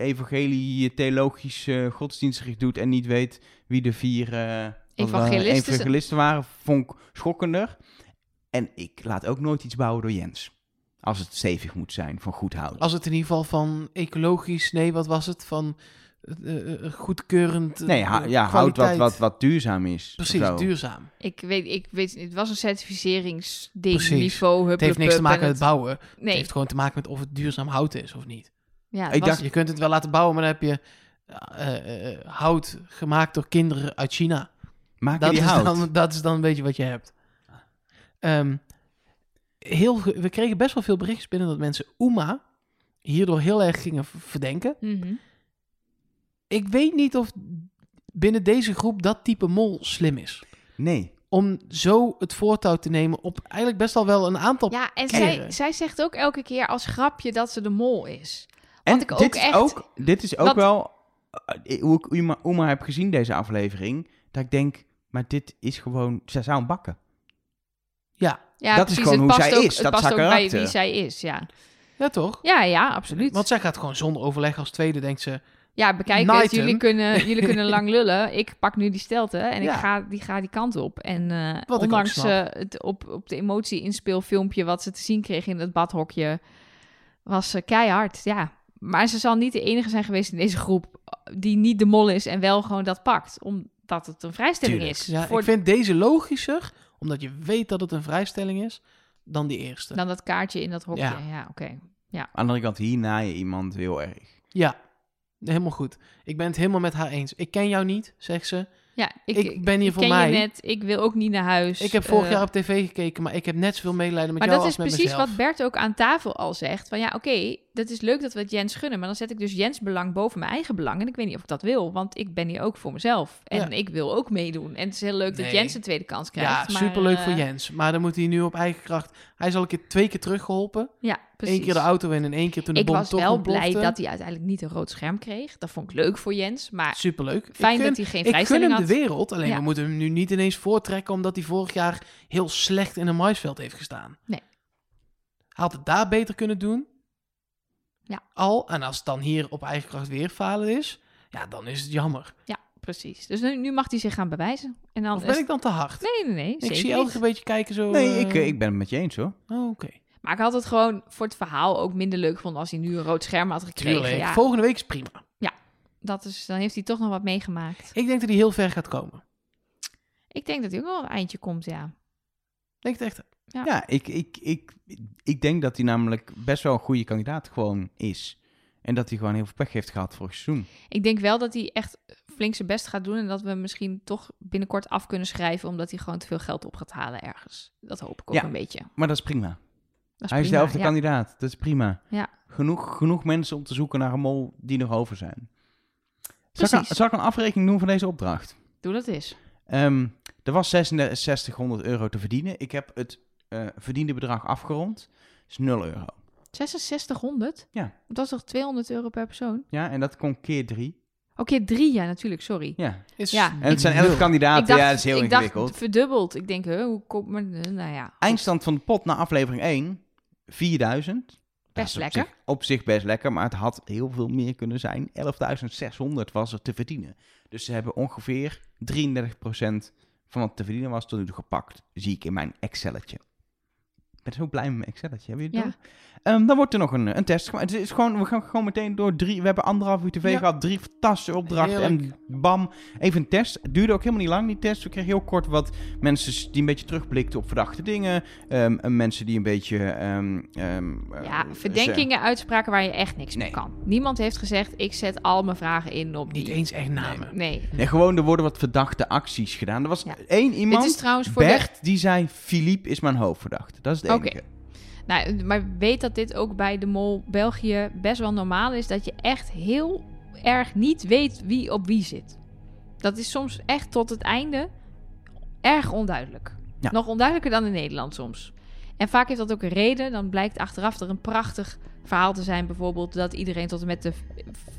Speaker 1: evangelie-theologisch eh, godsdienstig doet... en niet weet wie de vier eh, wat waren-
Speaker 2: Evangelisten-
Speaker 1: evangelisten waren, vond ik schokkender. En ik laat ook nooit iets bouwen door Jens. Als het stevig moet zijn, van goed hout.
Speaker 3: Als het in ieder geval van ecologisch, nee, wat was het? Van eh, eh, goedkeurend. eh,
Speaker 1: Nee, ha- ja, hout wat,
Speaker 3: kwaliteit.
Speaker 1: wat, wat duurzaam is.
Speaker 3: Precies,
Speaker 1: of zo.
Speaker 3: duurzaam.
Speaker 2: Ik weet, ik weet, het was een certificeringsding,
Speaker 3: Precies.
Speaker 2: niveau,
Speaker 3: Het heeft niks te maken met het bouwen. Het
Speaker 2: Nee,
Speaker 3: heeft gewoon te maken met of het duurzaam hout is of niet.
Speaker 2: ja, het
Speaker 1: Ik
Speaker 2: was-
Speaker 1: dacht-
Speaker 3: Je kunt het wel laten bouwen, maar dan heb je eh, eh, eh, hout gemaakt door kinderen uit China.
Speaker 1: Maak je
Speaker 3: Dat
Speaker 1: die
Speaker 3: is,
Speaker 1: hout.
Speaker 3: dan, dat is dan een beetje wat je hebt. Ehm, heel, ge- we kregen best wel veel berichtjes binnen dat mensen Uma hierdoor heel erg gingen v- verdenken.
Speaker 2: Mhm.
Speaker 3: Ik weet niet of binnen deze groep dat type mol slim is.
Speaker 1: Nee.
Speaker 3: Om zo het voortouw te nemen op eigenlijk best al wel een aantal...
Speaker 2: ja, en
Speaker 3: keren.
Speaker 2: zij, zij zegt ook elke keer als grapje dat ze de mol is.
Speaker 1: En
Speaker 2: ik ook
Speaker 1: dit, is
Speaker 2: echt-
Speaker 1: ook, dit is ook
Speaker 2: Want-
Speaker 1: wel eh, hoe ik Uma, Uma heb gezien deze aflevering. Dat ik denk, maar dit is gewoon, zij zou hem bakken.
Speaker 3: Ja,
Speaker 2: Ja,
Speaker 1: Dat is
Speaker 2: precies,
Speaker 1: gewoon
Speaker 2: het
Speaker 1: hoe
Speaker 2: past
Speaker 1: zij
Speaker 2: ook,
Speaker 1: is,
Speaker 2: Het
Speaker 1: dat is
Speaker 2: past ook
Speaker 1: haar
Speaker 2: bij
Speaker 1: karakter.
Speaker 2: wie zij is, ja.
Speaker 3: ja toch?
Speaker 2: Ja, ja, absoluut.
Speaker 3: Want zij gaat gewoon zonder overleg als tweede, denkt ze...
Speaker 2: Ja, bekijk
Speaker 3: Knight
Speaker 2: het. Jullie
Speaker 3: hem.
Speaker 2: kunnen, jullie kunnen lang lullen. Ik pak nu die stelte en
Speaker 3: Ja.
Speaker 2: ik ga die, ga die kant op. En eh,
Speaker 3: ook
Speaker 2: ondanks
Speaker 3: snap.
Speaker 2: eh, het op, op de emotie inspeelfilmpje wat ze te zien kreeg in het badhokje, was ze keihard, ja. Maar ze zal niet de enige zijn geweest in deze groep eh, die niet de mol is en wel gewoon dat pakt. Omdat het een vrijstelling
Speaker 1: Tuurlijk.
Speaker 2: is.
Speaker 3: Ja,
Speaker 2: voor
Speaker 3: ik vind deze logischer, omdat je weet dat het een vrijstelling is, dan die eerste.
Speaker 2: Dan dat kaartje in dat hokje.
Speaker 3: Ja.
Speaker 2: Ja, oké.
Speaker 1: Aan de andere kant, hier naai je iemand heel erg.
Speaker 3: Ja, helemaal goed. Ik ben het helemaal met haar eens. Ik ken jou niet, zegt ze.
Speaker 2: Ja, ik,
Speaker 3: Ik ben hier voor
Speaker 2: ken
Speaker 3: mij.
Speaker 2: Je net, ik wil ook niet naar huis.
Speaker 3: Ik heb vorig
Speaker 2: Eh,
Speaker 3: jaar op tv gekeken, maar ik heb net zoveel medelijden met
Speaker 2: Maar
Speaker 3: jou
Speaker 2: dat is
Speaker 3: als met
Speaker 2: precies
Speaker 3: mezelf.
Speaker 2: wat Bert ook aan tafel al zegt. Van ja, oké, dat is leuk dat we het Jens gunnen. Maar dan zet ik dus Jens belang boven mijn eigen belang. En ik weet niet of ik dat wil, want ik ben hier ook voor mezelf. En
Speaker 3: Ja.
Speaker 2: ik wil ook meedoen. En het is heel leuk dat
Speaker 3: Nee.
Speaker 2: Jens een tweede kans
Speaker 3: ja,
Speaker 2: krijgt. maar,
Speaker 3: superleuk voor
Speaker 2: eh,
Speaker 3: Jens. Maar dan moet hij nu op eigen kracht... Hij is al een keer twee keer teruggeholpen.
Speaker 2: Ja, precies.
Speaker 3: Eén keer de auto in en één keer toen de
Speaker 2: ik
Speaker 3: bom
Speaker 2: was
Speaker 3: toch
Speaker 2: wel
Speaker 3: ontplofte.
Speaker 2: blij dat hij uiteindelijk niet een rood scherm kreeg. Dat vond ik leuk voor Jens. Maar
Speaker 3: Superleuk. Ik
Speaker 2: fijn
Speaker 3: gun-
Speaker 2: dat hij geen
Speaker 3: Ik gun hem
Speaker 2: vrijstelling
Speaker 3: de
Speaker 2: had.
Speaker 3: wereld, alleen
Speaker 2: Ja.
Speaker 3: we moeten hem nu niet ineens voortrekken omdat hij vorig jaar heel slecht in een maisveld heeft gestaan.
Speaker 2: Nee.
Speaker 3: Hij had het daar beter kunnen doen.
Speaker 2: Ja.
Speaker 3: Al, en als het dan hier op eigen kracht weer falen is, ja, dan is het jammer.
Speaker 2: Ja, precies. Dus nu, nu mag hij zich gaan bewijzen. En dan
Speaker 3: Of
Speaker 2: is-
Speaker 3: ben ik dan te hard?
Speaker 2: Nee, nee, nee.
Speaker 3: ik
Speaker 2: zeker
Speaker 3: zie
Speaker 2: niet.
Speaker 3: elke keer een beetje kijken zo.
Speaker 1: Nee,
Speaker 3: eh,
Speaker 1: ik, eh, ik ben het met je eens hoor.
Speaker 3: oh, Oké.
Speaker 2: Maar ik had het gewoon voor het verhaal ook minder leuk gevonden als hij nu een rood scherm had gekregen.
Speaker 3: Tuurlijk.
Speaker 2: Ja.
Speaker 3: Volgende week is prima.
Speaker 2: dat is, dan heeft hij toch nog wat meegemaakt.
Speaker 3: Ik denk dat hij heel ver gaat komen.
Speaker 2: Ik denk dat hij ook wel een eindje komt, ja.
Speaker 3: Ik Denk het echt.
Speaker 1: Ja, ik, ik, ik, ik denk dat hij namelijk best wel een goede kandidaat gewoon is. En dat hij gewoon heel veel pech heeft gehad vorig seizoen.
Speaker 2: Ik denk wel dat hij echt flink zijn best gaat doen. En dat we hem misschien toch binnenkort af kunnen schrijven. Omdat hij gewoon te veel geld op gaat halen ergens. Dat hoop ik ook
Speaker 1: Ja.
Speaker 2: een beetje. Dat
Speaker 1: Maar dat is prima.
Speaker 2: is
Speaker 1: hij is de
Speaker 2: prima,
Speaker 1: helft de
Speaker 2: ja.
Speaker 1: kandidaat. Dat is prima.
Speaker 2: Ja.
Speaker 1: Genoeg, genoeg mensen om te zoeken naar een mol die nog over zijn. Zal ik, een,
Speaker 2: Precies.
Speaker 1: zal ik een afrekening doen van deze opdracht?
Speaker 2: Doe dat eens.
Speaker 1: Ehm, er was 6600 euro te verdienen. Ik heb het eh, verdiende bedrag afgerond. Dat is 0 euro.
Speaker 2: 6600?
Speaker 1: Ja.
Speaker 2: Dat is toch 200 euro per persoon?
Speaker 1: Ja, en dat kon keer 3.
Speaker 2: Oké, drie jaar natuurlijk, sorry.
Speaker 1: Ja.
Speaker 3: Is
Speaker 2: Ja.
Speaker 1: En het zijn 11
Speaker 3: nul.
Speaker 1: kandidaten.
Speaker 2: ik dacht,
Speaker 1: ja, dat is heel
Speaker 2: ik
Speaker 1: ingewikkeld.
Speaker 2: dacht verdubbeld. Ik denk, hè, hoe komt maar... Nou ja.
Speaker 1: Eindstand van de pot na aflevering 1, 4000. Dat is
Speaker 2: Best
Speaker 1: op
Speaker 2: lekker.
Speaker 1: zich- op zich best lekker, maar het had heel veel meer kunnen zijn. 11.600 was er te verdienen. Dus ze hebben ongeveer 33% van wat te verdienen was tot nu toe gepakt. Zie ik in mijn Excelletje. Ik ben zo blij met mijn Excelletje. Hebben jullie
Speaker 2: Ja.
Speaker 1: het door? Ehm, dan wordt er nog een, een test gemaakt. Het is gewoon, we gaan gewoon meteen door drie. We hebben anderhalf uur tv
Speaker 3: Ja.
Speaker 1: gehad. Drie fantastische opdrachten.
Speaker 3: Heerlijk.
Speaker 1: En bam, even een test. Het duurde ook helemaal niet lang, die test. We kregen heel kort wat mensen die een beetje terugblikten op verdachte dingen. Ehm, en mensen die een beetje... ehm, ehm, eh,
Speaker 2: Ja,
Speaker 1: ze-
Speaker 2: verdenkingen, uitspraken waar je echt niks mee
Speaker 1: Nee.
Speaker 2: kan. Niemand heeft gezegd, ik zet al mijn vragen in op die...
Speaker 3: Niet eens echt namen.
Speaker 2: Nee.
Speaker 1: Nee, gewoon er worden wat verdachte acties gedaan. Er was
Speaker 2: Ja.
Speaker 1: één
Speaker 2: Dit
Speaker 1: iemand,
Speaker 2: is trouwens voor de...
Speaker 1: Bert, die zei... Philippe is mijn hoofdverdachte. Dat is het
Speaker 2: Oké.
Speaker 1: enige.
Speaker 2: Nou, maar weet dat dit ook bij de Mol België best wel normaal is. Dat je echt heel erg niet weet wie op wie zit. Dat is soms echt tot het einde erg onduidelijk.
Speaker 1: Ja.
Speaker 2: Nog onduidelijker dan in Nederland soms. En vaak heeft dat ook een reden. Dan blijkt achteraf er een prachtig verhaal te zijn. Bijvoorbeeld dat iedereen tot en met de,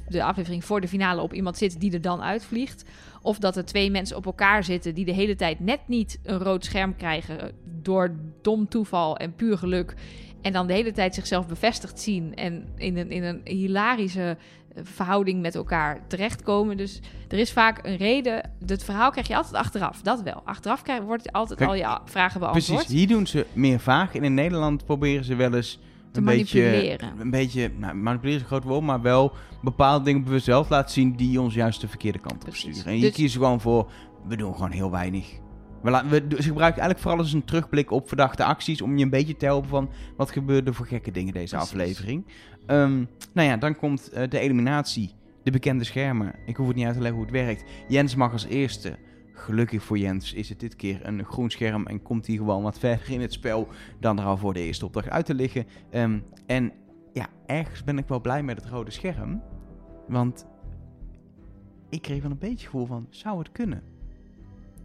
Speaker 2: de aflevering voor de finale op iemand zit die er dan uitvliegt. Of dat er twee mensen op elkaar zitten die de hele tijd net niet een rood scherm krijgen. eh, Door dom toeval en puur geluk. En dan de hele tijd zichzelf bevestigd zien. En in een, in een hilarische eh, verhouding met elkaar terechtkomen. Dus er is vaak een reden. Het verhaal krijg je altijd achteraf. Dat wel. Achteraf krijg, wordt altijd
Speaker 1: Kijk,
Speaker 2: al je a- vragen beantwoord.
Speaker 1: Precies, hier doen ze meer vaag. En in Nederland proberen ze wel eens...
Speaker 2: Te
Speaker 1: een beetje,
Speaker 2: manipuleren.
Speaker 1: een beetje, nou, manipuleren is een groot woord, maar wel bepaalde dingen bewust zelf laten zien die ons juist de verkeerde kant op
Speaker 2: Precies.
Speaker 1: sturen. En hier
Speaker 2: Dus-
Speaker 1: kiezen ze gewoon voor, we doen gewoon heel weinig. We laten, we, ze gebruiken eigenlijk vooral eens een terugblik op verdachte acties om je een beetje te helpen van wat gebeurde voor gekke dingen deze
Speaker 2: Precies.
Speaker 1: aflevering. Ehm, nou ja, dan komt eh, de eliminatie, de bekende schermen. Ik hoef het niet uit te leggen hoe het werkt. Jens mag als eerste. Gelukkig voor Jens is het dit keer een groen scherm en komt hij gewoon wat verder in het spel dan er al voor de eerste opdracht uit te liggen. Ehm, en ja, ergens ben ik wel blij met het rode scherm. Want ik kreeg wel een beetje het gevoel van, zou het kunnen?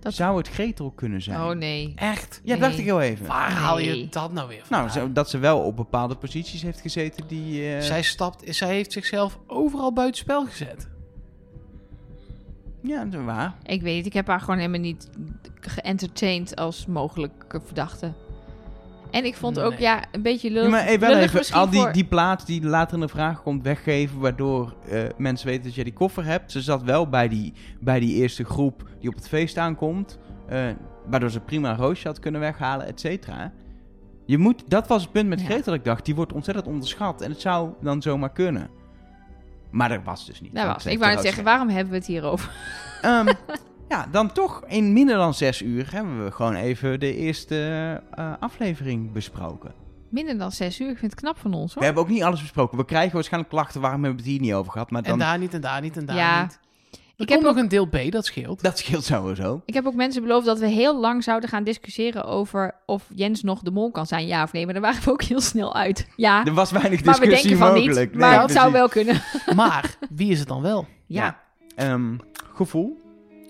Speaker 2: Dat-
Speaker 1: Zou het Gretel kunnen zijn?
Speaker 2: Oh nee.
Speaker 3: Echt?
Speaker 1: Ja, dacht
Speaker 2: nee.
Speaker 1: ik heel even.
Speaker 3: Waar haal
Speaker 2: Nee.
Speaker 3: je dat nou weer van?
Speaker 1: Nou, zo- dat ze wel op bepaalde posities heeft gezeten die... eh,
Speaker 3: zij, stapt, zij heeft zichzelf overal buitenspel gezet.
Speaker 1: Ja, dat is waar.
Speaker 2: Ik weet niet. Ik heb haar gewoon helemaal niet geëntertained als mogelijke verdachte. En ik vond ook,
Speaker 3: Nee.
Speaker 2: ja, een beetje
Speaker 1: Ja,
Speaker 2: lullig.
Speaker 1: maar hey, wel
Speaker 2: lullig
Speaker 1: even,
Speaker 2: misschien
Speaker 1: al die,
Speaker 2: voor-
Speaker 1: die plaat die later in de vraag komt weggeven, waardoor eh, mensen weten dat jij die koffer hebt. Ze zat wel bij die, bij die eerste groep die op het feest aankomt, eh, waardoor ze prima een roosje had kunnen weghalen, et cetera. Je moet, dat was het punt met
Speaker 2: Ja.
Speaker 1: Gretel dat ik dacht, die wordt ontzettend onderschat en het zou dan zomaar kunnen. Maar dat was dus niet.
Speaker 2: Daar
Speaker 1: want
Speaker 2: was.
Speaker 1: ze
Speaker 2: Nou,
Speaker 1: heeft
Speaker 2: Ik wou
Speaker 1: een
Speaker 2: net zeggen,
Speaker 1: rood
Speaker 2: waarom hebben we het hier over?
Speaker 1: scherm. Ehm, ja, dan toch in minder dan zes uur hebben we gewoon even de eerste eh, aflevering besproken.
Speaker 2: Minder dan zes uur. Ik vind het knap van ons,
Speaker 1: We
Speaker 2: hoor.
Speaker 1: hebben ook niet alles besproken. We krijgen waarschijnlijk klachten waarom hebben we het hier niet over gehad. Maar
Speaker 3: En
Speaker 1: dan,
Speaker 3: daar niet, en daar niet, en daar
Speaker 2: Ja.
Speaker 3: niet. Er
Speaker 2: Ik
Speaker 3: ik
Speaker 2: heb
Speaker 3: heb nog een deel B, dat scheelt.
Speaker 1: dat scheelt sowieso.
Speaker 2: Ik heb ook mensen beloofd dat we heel lang zouden gaan discussiëren over of Jens nog de mol kan zijn, ja of nee. Maar daar waren we ook heel snel uit. Ja,
Speaker 1: Er was weinig
Speaker 2: Ah. maar we
Speaker 1: discussie
Speaker 2: denken van niet.
Speaker 1: mogelijk. Nee,
Speaker 2: maar het zou
Speaker 1: precies.
Speaker 2: wel kunnen. Ja,
Speaker 3: Maar wie is het dan wel?
Speaker 1: Ja. Ehm, gevoel.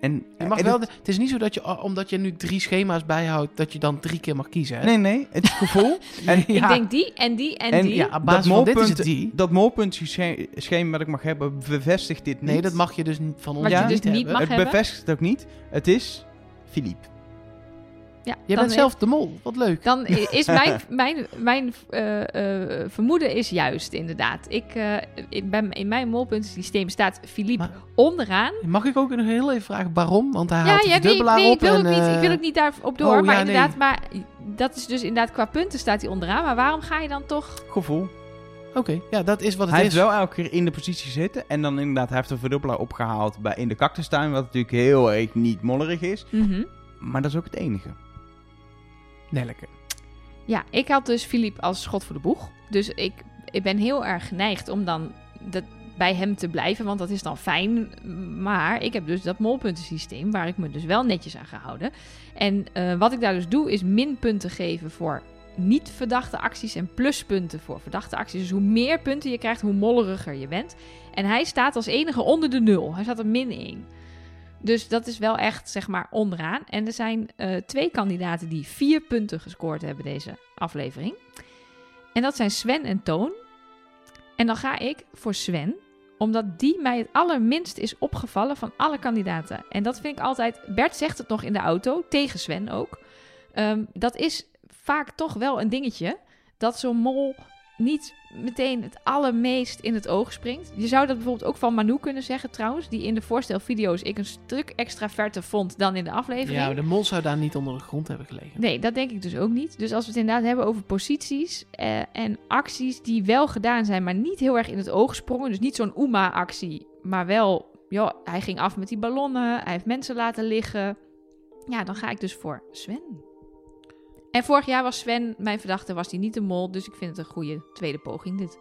Speaker 1: En,
Speaker 3: Je mag
Speaker 1: en
Speaker 3: wel
Speaker 1: het-
Speaker 3: de- het is niet zo dat je, oh, omdat je nu drie schema's bijhoudt, dat je dan drie keer mag kiezen. Hè?
Speaker 1: nee, nee. Het is gevoel. en,
Speaker 2: ik denk die en die en,
Speaker 1: En
Speaker 2: die.
Speaker 3: ja, op basis
Speaker 1: dat
Speaker 3: van dit is
Speaker 1: molpunt-
Speaker 3: het die.
Speaker 1: dat molpuntschema dat ik mag hebben bevestigt dit niet.
Speaker 3: Nee, dat mag je dus niet van ons
Speaker 2: Wat je
Speaker 1: Ja.
Speaker 2: dus
Speaker 3: niet
Speaker 2: niet
Speaker 3: hebben.
Speaker 2: mag
Speaker 1: Het
Speaker 2: hebben.
Speaker 1: bevestigt het ook niet. Het is Philippe.
Speaker 2: Ja,
Speaker 3: Je
Speaker 2: dan
Speaker 3: bent zelf de mol, wat leuk.
Speaker 2: Dan i- is mijn, mijn, mijn eh, eh, vermoeden is juist, inderdaad. Ik, eh, ik ben, in mijn molpuntensysteem staat Philippe
Speaker 3: Maar-
Speaker 2: onderaan.
Speaker 3: Mag ik ook nog heel even vragen waarom? Want hij
Speaker 2: Ja, ja,
Speaker 3: haalt de
Speaker 2: nee, ik,
Speaker 3: dubbelaar
Speaker 2: nee, ik
Speaker 3: op.
Speaker 2: wil
Speaker 3: en,
Speaker 2: ook niet, ik wil
Speaker 3: eh,
Speaker 2: ook niet daarop door.
Speaker 3: oh,
Speaker 2: maar
Speaker 3: ja, nee.
Speaker 2: inderdaad, maar dat is dus inderdaad qua punten staat hij onderaan. Maar waarom ga je dan toch...
Speaker 1: Gevoel.
Speaker 3: Oké, ja, dat is wat het
Speaker 1: Hij
Speaker 3: is.
Speaker 1: heeft wel elke keer in de positie zitten. En dan inderdaad, hij heeft een verdubbelaar opgehaald bij, in de cactustuin. Wat natuurlijk heel erg niet mollerig is.
Speaker 2: Mhm.
Speaker 1: Maar dat is ook het enige.
Speaker 3: Nelleke.
Speaker 2: Ja, ik had dus Filip als schot voor de boeg. Dus ik, ik ben heel erg geneigd om dan dat, bij hem te blijven, want dat is dan fijn. Maar ik heb dus dat molpuntensysteem, waar ik me dus wel netjes aan ga houden. En eh, wat ik daar dus doe, is minpunten geven voor niet verdachte acties en pluspunten voor verdachte acties. Dus hoe meer punten je krijgt, hoe molleriger je bent. En hij staat als enige onder de nul. Hij staat op min 1. Dus dat is wel echt, zeg maar, onderaan. En er zijn eh, twee kandidaten die vier punten gescoord hebben deze aflevering. En dat zijn Sven en Toon. En dan ga ik voor Sven, omdat die mij het allerminst is opgevallen van alle kandidaten. En dat vind ik altijd. Bert zegt het nog in de auto, tegen Sven ook. Ehm, dat is vaak toch wel een dingetje dat zo'n mol niet meteen het allermeest in het oog springt. Je zou dat bijvoorbeeld ook van Manu kunnen zeggen trouwens, die in de voorstelvideo's ik een stuk extraverter vond dan in de aflevering.
Speaker 3: Ja, maar de mol zou daar niet onder de grond hebben gelegen.
Speaker 2: Nee, dat denk ik dus ook niet. Dus als we het inderdaad hebben over posities eh, en acties die wel gedaan zijn, maar niet heel erg in het oog sprongen. Dus niet zo'n Uma-actie, maar wel, joh, hij ging af met die ballonnen, hij heeft mensen laten liggen. Ja, dan ga ik dus voor Sven. En vorig jaar was Sven, mijn verdachte, was hij niet de mol. Dus ik vind het een goede tweede poging dit.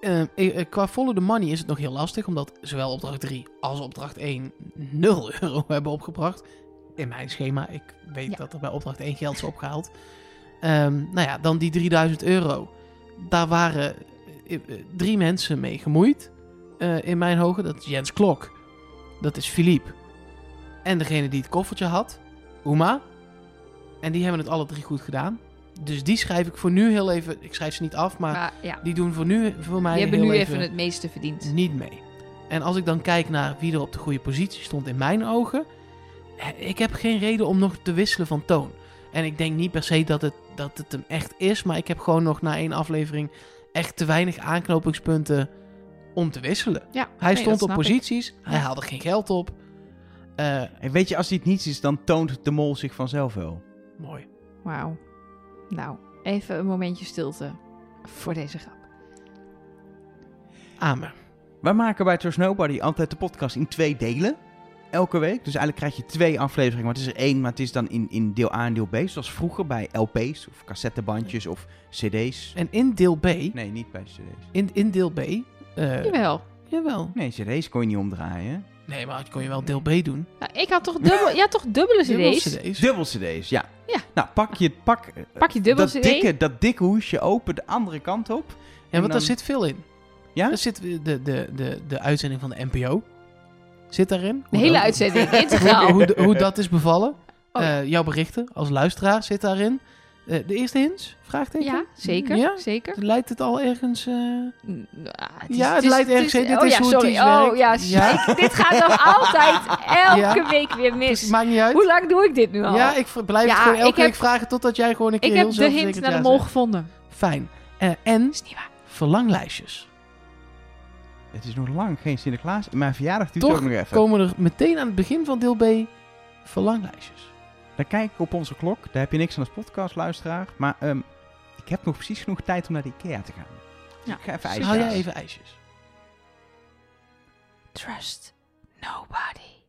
Speaker 3: Eh, eh, qua follow the money is het nog heel lastig, omdat zowel opdracht 3 als opdracht 1 0 euro hebben opgebracht. In mijn schema, ik weet
Speaker 2: Ja.
Speaker 3: dat er bij opdracht 1 geld is opgehaald. Ehm, nou ja, dan die 3000 euro. Daar waren eh, eh, drie mensen mee gemoeid. eh, in mijn ogen, dat is Jens Klok. Dat is Philippe. En degene die het koffertje had, Uma. En die hebben het alle drie goed gedaan. Dus die schrijf ik voor nu heel even. Ik schrijf ze niet af, maar
Speaker 2: Maar ja,
Speaker 3: die doen voor nu voor mij
Speaker 2: die hebben
Speaker 3: Ah. heel
Speaker 2: nu even het meeste verdiend.
Speaker 3: niet mee. En als ik dan kijk naar wie er op de goede positie stond in mijn ogen, eh, ik heb geen reden om nog te wisselen van toon. En ik denk niet per se dat het, dat het hem echt is, maar ik heb gewoon nog na één aflevering echt te weinig aanknopingspunten om te wisselen.
Speaker 2: Ja, nee,
Speaker 3: Hij
Speaker 2: dat
Speaker 3: stond
Speaker 2: snap
Speaker 3: op
Speaker 2: ik.
Speaker 3: posities, hij
Speaker 2: Ja.
Speaker 3: haalde geen geld op. Eh,
Speaker 1: En weet je, als dit niets is, dan toont de mol zich vanzelf wel.
Speaker 3: mooi.
Speaker 2: Wauw. Nou, even een momentje stilte voor deze grap.
Speaker 3: Amen.
Speaker 1: Wij maken bij Trust Nobody altijd de podcast in twee delen. Elke week. Dus eigenlijk krijg je twee afleveringen. Maar het is er één, maar het is dan in, in deel A en deel B. Dus Zoals vroeger bij LP's of cassettebandjes of CD's.
Speaker 3: En in deel B,
Speaker 1: Nee, niet bij CD's.
Speaker 3: in, in deel B, eh,
Speaker 2: Jawel.
Speaker 3: jawel.
Speaker 1: Nee, CD's kon je niet omdraaien.
Speaker 3: Nee, maar dat kon je wel deel B doen.
Speaker 2: Nou, ik had toch, dubbel, ja, toch dubbele
Speaker 3: Dubbel
Speaker 2: cd's?
Speaker 1: Dubbel CD's, ja.
Speaker 2: Ja.
Speaker 1: Nou, pak je, pak, eh,
Speaker 2: Pak je dubbel
Speaker 1: dat,
Speaker 2: cd?
Speaker 1: dikke, dat dikke hoesje open de andere kant op.
Speaker 3: Ja, want
Speaker 1: dan-
Speaker 3: daar zit veel in.
Speaker 1: Ja?
Speaker 3: Daar zit de, de, de, de uitzending van de NPO. Zit daarin.
Speaker 2: De
Speaker 3: Hoe
Speaker 2: hele
Speaker 3: dat-
Speaker 2: uitzending, integraal.
Speaker 3: Hoe, hoe, hoe dat is bevallen.
Speaker 2: Oh, ja.
Speaker 3: Eh, jouw berichten als luisteraar zit daarin. Eh, de eerste hints? Vraagteken?
Speaker 2: Ja, zeker,
Speaker 3: Ja?
Speaker 2: zeker.
Speaker 3: Leidt het al ergens... eh,
Speaker 2: Mm, ah, het
Speaker 3: Ja, het leidt ergens heen. Dit
Speaker 2: oh
Speaker 3: is
Speaker 2: ja,
Speaker 3: hoe het
Speaker 2: sorry.
Speaker 3: iets
Speaker 2: oh
Speaker 3: werkt.
Speaker 2: ja,
Speaker 3: Ja.
Speaker 2: shit. dit gaat nog altijd elke
Speaker 3: Ja.
Speaker 2: week weer mis.
Speaker 3: Maakt niet uit.
Speaker 2: Hoe lang doe ik dit nu al?
Speaker 3: Ja, ik v- blijf
Speaker 2: Ja,
Speaker 3: het gewoon elke
Speaker 2: ik heb-
Speaker 3: week vragen totdat jij gewoon een keer
Speaker 2: Ik
Speaker 3: heel
Speaker 2: heb de hint
Speaker 3: zelfverzekerd
Speaker 2: naar de
Speaker 3: ja
Speaker 2: mol
Speaker 3: zegt.
Speaker 2: gevonden.
Speaker 3: Fijn. Eh, en
Speaker 2: Dat is niet waar.
Speaker 3: verlanglijstjes.
Speaker 1: Het is nog lang geen Sinterklaas. Mijn verjaardag duurt
Speaker 3: Toch
Speaker 1: ook nog even.
Speaker 3: Komen er meteen aan het begin van deel B verlanglijstjes.
Speaker 1: Dan kijk ik op onze klok. Daar heb je niks aan als podcastluisteraar. Maar ehm, ik heb nog precies genoeg tijd om naar de IKEA te gaan. Dus
Speaker 2: Ja.
Speaker 1: ik ga even
Speaker 3: Haal
Speaker 1: ijsjes.
Speaker 3: jij even ijsjes.
Speaker 2: Trust nobody.